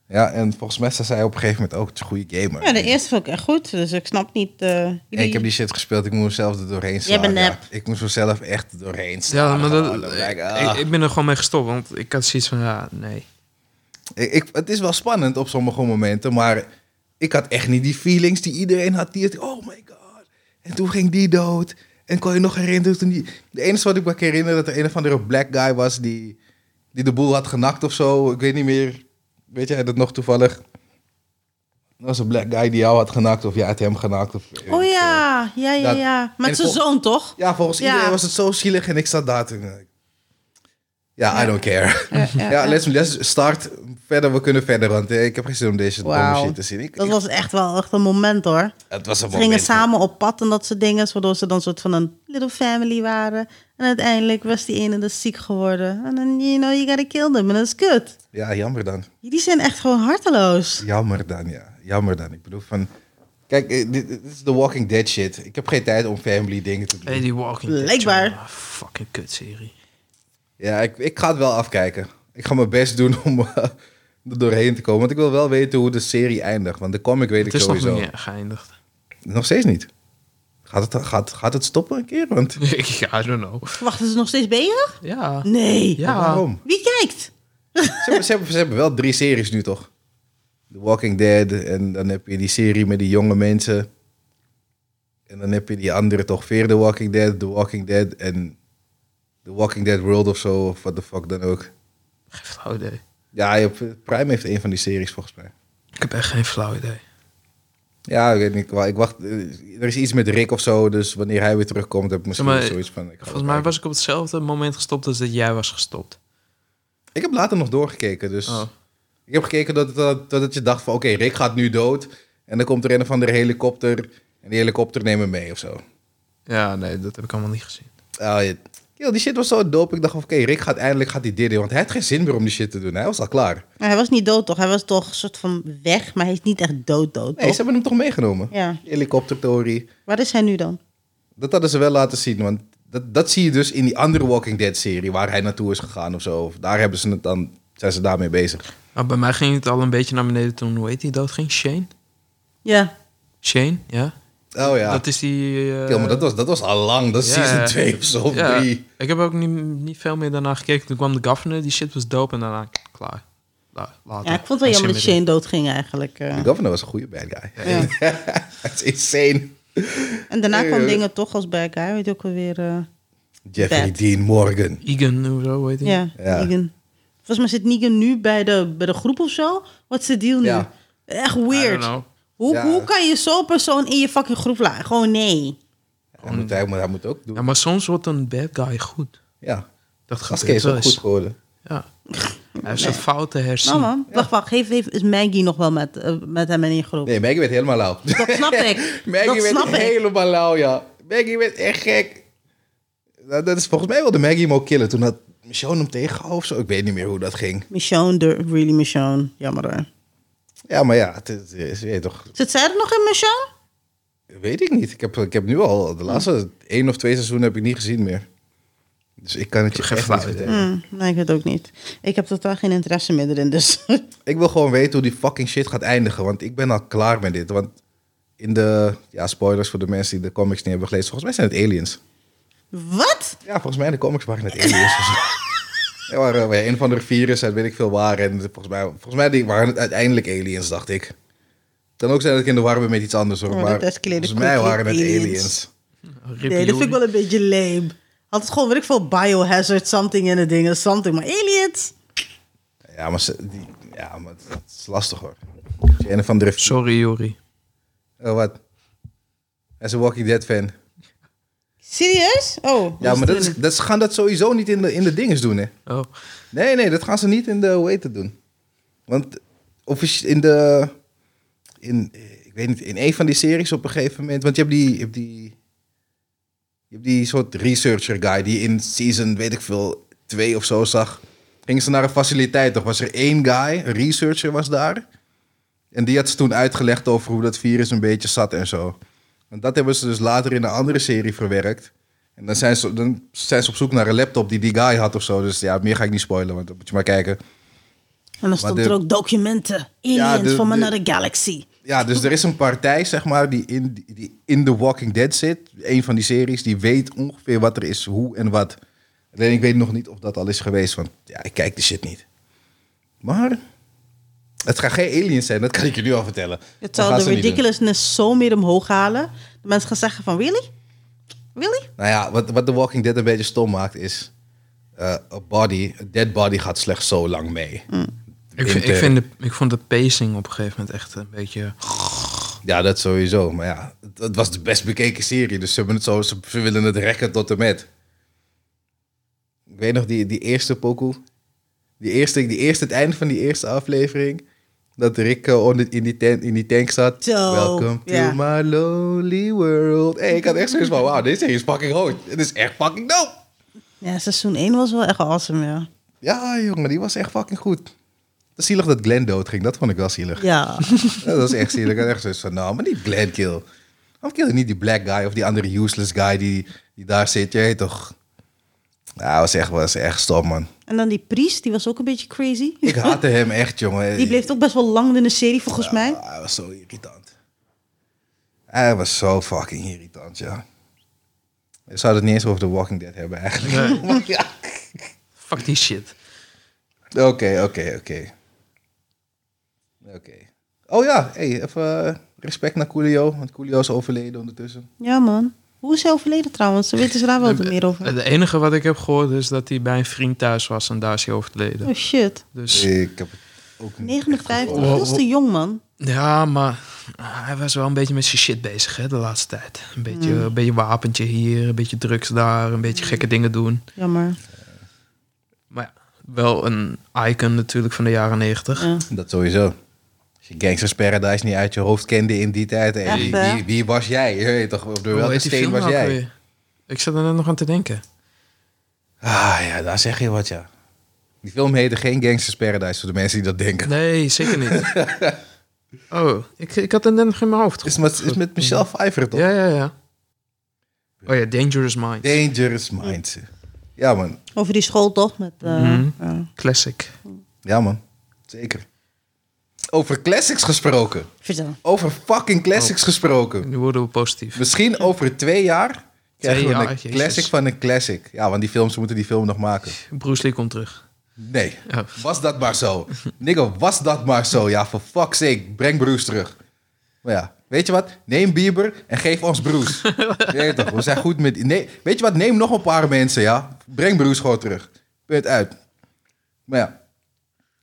Speaker 3: Ja.
Speaker 1: en volgens mij zei hij op een gegeven moment ook, het is een goede gamer.
Speaker 2: Ja, de eerste vond ik echt goed, dus ik snap niet... eh,
Speaker 1: En ik heb die shit gespeeld, ik moest mezelf er doorheen slaan.
Speaker 2: bent
Speaker 1: ja.
Speaker 2: nep.
Speaker 1: Ik moest mezelf echt er doorheen slaan.
Speaker 3: Ja, maar dat,
Speaker 1: Gewoon,
Speaker 3: ik,
Speaker 1: like, ah.
Speaker 3: ik, ik ben er gewoon mee gestopt, want ik had zoiets van, ja, nee.
Speaker 1: Ik, ik- het is wel spannend op sommige momenten, maar ik had echt niet die feelings die iedereen had. Die het, oh my god. En toen ging die dood. En kon je nog herinneren toen die... De enige wat ik me kan herinneren, dat er een of andere black guy was die, die de boel had genakt of zo. Ik weet niet meer. Weet jij dat nog toevallig? Dat was een black guy die jou had genakt of jij had hem genakt. Of,
Speaker 2: Oh ja, ja, ja,
Speaker 1: Dat-
Speaker 2: ja. Maar het
Speaker 1: en
Speaker 2: is zijn
Speaker 1: vol-
Speaker 2: zoon, toch?
Speaker 1: Ja, volgens
Speaker 2: Ja.
Speaker 1: iedereen was het zo zielig en ik zat daar toen. eh, Ja, I don't care. (laughs) Ja, let's, let's start verder. We kunnen verder, want eh, ik heb geen zin om deze domme
Speaker 2: Wauw.
Speaker 1: shit te zien. Ik,
Speaker 2: Dat
Speaker 1: ik-
Speaker 2: was echt wel echt een moment, hoor.
Speaker 1: het was een
Speaker 2: Ze gingen
Speaker 1: moment.
Speaker 2: samen op pad en dat soort dingen, waardoor ze dan soort van een little family waren. En uiteindelijk was die ene dus ziek geworden. En dan, you know, you gotta kill them. En dat is kut.
Speaker 1: Ja, jammer dan.
Speaker 2: Die zijn echt gewoon harteloos.
Speaker 1: Jammer dan, ja. Jammer dan. Ik bedoel van... Kijk, eh, dit, dit is The Walking Dead shit. Ik heb geen tijd om family dingen te doen.
Speaker 3: Hey, die Walking Dead,
Speaker 2: Blijkbaar.
Speaker 3: jongen, Fucking kutserie.
Speaker 1: Ja, ik, ik ga het wel afkijken. Ik ga mijn best doen (laughs) om eh, er doorheen te komen. Want ik wil wel weten hoe de serie eindigt. Want de comic weet
Speaker 3: Het
Speaker 1: ik
Speaker 3: is nog
Speaker 1: sowieso.
Speaker 3: niet (laughs) geëindigd.
Speaker 1: Nog steeds niet. Gaat het, gaat, gaat het stoppen een keer? Want
Speaker 3: I don't know.
Speaker 2: Wachten ze nog steeds bezig?
Speaker 3: Ja.
Speaker 2: Nee.
Speaker 3: Ja.
Speaker 1: waarom?
Speaker 2: Wie kijkt?
Speaker 1: Ze hebben, ze, hebben, ze hebben wel drie series nu toch? The Walking Dead en dan heb je die serie met die jonge mensen. En dan heb je die andere toch weer The Walking Dead, The Walking Dead en The Walking Dead World of zo, of what the fuck dan ook.
Speaker 3: Geen flauw idee.
Speaker 1: Ja, je hebt- Prime heeft een van die series volgens mij.
Speaker 3: Ik heb echt geen flauw idee.
Speaker 1: Ja, ik weet niet. Ik wa- Ik wacht. eh, Er is iets met Rick of zo, dus wanneer hij weer terugkomt, heb ik misschien
Speaker 3: maar,
Speaker 1: zoiets van. Ik, ga
Speaker 3: Volgens
Speaker 1: wel
Speaker 3: mij
Speaker 1: kijken.
Speaker 3: was ik op hetzelfde moment gestopt als dat jij was gestopt.
Speaker 1: ik heb later nog doorgekeken, dus.
Speaker 3: Oh.
Speaker 1: Ik heb gekeken dat, het- dat, dat het je dacht van, oké, Rick gaat nu dood. En dan komt er een van de helikopter. En die helikopter neemt hem mee of zo.
Speaker 3: Ja, nee, dat heb ik allemaal niet gezien.
Speaker 1: Ah, je- Yo, die shit was zo dope. Ik dacht van, oké, Rick gaat eindelijk gaat die dit doen. Want hij had geen zin meer om die shit te doen. Hij was al klaar.
Speaker 2: Maar hij was niet dood, toch? Hij was toch een soort van weg, maar hij is niet echt dood, dood,
Speaker 1: Nee,
Speaker 2: toch?
Speaker 1: ze hebben hem toch meegenomen.
Speaker 2: Ja.
Speaker 1: Helikoptertheorie.
Speaker 2: Waar is hij nu dan?
Speaker 1: Dat hadden ze wel laten zien. Want dat, dat zie je dus in die andere Walking Dead serie. Waar hij naartoe is gegaan of zo. Of daar hebben ze het dan, zijn ze daarmee bezig.
Speaker 3: Maar bij mij ging het al een beetje naar beneden toen, hoe heet die dood ging? Shane?
Speaker 2: Ja.
Speaker 3: Shane, ja?
Speaker 1: Oh ja.
Speaker 3: Dat is die... eh,
Speaker 1: Yo, maar dat was, dat was al lang. Dat is
Speaker 3: Ja,
Speaker 1: season
Speaker 3: ja.
Speaker 1: 2 of zo. Of
Speaker 3: ja,
Speaker 1: 3.
Speaker 3: Ik heb ook niet, niet veel meer daarna gekeken. Toen kwam de governor, die shit was dope en daarna klaar. La- later.
Speaker 2: ja, ik vond het wel jammer dat Shane dood ging eigenlijk. eh.
Speaker 1: De governor was een goede bad guy.
Speaker 2: Ja.
Speaker 1: (laughs) Het is insane.
Speaker 2: En daarna
Speaker 1: Nee,
Speaker 2: kwam
Speaker 1: eh.
Speaker 2: dingen toch als bad guy, weet je ook alweer. eh
Speaker 1: Jeffrey
Speaker 2: Bad.
Speaker 1: Dean Morgan.
Speaker 3: Egan, hoe zo, weet je?
Speaker 2: ja,
Speaker 1: Ja.
Speaker 2: Negan. Volgens mij zit Negan nu bij de, bij de groep of zo. Wat is de deal nu?
Speaker 1: Ja.
Speaker 2: Echt weird. Hoe,
Speaker 1: Ja.
Speaker 2: hoe kan je zo'n persoon in je fucking groep laten? Gewoon nee.
Speaker 1: Hij moet, hij, moet, hij moet ook doen.
Speaker 3: Ja, maar soms wordt een bad guy goed.
Speaker 1: Ja.
Speaker 3: Dat
Speaker 1: Gaske
Speaker 3: gebeurt
Speaker 1: is
Speaker 3: wel
Speaker 1: ook goed
Speaker 3: eens.
Speaker 1: geworden.
Speaker 2: (laughs)
Speaker 3: Ja. Hij heeft zijn fouten herzien.
Speaker 2: Nou man, wacht, wacht. Heeft, heeft, is Maggie nog wel met, eh, met hem in je groep?
Speaker 1: Nee, Maggie werd helemaal lauw.
Speaker 2: Dat snap
Speaker 1: (laughs)
Speaker 2: ik.
Speaker 1: Maggie
Speaker 2: dat snap
Speaker 1: werd
Speaker 2: ik.
Speaker 1: helemaal lauw, ja. Maggie werd echt gek. Nou, Dat, dat is volgens mij wilde Maggie hem ook killen. Toen had Michonne hem tegengehouden of zo. Ik weet niet meer hoe dat ging.
Speaker 2: Michonne, de, really Michonne. Jammer hè.
Speaker 1: Ja, maar ja, het is, het is- weet je toch...
Speaker 2: Zit zij er nog in Michonne?
Speaker 1: Weet ik niet. Ik heb, ik heb nu al... De laatste één of twee seizoenen heb ik niet gezien meer. Dus ik kan het je
Speaker 3: heb geen
Speaker 1: echt niet
Speaker 3: flauw idee.
Speaker 1: vertellen.
Speaker 2: Hm, nee, ik weet het ook niet. Ik heb totaal geen interesse meer erin, dus... (laughs)
Speaker 1: Ik wil gewoon weten hoe die fucking shit gaat eindigen. Want ik ben al klaar met dit. Want in de... Ja, spoilers voor de mensen die de comics niet hebben gelezen. Volgens mij zijn het aliens.
Speaker 2: Wat?
Speaker 1: Ja, volgens mij in de comics waren het aliens. of zo. Ja, maar eh, een van de virus uit weet ik veel waar. En volgens mij, volgens mij die waren het uiteindelijk aliens, dacht ik. Kan ook zijn dat ik in de war ben met iets anders hoor.
Speaker 2: Oh,
Speaker 1: maar
Speaker 2: dat escaleerde
Speaker 1: volgens mij
Speaker 2: quickly.
Speaker 1: waren het
Speaker 2: Aliens.
Speaker 1: aliens.
Speaker 3: Rip
Speaker 2: Nee, dat vind ik
Speaker 3: Yuri.
Speaker 2: wel een beetje lame. Had het gewoon, weet ik veel, biohazard, something in het ding, something. Maar aliens?
Speaker 1: Ja, maar, ze- die, ja, maar het, het is lastig hoor. Als je Een van de...
Speaker 3: Sorry, Jori.
Speaker 1: Oh, wat? Hij is een Walking Dead fan.
Speaker 2: Serieus? Oh.
Speaker 1: Ja, maar dat is, dat is- gaan dat sowieso niet in de, in de dinges doen, hè?
Speaker 3: Oh.
Speaker 1: Nee, nee, dat gaan ze niet in de hoe heet het doen. Want offici- in de in eh, ik weet niet in een van die series op een gegeven moment, want je hebt die je hebt die je hebt die soort researcher guy die in season weet ik veel twee of zo zag. Gingen ze naar een faciliteit, toch was er één guy, een researcher was daar. En die had ze toen uitgelegd over hoe dat virus een beetje zat en zo. En dat hebben ze dus later in een andere serie verwerkt. En dan zijn, ze, dan zijn ze op zoek naar een laptop die die guy had of zo. Dus ja, meer ga ik niet spoilen, want dan moet je maar kijken.
Speaker 2: En dan stond
Speaker 1: de-
Speaker 2: er ook documenten. Aliens
Speaker 1: de-
Speaker 2: from
Speaker 1: de-
Speaker 2: another galaxy.
Speaker 1: Ja, dus er is een partij, zeg maar, die in, die in The Walking Dead zit. Een van die series, die weet ongeveer wat er is, hoe en wat. Alleen ik weet nog niet of dat al is geweest, want ja, ik kijk de shit niet. Maar het gaat geen aliens zijn, dat kan ik je nu al vertellen.
Speaker 2: Het
Speaker 1: Dat
Speaker 2: zal
Speaker 1: gaan
Speaker 2: de
Speaker 1: ze niet doen.
Speaker 2: ridiculousness zo meer omhoog halen. De mensen gaan zeggen van, really? Really?
Speaker 1: Nou ja, wat, wat The Walking Dead een beetje stom maakt is... eh, een body, een dead body gaat slechts zo lang mee.
Speaker 2: Mm.
Speaker 3: Ik,
Speaker 1: In
Speaker 3: vind- ik,
Speaker 1: de-
Speaker 3: vind de, ik vond de pacing op een gegeven moment echt een beetje...
Speaker 1: Ja, dat sowieso. Maar ja, het, het was de best bekeken serie. Dus ze, hebben het zo, ze, ze willen het rekken tot en met. Ik weet nog, die, die eerste pokoe. Die eerste, die eerste, het einde van die eerste aflevering. Dat Rick eh, onder- in, die tent, in die tank zat.
Speaker 2: Zo,
Speaker 1: Welcome
Speaker 2: ja.
Speaker 1: to my lonely world. Hey, ik had echt zoiets van, wauw, deze serie is fucking hoog. Het is echt fucking dope.
Speaker 2: Ja, seizoen 1 was wel echt awesome, ja.
Speaker 1: Ja, jongen, die was echt fucking goed. Het is zielig dat Glenn doodging. Dat vond ik wel zielig.
Speaker 2: Ja.
Speaker 1: (laughs) Dat was echt zielig. Ik had echt zoiets van, nou, maar niet Glenn kill. Waarom kill je niet die black guy of die andere useless guy die, die daar zit? Je weet toch? Ja, was echt, was echt stom, man.
Speaker 2: (laughs) en dan die priest, die was ook een beetje crazy. (laughs)
Speaker 1: Ik haatte hem echt, jongen.
Speaker 2: Die bleef ook best wel lang in de serie, volgens mij.
Speaker 1: Ah, Hij was zo irritant. Hij was zo fucking irritant, ja. We zouden het niet eens over The Walking Dead hebben, eigenlijk. (laughs) Ja.
Speaker 3: Fuck die shit.
Speaker 1: Oké, oké, oké. Oké. Oh ja, hey, even eh, respect naar Coolio. Want Coolio is overleden ondertussen.
Speaker 2: Ja, man. Hoe is hij overleden trouwens? Ze weten ze daar wel meer
Speaker 1: (laughs)
Speaker 2: over.
Speaker 3: Het enige wat ik heb gehoord is dat hij bij een vriend thuis was en daar is hij overleden.
Speaker 2: Oh shit.
Speaker 3: Dus
Speaker 1: Ik heb het ook niet.
Speaker 2: 59,
Speaker 3: Wow.
Speaker 2: dat is te jong, man.
Speaker 3: ja, maar hij was wel een beetje met zijn shit bezig hè, de laatste tijd. Een beetje, een beetje wapentje hier, een beetje drugs daar, een beetje gekke dingen doen.
Speaker 2: Jammer.
Speaker 3: Maar ja, wel een icon natuurlijk van de jaren 90.
Speaker 2: Ja.
Speaker 1: Dat sowieso. Als je Gangsters Paradise niet uit je hoofd kende in die tijd. hey,
Speaker 2: Echt,
Speaker 1: wie,
Speaker 2: hè?
Speaker 1: wie, wie was jij? Je weet toch, op de
Speaker 3: Hoe
Speaker 1: welke
Speaker 3: heet die
Speaker 1: steen
Speaker 3: film
Speaker 1: was
Speaker 3: nou ook
Speaker 1: jij?
Speaker 3: weer? Ik zat er net nog aan te denken.
Speaker 1: Ah ja, daar zeg je wat, ja. Die film heette geen Gangsters Paradise, voor de mensen die dat denken.
Speaker 3: Nee, zeker
Speaker 1: (laughs)
Speaker 3: niet. oh, ik, ik had het net nog in mijn hoofd.
Speaker 1: Is met, is met Michelle Pfeiffer, toch?
Speaker 3: Ja, ja, ja. Oh ja, Dangerous Minds.
Speaker 1: Dangerous Minds. Ja, man.
Speaker 2: Over die school toch? Met, eh,
Speaker 3: Mhm.
Speaker 2: ja.
Speaker 3: Classic.
Speaker 1: Ja, man. Zeker. Over classics gesproken.
Speaker 2: Vertel.
Speaker 1: Over fucking classics gesproken.
Speaker 3: Nu worden we positief.
Speaker 1: Misschien over twee jaar krijgen
Speaker 3: Twee
Speaker 1: we een
Speaker 3: jaar, jezus.
Speaker 1: classic van een classic. Ja, want die films, ze moeten die film nog maken.
Speaker 3: Bruce Lee komt terug.
Speaker 1: Nee.
Speaker 3: Oh.
Speaker 1: Was dat maar
Speaker 3: (laughs)
Speaker 1: zo. Nigga, was dat maar zo. Ja, for fuck's sake. Breng Bruce terug. Maar ja, weet je wat? Neem Bieber en geef ons
Speaker 3: (laughs)
Speaker 1: Bruce. Je weet toch, we zijn goed met... Nee, weet je wat? Neem nog een paar mensen, ja. Breng Bruce gewoon terug. Punt uit. Maar ja,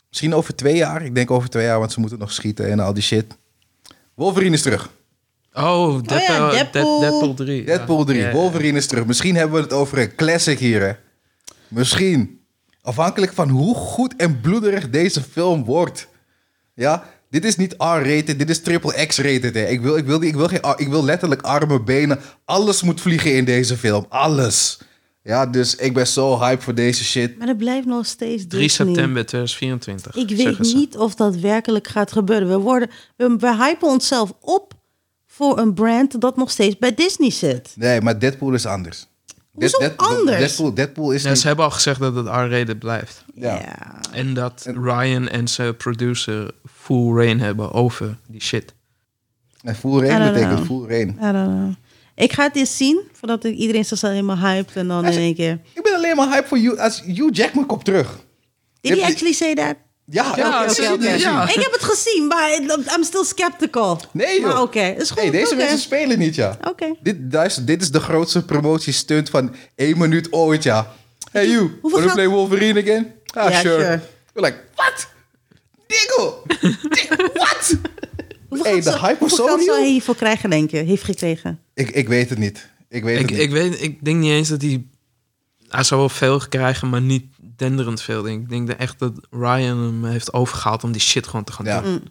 Speaker 1: misschien over twee jaar. Ik denk over twee jaar, want ze moeten nog schieten en al die shit. Wolverine is terug.
Speaker 3: Oh, Deadpool,
Speaker 2: ja,
Speaker 3: Dead-
Speaker 2: Deadpool.
Speaker 3: Deadpool. 3.
Speaker 1: Deadpool 3,
Speaker 3: Ja, ja.
Speaker 1: Wolverine is terug. Misschien hebben we het over een classic hier, hè? Misschien. Afhankelijk van hoe goed en bloederig deze film wordt. Ja, dit is niet R-rated, dit is triple X-rated. hè. Ik wil, ik, wil, die- ik, wil geen, ar- ik wil letterlijk armen, benen. Alles moet vliegen in deze film. Alles. Ja, dus ik ben zo hyped voor deze shit.
Speaker 2: Maar dat blijft nog steeds
Speaker 3: 3
Speaker 2: Disney.
Speaker 3: september 2024.
Speaker 2: Ik weet
Speaker 3: zeggen ze.
Speaker 2: niet of dat werkelijk gaat gebeuren. We, worden, we, we hypen onszelf op voor een brand dat nog steeds bij Disney zit.
Speaker 1: Nee, maar Deadpool is anders.
Speaker 2: Hoezo anders?
Speaker 1: Deadpool, Deadpool is
Speaker 3: Ja,
Speaker 1: niet...
Speaker 3: ze hebben al gezegd dat het R-rated blijft.
Speaker 1: Ja.
Speaker 3: En dat Ryan en zijn producer full reign hebben over die shit.
Speaker 1: En Full
Speaker 2: I
Speaker 1: Rain
Speaker 2: don't
Speaker 1: betekent
Speaker 2: know.
Speaker 1: Full Rain.
Speaker 2: I don't know. Ik ga het eens zien, voordat ik iedereen zo helemaal hyped en dan in één keer...
Speaker 1: Ik ben alleen maar hyped voor you, als Hugh Jackman komt terug.
Speaker 2: Did he
Speaker 1: Heb je-
Speaker 2: actually say that?
Speaker 1: Ja,
Speaker 3: Ja,
Speaker 1: oké,
Speaker 2: Oké,
Speaker 1: oké,
Speaker 2: oké, oké.
Speaker 1: oké.
Speaker 3: Ja.
Speaker 2: Ik heb het gezien, maar it- I'm still skeptical.
Speaker 1: Nee, joh.
Speaker 2: Maar Ah, oké, is goed.
Speaker 1: Nee, deze
Speaker 2: oké.
Speaker 1: mensen spelen niet, ja.
Speaker 2: Oké.
Speaker 1: Dit, daar is- dit is de grootste promotiestunt van één minuut ooit, ja. Hey you, wanna
Speaker 2: geld-
Speaker 1: play Wolverine again? Ah,
Speaker 2: Ja,
Speaker 1: sure.
Speaker 2: sure.
Speaker 1: We're like, what?
Speaker 2: (laughs)
Speaker 1: Diggle! Dig- what?
Speaker 2: Hoeveel
Speaker 1: Hey,
Speaker 2: geld
Speaker 1: de
Speaker 2: zou-
Speaker 1: hype was
Speaker 2: hoeveel
Speaker 1: zo
Speaker 2: geld zou
Speaker 1: nieuw.
Speaker 2: hij hiervoor krijgen, denk je? Heeft
Speaker 1: (laughs)
Speaker 2: gekregen.
Speaker 1: Ik, ik weet het niet. Ik weet
Speaker 3: Ik,
Speaker 1: het niet.
Speaker 3: ik, weet, ik denk niet eens dat hij... Hij zou wel veel krijgen, maar niet denderend veel. Ik denk echt dat Ryan hem heeft overgehaald om die shit gewoon te gaan
Speaker 1: Ja.
Speaker 3: doen.
Speaker 2: Mm.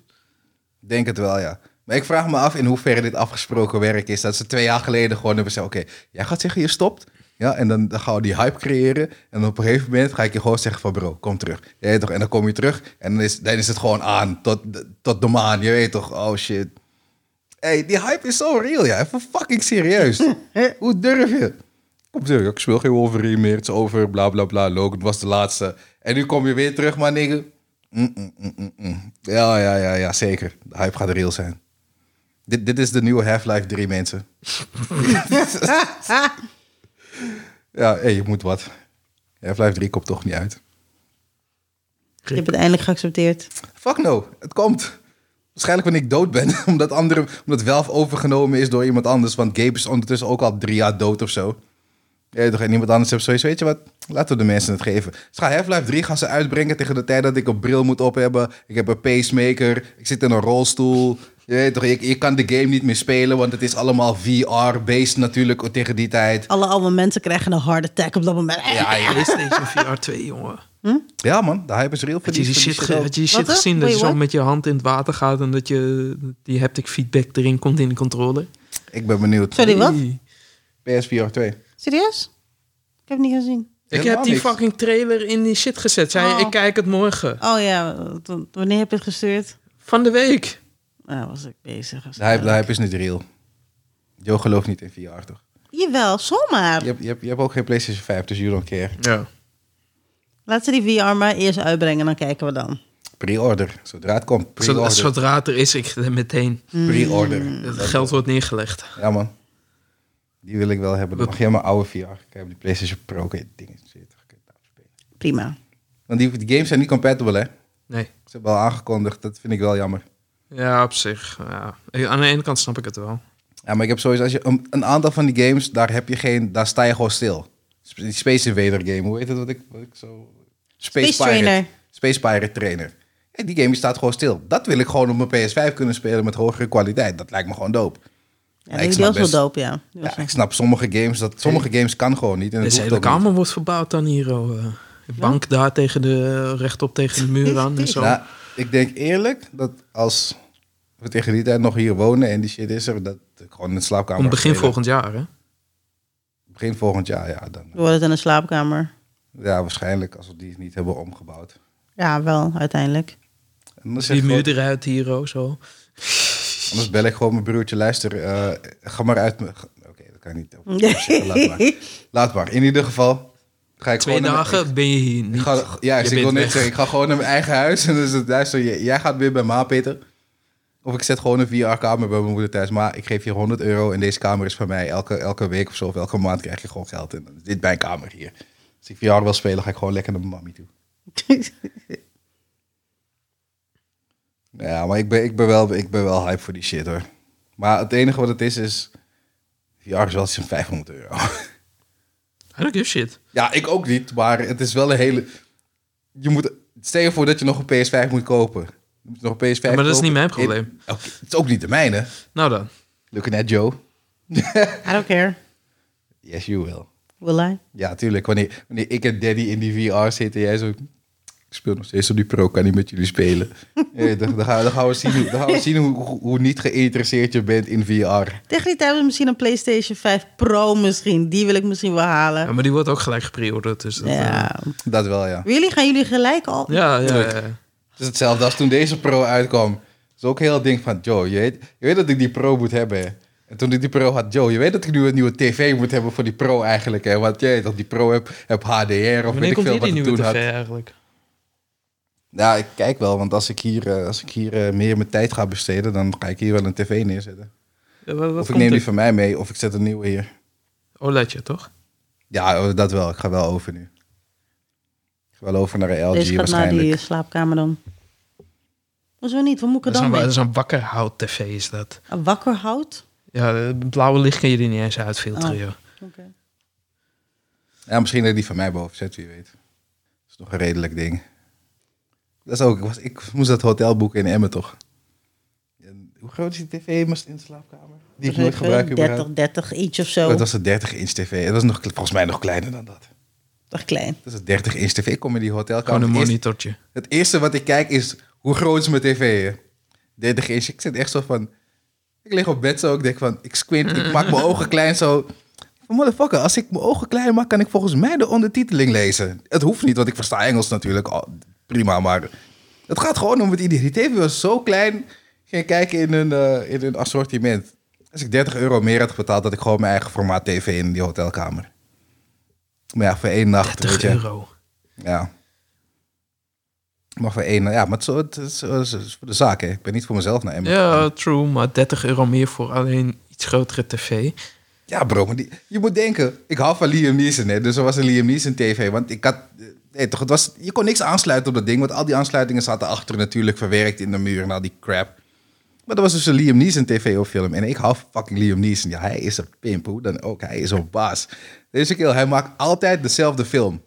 Speaker 1: Denk het wel, ja. Maar ik vraag me af in hoeverre dit afgesproken werk is. Dat ze twee jaar geleden gewoon hebben gezegd... Oké, jij gaat zeggen je stopt. Ja, en dan, dan gaan we die hype creëren. En op een gegeven moment ga ik je gewoon zeggen van... Bro, kom terug. Je weet toch? En dan kom je terug. En dan is, dan is het gewoon aan. Tot, de- tot de maan. Je weet toch? Oh shit. hey, die hype is zo real, ja. Even fucking serieus. Hoe durf je? Komt terug. Ik speel geen Wolverine meer. Het is over. Bla bla bla. Logan was de laatste. En nu kom je weer terug, maar nigga. Mm, mm, mm, mm, mm. Ja, ja, ja, ja, zeker. De hype gaat real zijn. Dit, dit is de nieuwe Half-Life 3, mensen. Ja, hé, je moet wat. Half-Life 3 komt toch niet uit.
Speaker 2: Je hebt het eindelijk geaccepteerd.
Speaker 1: Fuck no, het komt. Waarschijnlijk wanneer ik dood ben, (laughs) omdat, andere, omdat Valve overgenomen is door iemand anders. Want Gabe is ondertussen ook al drie jaar dood of zo. Ja, toch, en iemand anders heeft sowieso, weet je wat, laten we de mensen het geven. Ze gaan Half-Life 3 gaan ze uitbrengen tegen de tijd dat ik een bril moet op hebben. Ik heb een pacemaker, ik zit in een rolstoel. Je, weet toch, je, je kan de game niet meer spelen, want het is allemaal VR-based natuurlijk tegen die tijd.
Speaker 2: Alle oude mensen krijgen een hard attack op dat moment.
Speaker 1: Ja, ja.
Speaker 3: PlayStation VR 2, jongen.
Speaker 1: ja man, de hype is real.
Speaker 3: Had je die
Speaker 1: voor
Speaker 3: shit, ge-
Speaker 1: geld.
Speaker 3: had je die
Speaker 2: Wat
Speaker 3: shit
Speaker 2: dan?
Speaker 3: gezien dat
Speaker 2: Wait,
Speaker 3: je zo
Speaker 2: what?
Speaker 3: met je hand in het water gaat en dat je die haptic feedback erin komt in de controller?
Speaker 1: Ik ben benieuwd.
Speaker 2: Sorry, wat?
Speaker 3: Hey.
Speaker 1: PSVR 2.
Speaker 2: Serieus? Ik heb het niet gezien.
Speaker 3: Ik
Speaker 1: Helemaal
Speaker 3: heb die
Speaker 1: niks.
Speaker 3: fucking trailer in die shit gezet. Zei je,
Speaker 2: Oh.
Speaker 3: ik kijk het morgen.
Speaker 2: Oh ja, w- wanneer heb je het gestuurd?
Speaker 3: Van de week.
Speaker 2: Nou, was ik bezig.
Speaker 1: De hype, de hype is niet real. Joe gelooft niet in VR, toch?
Speaker 2: Jawel, zomaar.
Speaker 1: Je hebt, je, hebt, je hebt ook geen PlayStation 5, dus you don't care.
Speaker 3: Ja.
Speaker 2: Laat ze die VR maar eerst uitbrengen, dan kijken we dan.
Speaker 1: Pre-order. Zodra het komt,
Speaker 3: Zodra,
Speaker 1: pre-order.
Speaker 3: zodra het er is, ik meteen.
Speaker 1: Pre-order.
Speaker 3: Het geld wordt neergelegd.
Speaker 1: Ja, man. Die wil ik wel hebben. Dan mag jij mijn oude VR. Ik heb die PlayStation Pro. Oké, dingen zitten. Oké, nou, spelen.
Speaker 2: Prima.
Speaker 1: Want die, die games zijn niet compatible, hè?
Speaker 3: Nee.
Speaker 1: Ze hebben al aangekondigd. Dat vind ik wel jammer.
Speaker 3: Ja, op zich. Ja. Ik- Aan de ene kant snap ik het wel.
Speaker 1: Ja, maar ik heb sowieso... Als je, een, een aantal van die games, daar heb je geen... Daar sta je gewoon stil. Sp- Die Space Invader game. Hoe heet het wat ik, wat ik zo... Space,
Speaker 2: Space
Speaker 1: Pirate.
Speaker 2: Trainer.
Speaker 1: Space Pirate Trainer. Ja, die game die staat gewoon stil. Dat wil ik gewoon op mijn PS5 kunnen spelen met hogere kwaliteit. Dat lijkt me gewoon dope.
Speaker 2: Ja,
Speaker 1: ik
Speaker 2: die
Speaker 1: snap
Speaker 2: was wel
Speaker 1: best-
Speaker 2: dope, ja. Die was
Speaker 1: Ja,
Speaker 2: wel-
Speaker 1: ik snap sommige games. Dat, sommige games kan gewoon niet. En dat
Speaker 3: Deze
Speaker 1: hoeft
Speaker 3: hele
Speaker 1: ook niet.
Speaker 3: kamer wordt verbouwd dan hier. oh, eh. De bank daar tegen de, rechtop tegen de
Speaker 2: (laughs)
Speaker 3: muur aan en zo.
Speaker 1: Nou, ik denk eerlijk dat als we tegen die tijd nog hier wonen en die shit is er, dat ik gewoon in de slaapkamer.
Speaker 3: Om begin
Speaker 1: ga spelen.
Speaker 3: volgend jaar, hè?
Speaker 1: Begin volgend jaar, ja. Dan,
Speaker 2: We worden het in de slaapkamer.
Speaker 1: ja, waarschijnlijk als we die niet hebben omgebouwd.
Speaker 2: Ja, wel, uiteindelijk.
Speaker 1: En dan zeg
Speaker 3: Die
Speaker 1: ik
Speaker 3: muur
Speaker 1: gewoon,
Speaker 3: eruit hier, oh, zo.
Speaker 1: anders bel ik gewoon mijn broertje, luister, eh, ga maar uit. me- Oké, dat kan niet. Laat maar. Laat maar. In ieder geval ga ik
Speaker 3: Twee
Speaker 1: gewoon... naar mijn-
Speaker 3: dagen ben je hier
Speaker 1: Ik
Speaker 3: niet.
Speaker 1: ga, ja,
Speaker 3: Je
Speaker 1: ik
Speaker 3: bent
Speaker 1: wil net
Speaker 3: weg.
Speaker 1: zeggen, ik ga gewoon naar mijn eigen huis. En dan is het luister, j- jij gaat weer bij ma, Peter. Of ik zet gewoon een VR-kamer bij mijn moeder thuis. Maar ik geef je 100 euro en deze kamer is van mij. Elke, elke week of zo, of elke maand krijg je gewoon geld. En dan is dit mijn kamer hier. Als ik VR wil spelen, ga ik gewoon lekker naar mijn
Speaker 3: (laughs)
Speaker 1: mammy toe. Ja, maar ik ben, ik ben, wel, ik ben wel hype voor die shit hoor. Maar het enige wat het is, is... VR is wel zo'n 500 euro.
Speaker 3: I don't give shit.
Speaker 1: Ja, ik ook niet, maar het is wel een hele... Je moet... Stel je voor dat je nog een PS5 moet kopen. Je moet nog een PS5
Speaker 3: Ja, maar dat is
Speaker 1: kopen.
Speaker 3: niet mijn
Speaker 1: In-
Speaker 3: probleem.
Speaker 1: Oké, het is ook niet de mijne.
Speaker 3: Nou dan.
Speaker 1: Looking at Joe.
Speaker 2: I don't care.
Speaker 1: Yes, you will.
Speaker 2: Will I?
Speaker 1: Ja, tuurlijk. Wanneer, wanneer ik en Daddy in die VR zitten, jij zo... Ik speel nog steeds op die pro, kan niet met jullie spelen.
Speaker 3: (laughs)
Speaker 1: Ja, dan, dan, gaan, we- dan gaan we zien, hoe, dan gaan we zien hoe, hoe, hoe niet geïnteresseerd je bent in VR.
Speaker 2: Tegen die tijd hebben we misschien een PlayStation 5 Pro misschien. Die wil ik misschien wel
Speaker 3: Ja,
Speaker 2: halen.
Speaker 3: maar die wordt ook gelijk gepreorderd. Dus dat, eh,
Speaker 2: Ja.
Speaker 1: Dat wel, ja.
Speaker 2: Really? Gaan jullie gelijk al?
Speaker 3: ja, ja,
Speaker 1: Tuurlijk.
Speaker 3: ja.
Speaker 1: Het is hetzelfde als toen deze pro uitkwam. Het is ook heel het ding van, Joe, je weet, je weet dat ik die pro moet hebben. hè. En toen ik die pro had, Joe, je weet dat ik nu een nieuwe tv moet hebben voor die pro eigenlijk. Hè? Want je weet dat die pro heb, heb HDR of weet
Speaker 3: Wanneer
Speaker 1: ik
Speaker 3: komt
Speaker 1: veel wat
Speaker 3: hier die
Speaker 1: ik
Speaker 3: nieuwe
Speaker 1: toen
Speaker 3: tv
Speaker 1: had.
Speaker 3: eigenlijk?
Speaker 1: Nou, ik kijk wel, want als ik hier, eh, als ik hier eh, meer mijn tijd ga besteden, dan ga ik hier wel een tv neerzetten.
Speaker 3: Ja, wat, wat
Speaker 1: of ik
Speaker 3: komt
Speaker 1: neem
Speaker 3: er?
Speaker 1: die van mij mee, of ik zet een nieuwe hier.
Speaker 3: OLEDje, Oh, toch?
Speaker 1: Ja, oh, dat wel. Ik ga wel over nu. Ik ga wel over naar een LG
Speaker 2: Deze gaat naar
Speaker 1: waarschijnlijk.
Speaker 2: die eh, slaapkamer dan. Hoezo niet? Wat moet ik er
Speaker 3: Dat is,
Speaker 2: dan
Speaker 3: een,
Speaker 2: mee?
Speaker 3: dat is een wakkerhout tv is dat.
Speaker 2: Een wakker hout?
Speaker 3: Ja, het blauwe licht kan je er niet eens uitfilteren,
Speaker 2: Oh.
Speaker 3: joh.
Speaker 2: Oké.
Speaker 1: Ja, misschien dat ik die van mij boven zet, wie weet. Dat is nog een redelijk ding. Dat is ook, ik, was, ik moest dat hotel boeken in Emmen, toch? En hoe groot is die tv in de slaapkamer? Die ik nooit gebruik überhaupt.
Speaker 2: 30, 30 inch of zo.
Speaker 1: Oh, Het was een 30-inch tv. Het was nog, volgens mij nog kleiner dan dat.
Speaker 2: Echt klein.
Speaker 1: Dat is een 30-inch tv. Ik kom in die hotelkamer.
Speaker 3: Gewoon een
Speaker 1: Het eerste-
Speaker 3: monitortje.
Speaker 1: het eerste wat ik kijk is, hoe groot is mijn tv? hè? 30 inch. Ik zit echt zo van... Ik lig op bed zo, ik denk van, ik squint, ik maak mijn ogen klein zo. Van, motherfucker, als ik mijn ogen klein maak, kan ik volgens mij de ondertiteling lezen. Het hoeft niet, want ik versta Engels natuurlijk. al prima, maar het gaat gewoon om het idee. Die tv was zo klein, ik ging kijken in een, eh, in een assortiment. Als ik 30 euro meer had betaald, had ik gewoon mijn eigen formaat tv in die hotelkamer. Maar ja, voor één nacht.
Speaker 3: 30
Speaker 1: weet je.
Speaker 3: euro.
Speaker 1: Ja. Maar voor één, ja, maar het is, het is- het is voor de zaak, hè. Ik ben niet voor mezelf naar Emmen.
Speaker 3: Ja, true, maar 30 euro meer voor alleen iets grotere tv.
Speaker 1: Ja, bro, maar die, je moet denken, ik hou van Liam Neeson, hè, dus er was een Liam Neeson TV. Want ik had, eh, nee, toch, het was, je kon niks aansluiten op dat ding, want al die aansluitingen zaten achter natuurlijk verwerkt in de muur en al die crap. Maar dat was dus een Liam Neeson TV of film. En ik hou van fucking Liam Neeson. Ja, hij is een pimp, hoe dan ook. Hij is een baas. Deze keer, hij maakt altijd dezelfde film.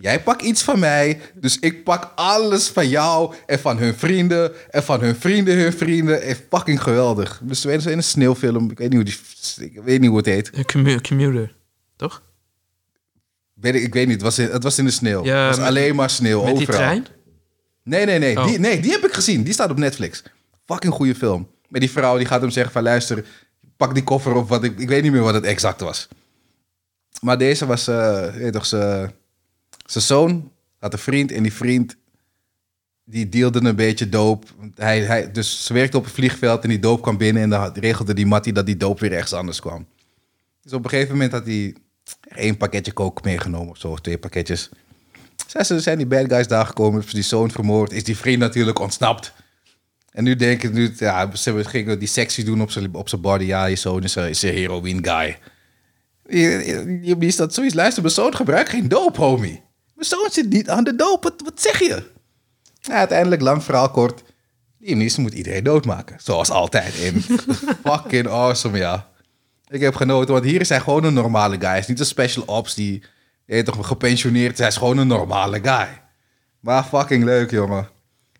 Speaker 1: Jij pakt iets van mij, dus ik pak alles van jou en van hun vrienden en van hun vrienden, hun vrienden. En fucking geweldig. Dus we zijn een sneeuwfilm, ik weet niet hoe, die, ik weet niet hoe het heet.
Speaker 3: Een commu- commuter, toch?
Speaker 1: Weet ik, ik weet niet, het was in, het was in de sneeuw.
Speaker 3: Ja,
Speaker 1: het was
Speaker 3: met-
Speaker 1: alleen maar sneeuw
Speaker 3: Met
Speaker 1: overal.
Speaker 3: die trein?
Speaker 1: Nee, nee, nee,
Speaker 3: Oh.
Speaker 1: die, nee, die heb ik gezien. Die staat op Netflix. Fucking goede film. Met die vrouw die gaat hem zeggen van luister, pak die koffer op. Wat ik, ik weet niet meer wat het exact was. Maar deze was, eh, je weet toch, ze- zijn zoon had een vriend en die vriend die dealde een beetje doop. Hij, hij, dus ze werkte op een vliegveld en die doop kwam binnen en dan had- regelde die Mattie dat die doop weer ergens anders kwam. Dus op een gegeven moment had hij één pakketje kook meegenomen of zo, of twee pakketjes. Zijn, ze, zijn die bad guys daar gekomen, hebben ze die zoon vermoord, is die vriend natuurlijk ontsnapt. En nu denk ik, nu, ja, ze gingen die sexy doen op zijn, op zijn body. Ja, je zoon is een, is een heroïne guy. Je- je- je- Die staat zoiets, luister, mijn zoon gebruikt geen doop, homie. Mijn zoon zit niet aan de doop, wat, wat zeg je? Ja, uiteindelijk, lang verhaal kort. Die minister moet iedereen doodmaken. Zoals altijd in. Fucking awesome, ja. Ik heb genoten, want hier is hij gewoon een normale guy. Hij is niet een special ops die, je weet toch, gepensioneerd is. Hij is gewoon een normale guy. Maar fucking leuk, jongen.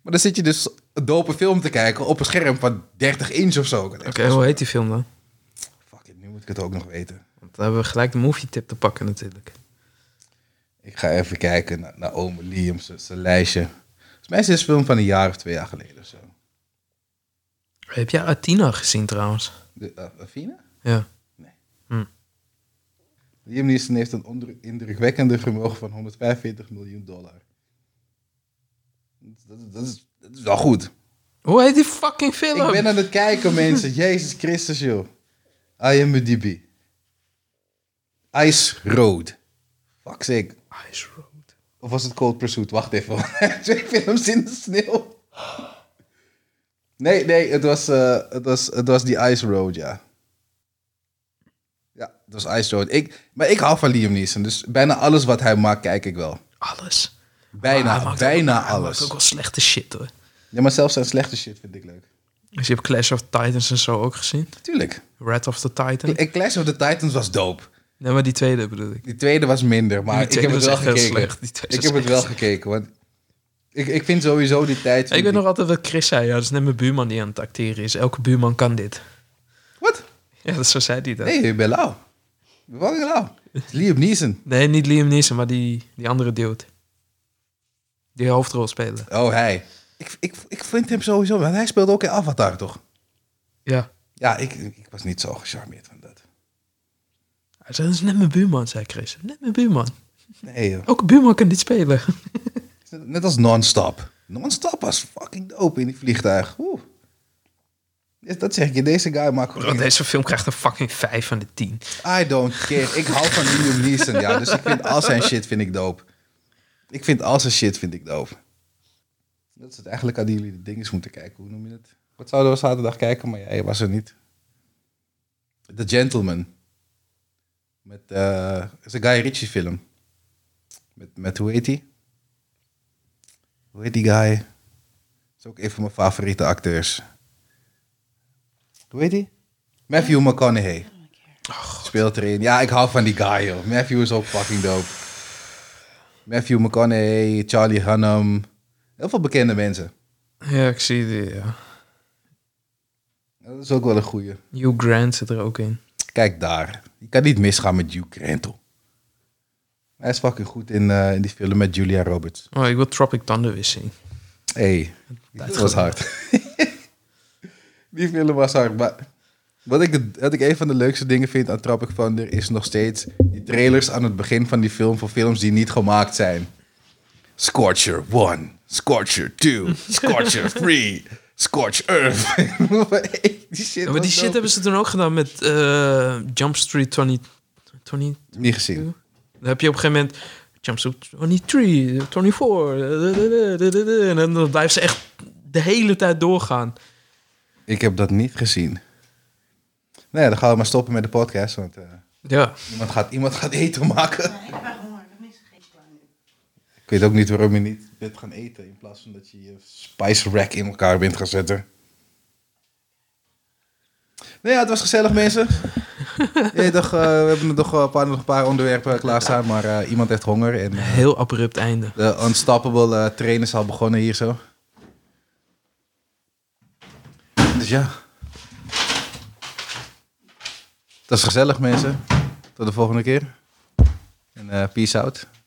Speaker 1: Maar dan zit je dus een dope film te kijken op een scherm van 30 inch of zo. Oké,
Speaker 3: Oké, hoe heet die film dan?
Speaker 1: Fucking, nu moet ik het ook nog weten.
Speaker 3: Want dan hebben we gelijk de movie tip te pakken natuurlijk.
Speaker 1: Ik ga even kijken naar, naar Ome Liam, zijn zijn lijstje. Volgens mij is dit een film van een jaar of twee jaar geleden of zo.
Speaker 3: Heb jij Athena gezien trouwens?
Speaker 1: De, eh, Athena?
Speaker 3: Ja.
Speaker 1: Liam Neeson heeft een onder- indrukwekkende vermogen van 145 miljoen dollar. Dat, is- dat, is, dat is wel goed.
Speaker 3: Hoe heet die fucking film?
Speaker 1: Ik ben aan het kijken, mensen. Jezus Christus, joh. IMDb. Ice Road. Fuck sake.
Speaker 3: Ice Road.
Speaker 1: Of was het Cold Pursuit? Wacht even. (laughs) Twee films in de sneeuw. Nee, nee, het was, eh, het was, het was die Ice Road, ja. Ja, het was Ice Road. Ik, maar ik hou van Liam Neeson, dus bijna alles wat hij maakt, kijk ik wel.
Speaker 3: Alles. Maar hij
Speaker 1: Bijna,
Speaker 3: maakt
Speaker 1: bijna
Speaker 3: ook, Hij maakt ook
Speaker 1: alles.
Speaker 3: wel slechte shit hoor.
Speaker 1: Ja, maar zelfs zijn slechte shit vind ik leuk.
Speaker 3: Dus je hebt Clash of Titans en zo ook gezien.
Speaker 1: Tuurlijk.
Speaker 3: Red of the Titan.
Speaker 1: En Clash of the Titans was dope.
Speaker 3: Nee, maar die tweede bedoel ik.
Speaker 1: Die tweede was minder, maar
Speaker 3: Die
Speaker 1: ik heb
Speaker 3: tweede
Speaker 1: het wel
Speaker 3: was echt heel
Speaker 1: gekeken.
Speaker 3: slecht. Die tweede
Speaker 1: Ik
Speaker 3: was
Speaker 1: heb het
Speaker 3: echt
Speaker 1: wel gekeken, want ik, ik vind sowieso die tijd...
Speaker 3: Ik weet nog altijd wat Chris zei. Ja, dat is net mijn buurman die aan het acteren is. Elke buurman kan dit. (laughs)
Speaker 1: Wat?
Speaker 3: Ja, dat- zo zei hij dat.
Speaker 1: Nee, ik ben lauw. Ik ben fucking lauw. Het is Liam Neeson.
Speaker 3: Nee, niet Liam Neeson, maar die, die andere dude. Die hoofdrol spelen.
Speaker 1: Oh, hij. Ik, ik, ik vind hem sowieso... Want hij speelde ook in Avatar, toch?
Speaker 3: Ja.
Speaker 1: Ja, ik, ik was niet zo gecharmeerd van dat.
Speaker 3: Hij zei, dat is net mijn buurman, zei Chris. Net mijn buurman.
Speaker 1: Nee, joh.
Speaker 3: Elke buurman kan dit spelen. (laughs)
Speaker 1: Net als Non-Stop. Non-Stop was fucking dope in die vliegtuig. Oeh. Ja, Dat zeg ik je. Deze guy maakt
Speaker 3: Bro,
Speaker 1: gewoon...
Speaker 3: deze film krijgt een fucking 5 van de 10.
Speaker 1: I don't care. Ik hou van Liam Neeson, ja. Dus ik vind al zijn shit vind ik dope. Ik vind al zijn shit vind ik dope. Dat is het eigenlijk aan die jullie de dinges moeten kijken. Hoe noem je het? Wat zouden we zaterdag kijken, maar jij was er niet. The Gentleman. Met, eh is een Guy Ritchie film. Met, met hoe heet die? Hoe heet die guy? is ook een van mijn favoriete acteurs. Hoe heet die? Matthew McConaughey speelt erin. Ja, ik hou van die guy, joh. Matthew is ook fucking dope. Matthew McConaughey, Charlie Hunnam. Heel veel bekende mensen.
Speaker 3: Ja, ik zie die, ja.
Speaker 1: Dat is ook wel een goeie.
Speaker 3: Hugh Grant zit er ook in.
Speaker 1: Kijk daar. Je kan niet misgaan met Hugh Grant, hoor. Hij is fucking goed in, eh, in die film met Julia Roberts.
Speaker 3: Oh, ik wil Tropic Thunder weer zien.
Speaker 1: hey, dat was hard. (laughs) die film was hard, maar... Wat ik, wat ik een van de leukste dingen vind aan Tropic Thunder... is nog steeds die trailers aan het begin van die film... voor films die niet gemaakt zijn. Scorcher 1, Scorcher 2,
Speaker 3: (laughs)
Speaker 1: Scorcher 3, Scorch Earth. (laughs) die shit
Speaker 3: Ja, maar
Speaker 1: was
Speaker 3: die shit
Speaker 1: dope.
Speaker 3: hebben ze toen ook gedaan met eh, Jump Street 20... 20
Speaker 1: Niet gezien.
Speaker 3: Dan heb je op een gegeven moment jumpsuit 23, 24. En dan- dan blijft ze echt de hele tijd doorgaan.
Speaker 1: Ik heb dat niet gezien. Nou ja, dan gaan we maar stoppen met de podcast. Want eh,
Speaker 3: Ja.
Speaker 1: iemand, gaat, iemand gaat eten maken.
Speaker 2: Ik ga honger, dat is geen plan.
Speaker 1: Ik weet ook niet waarom je niet bent gaan eten. In plaats van dat je je spice rack in elkaar bent gaan zetten. Nou ja, het was gezellig mensen. (laughs) Ja, toch, eh, we hebben nog wel een paar, nog een paar onderwerpen klaarstaan. Maar eh, iemand heeft honger. En eh,
Speaker 3: Heel abrupt einde.
Speaker 1: de Unstoppable eh, train is al begonnen hier zo. Dus ja. Het was gezellig mensen. Tot de volgende keer. En eh, peace out.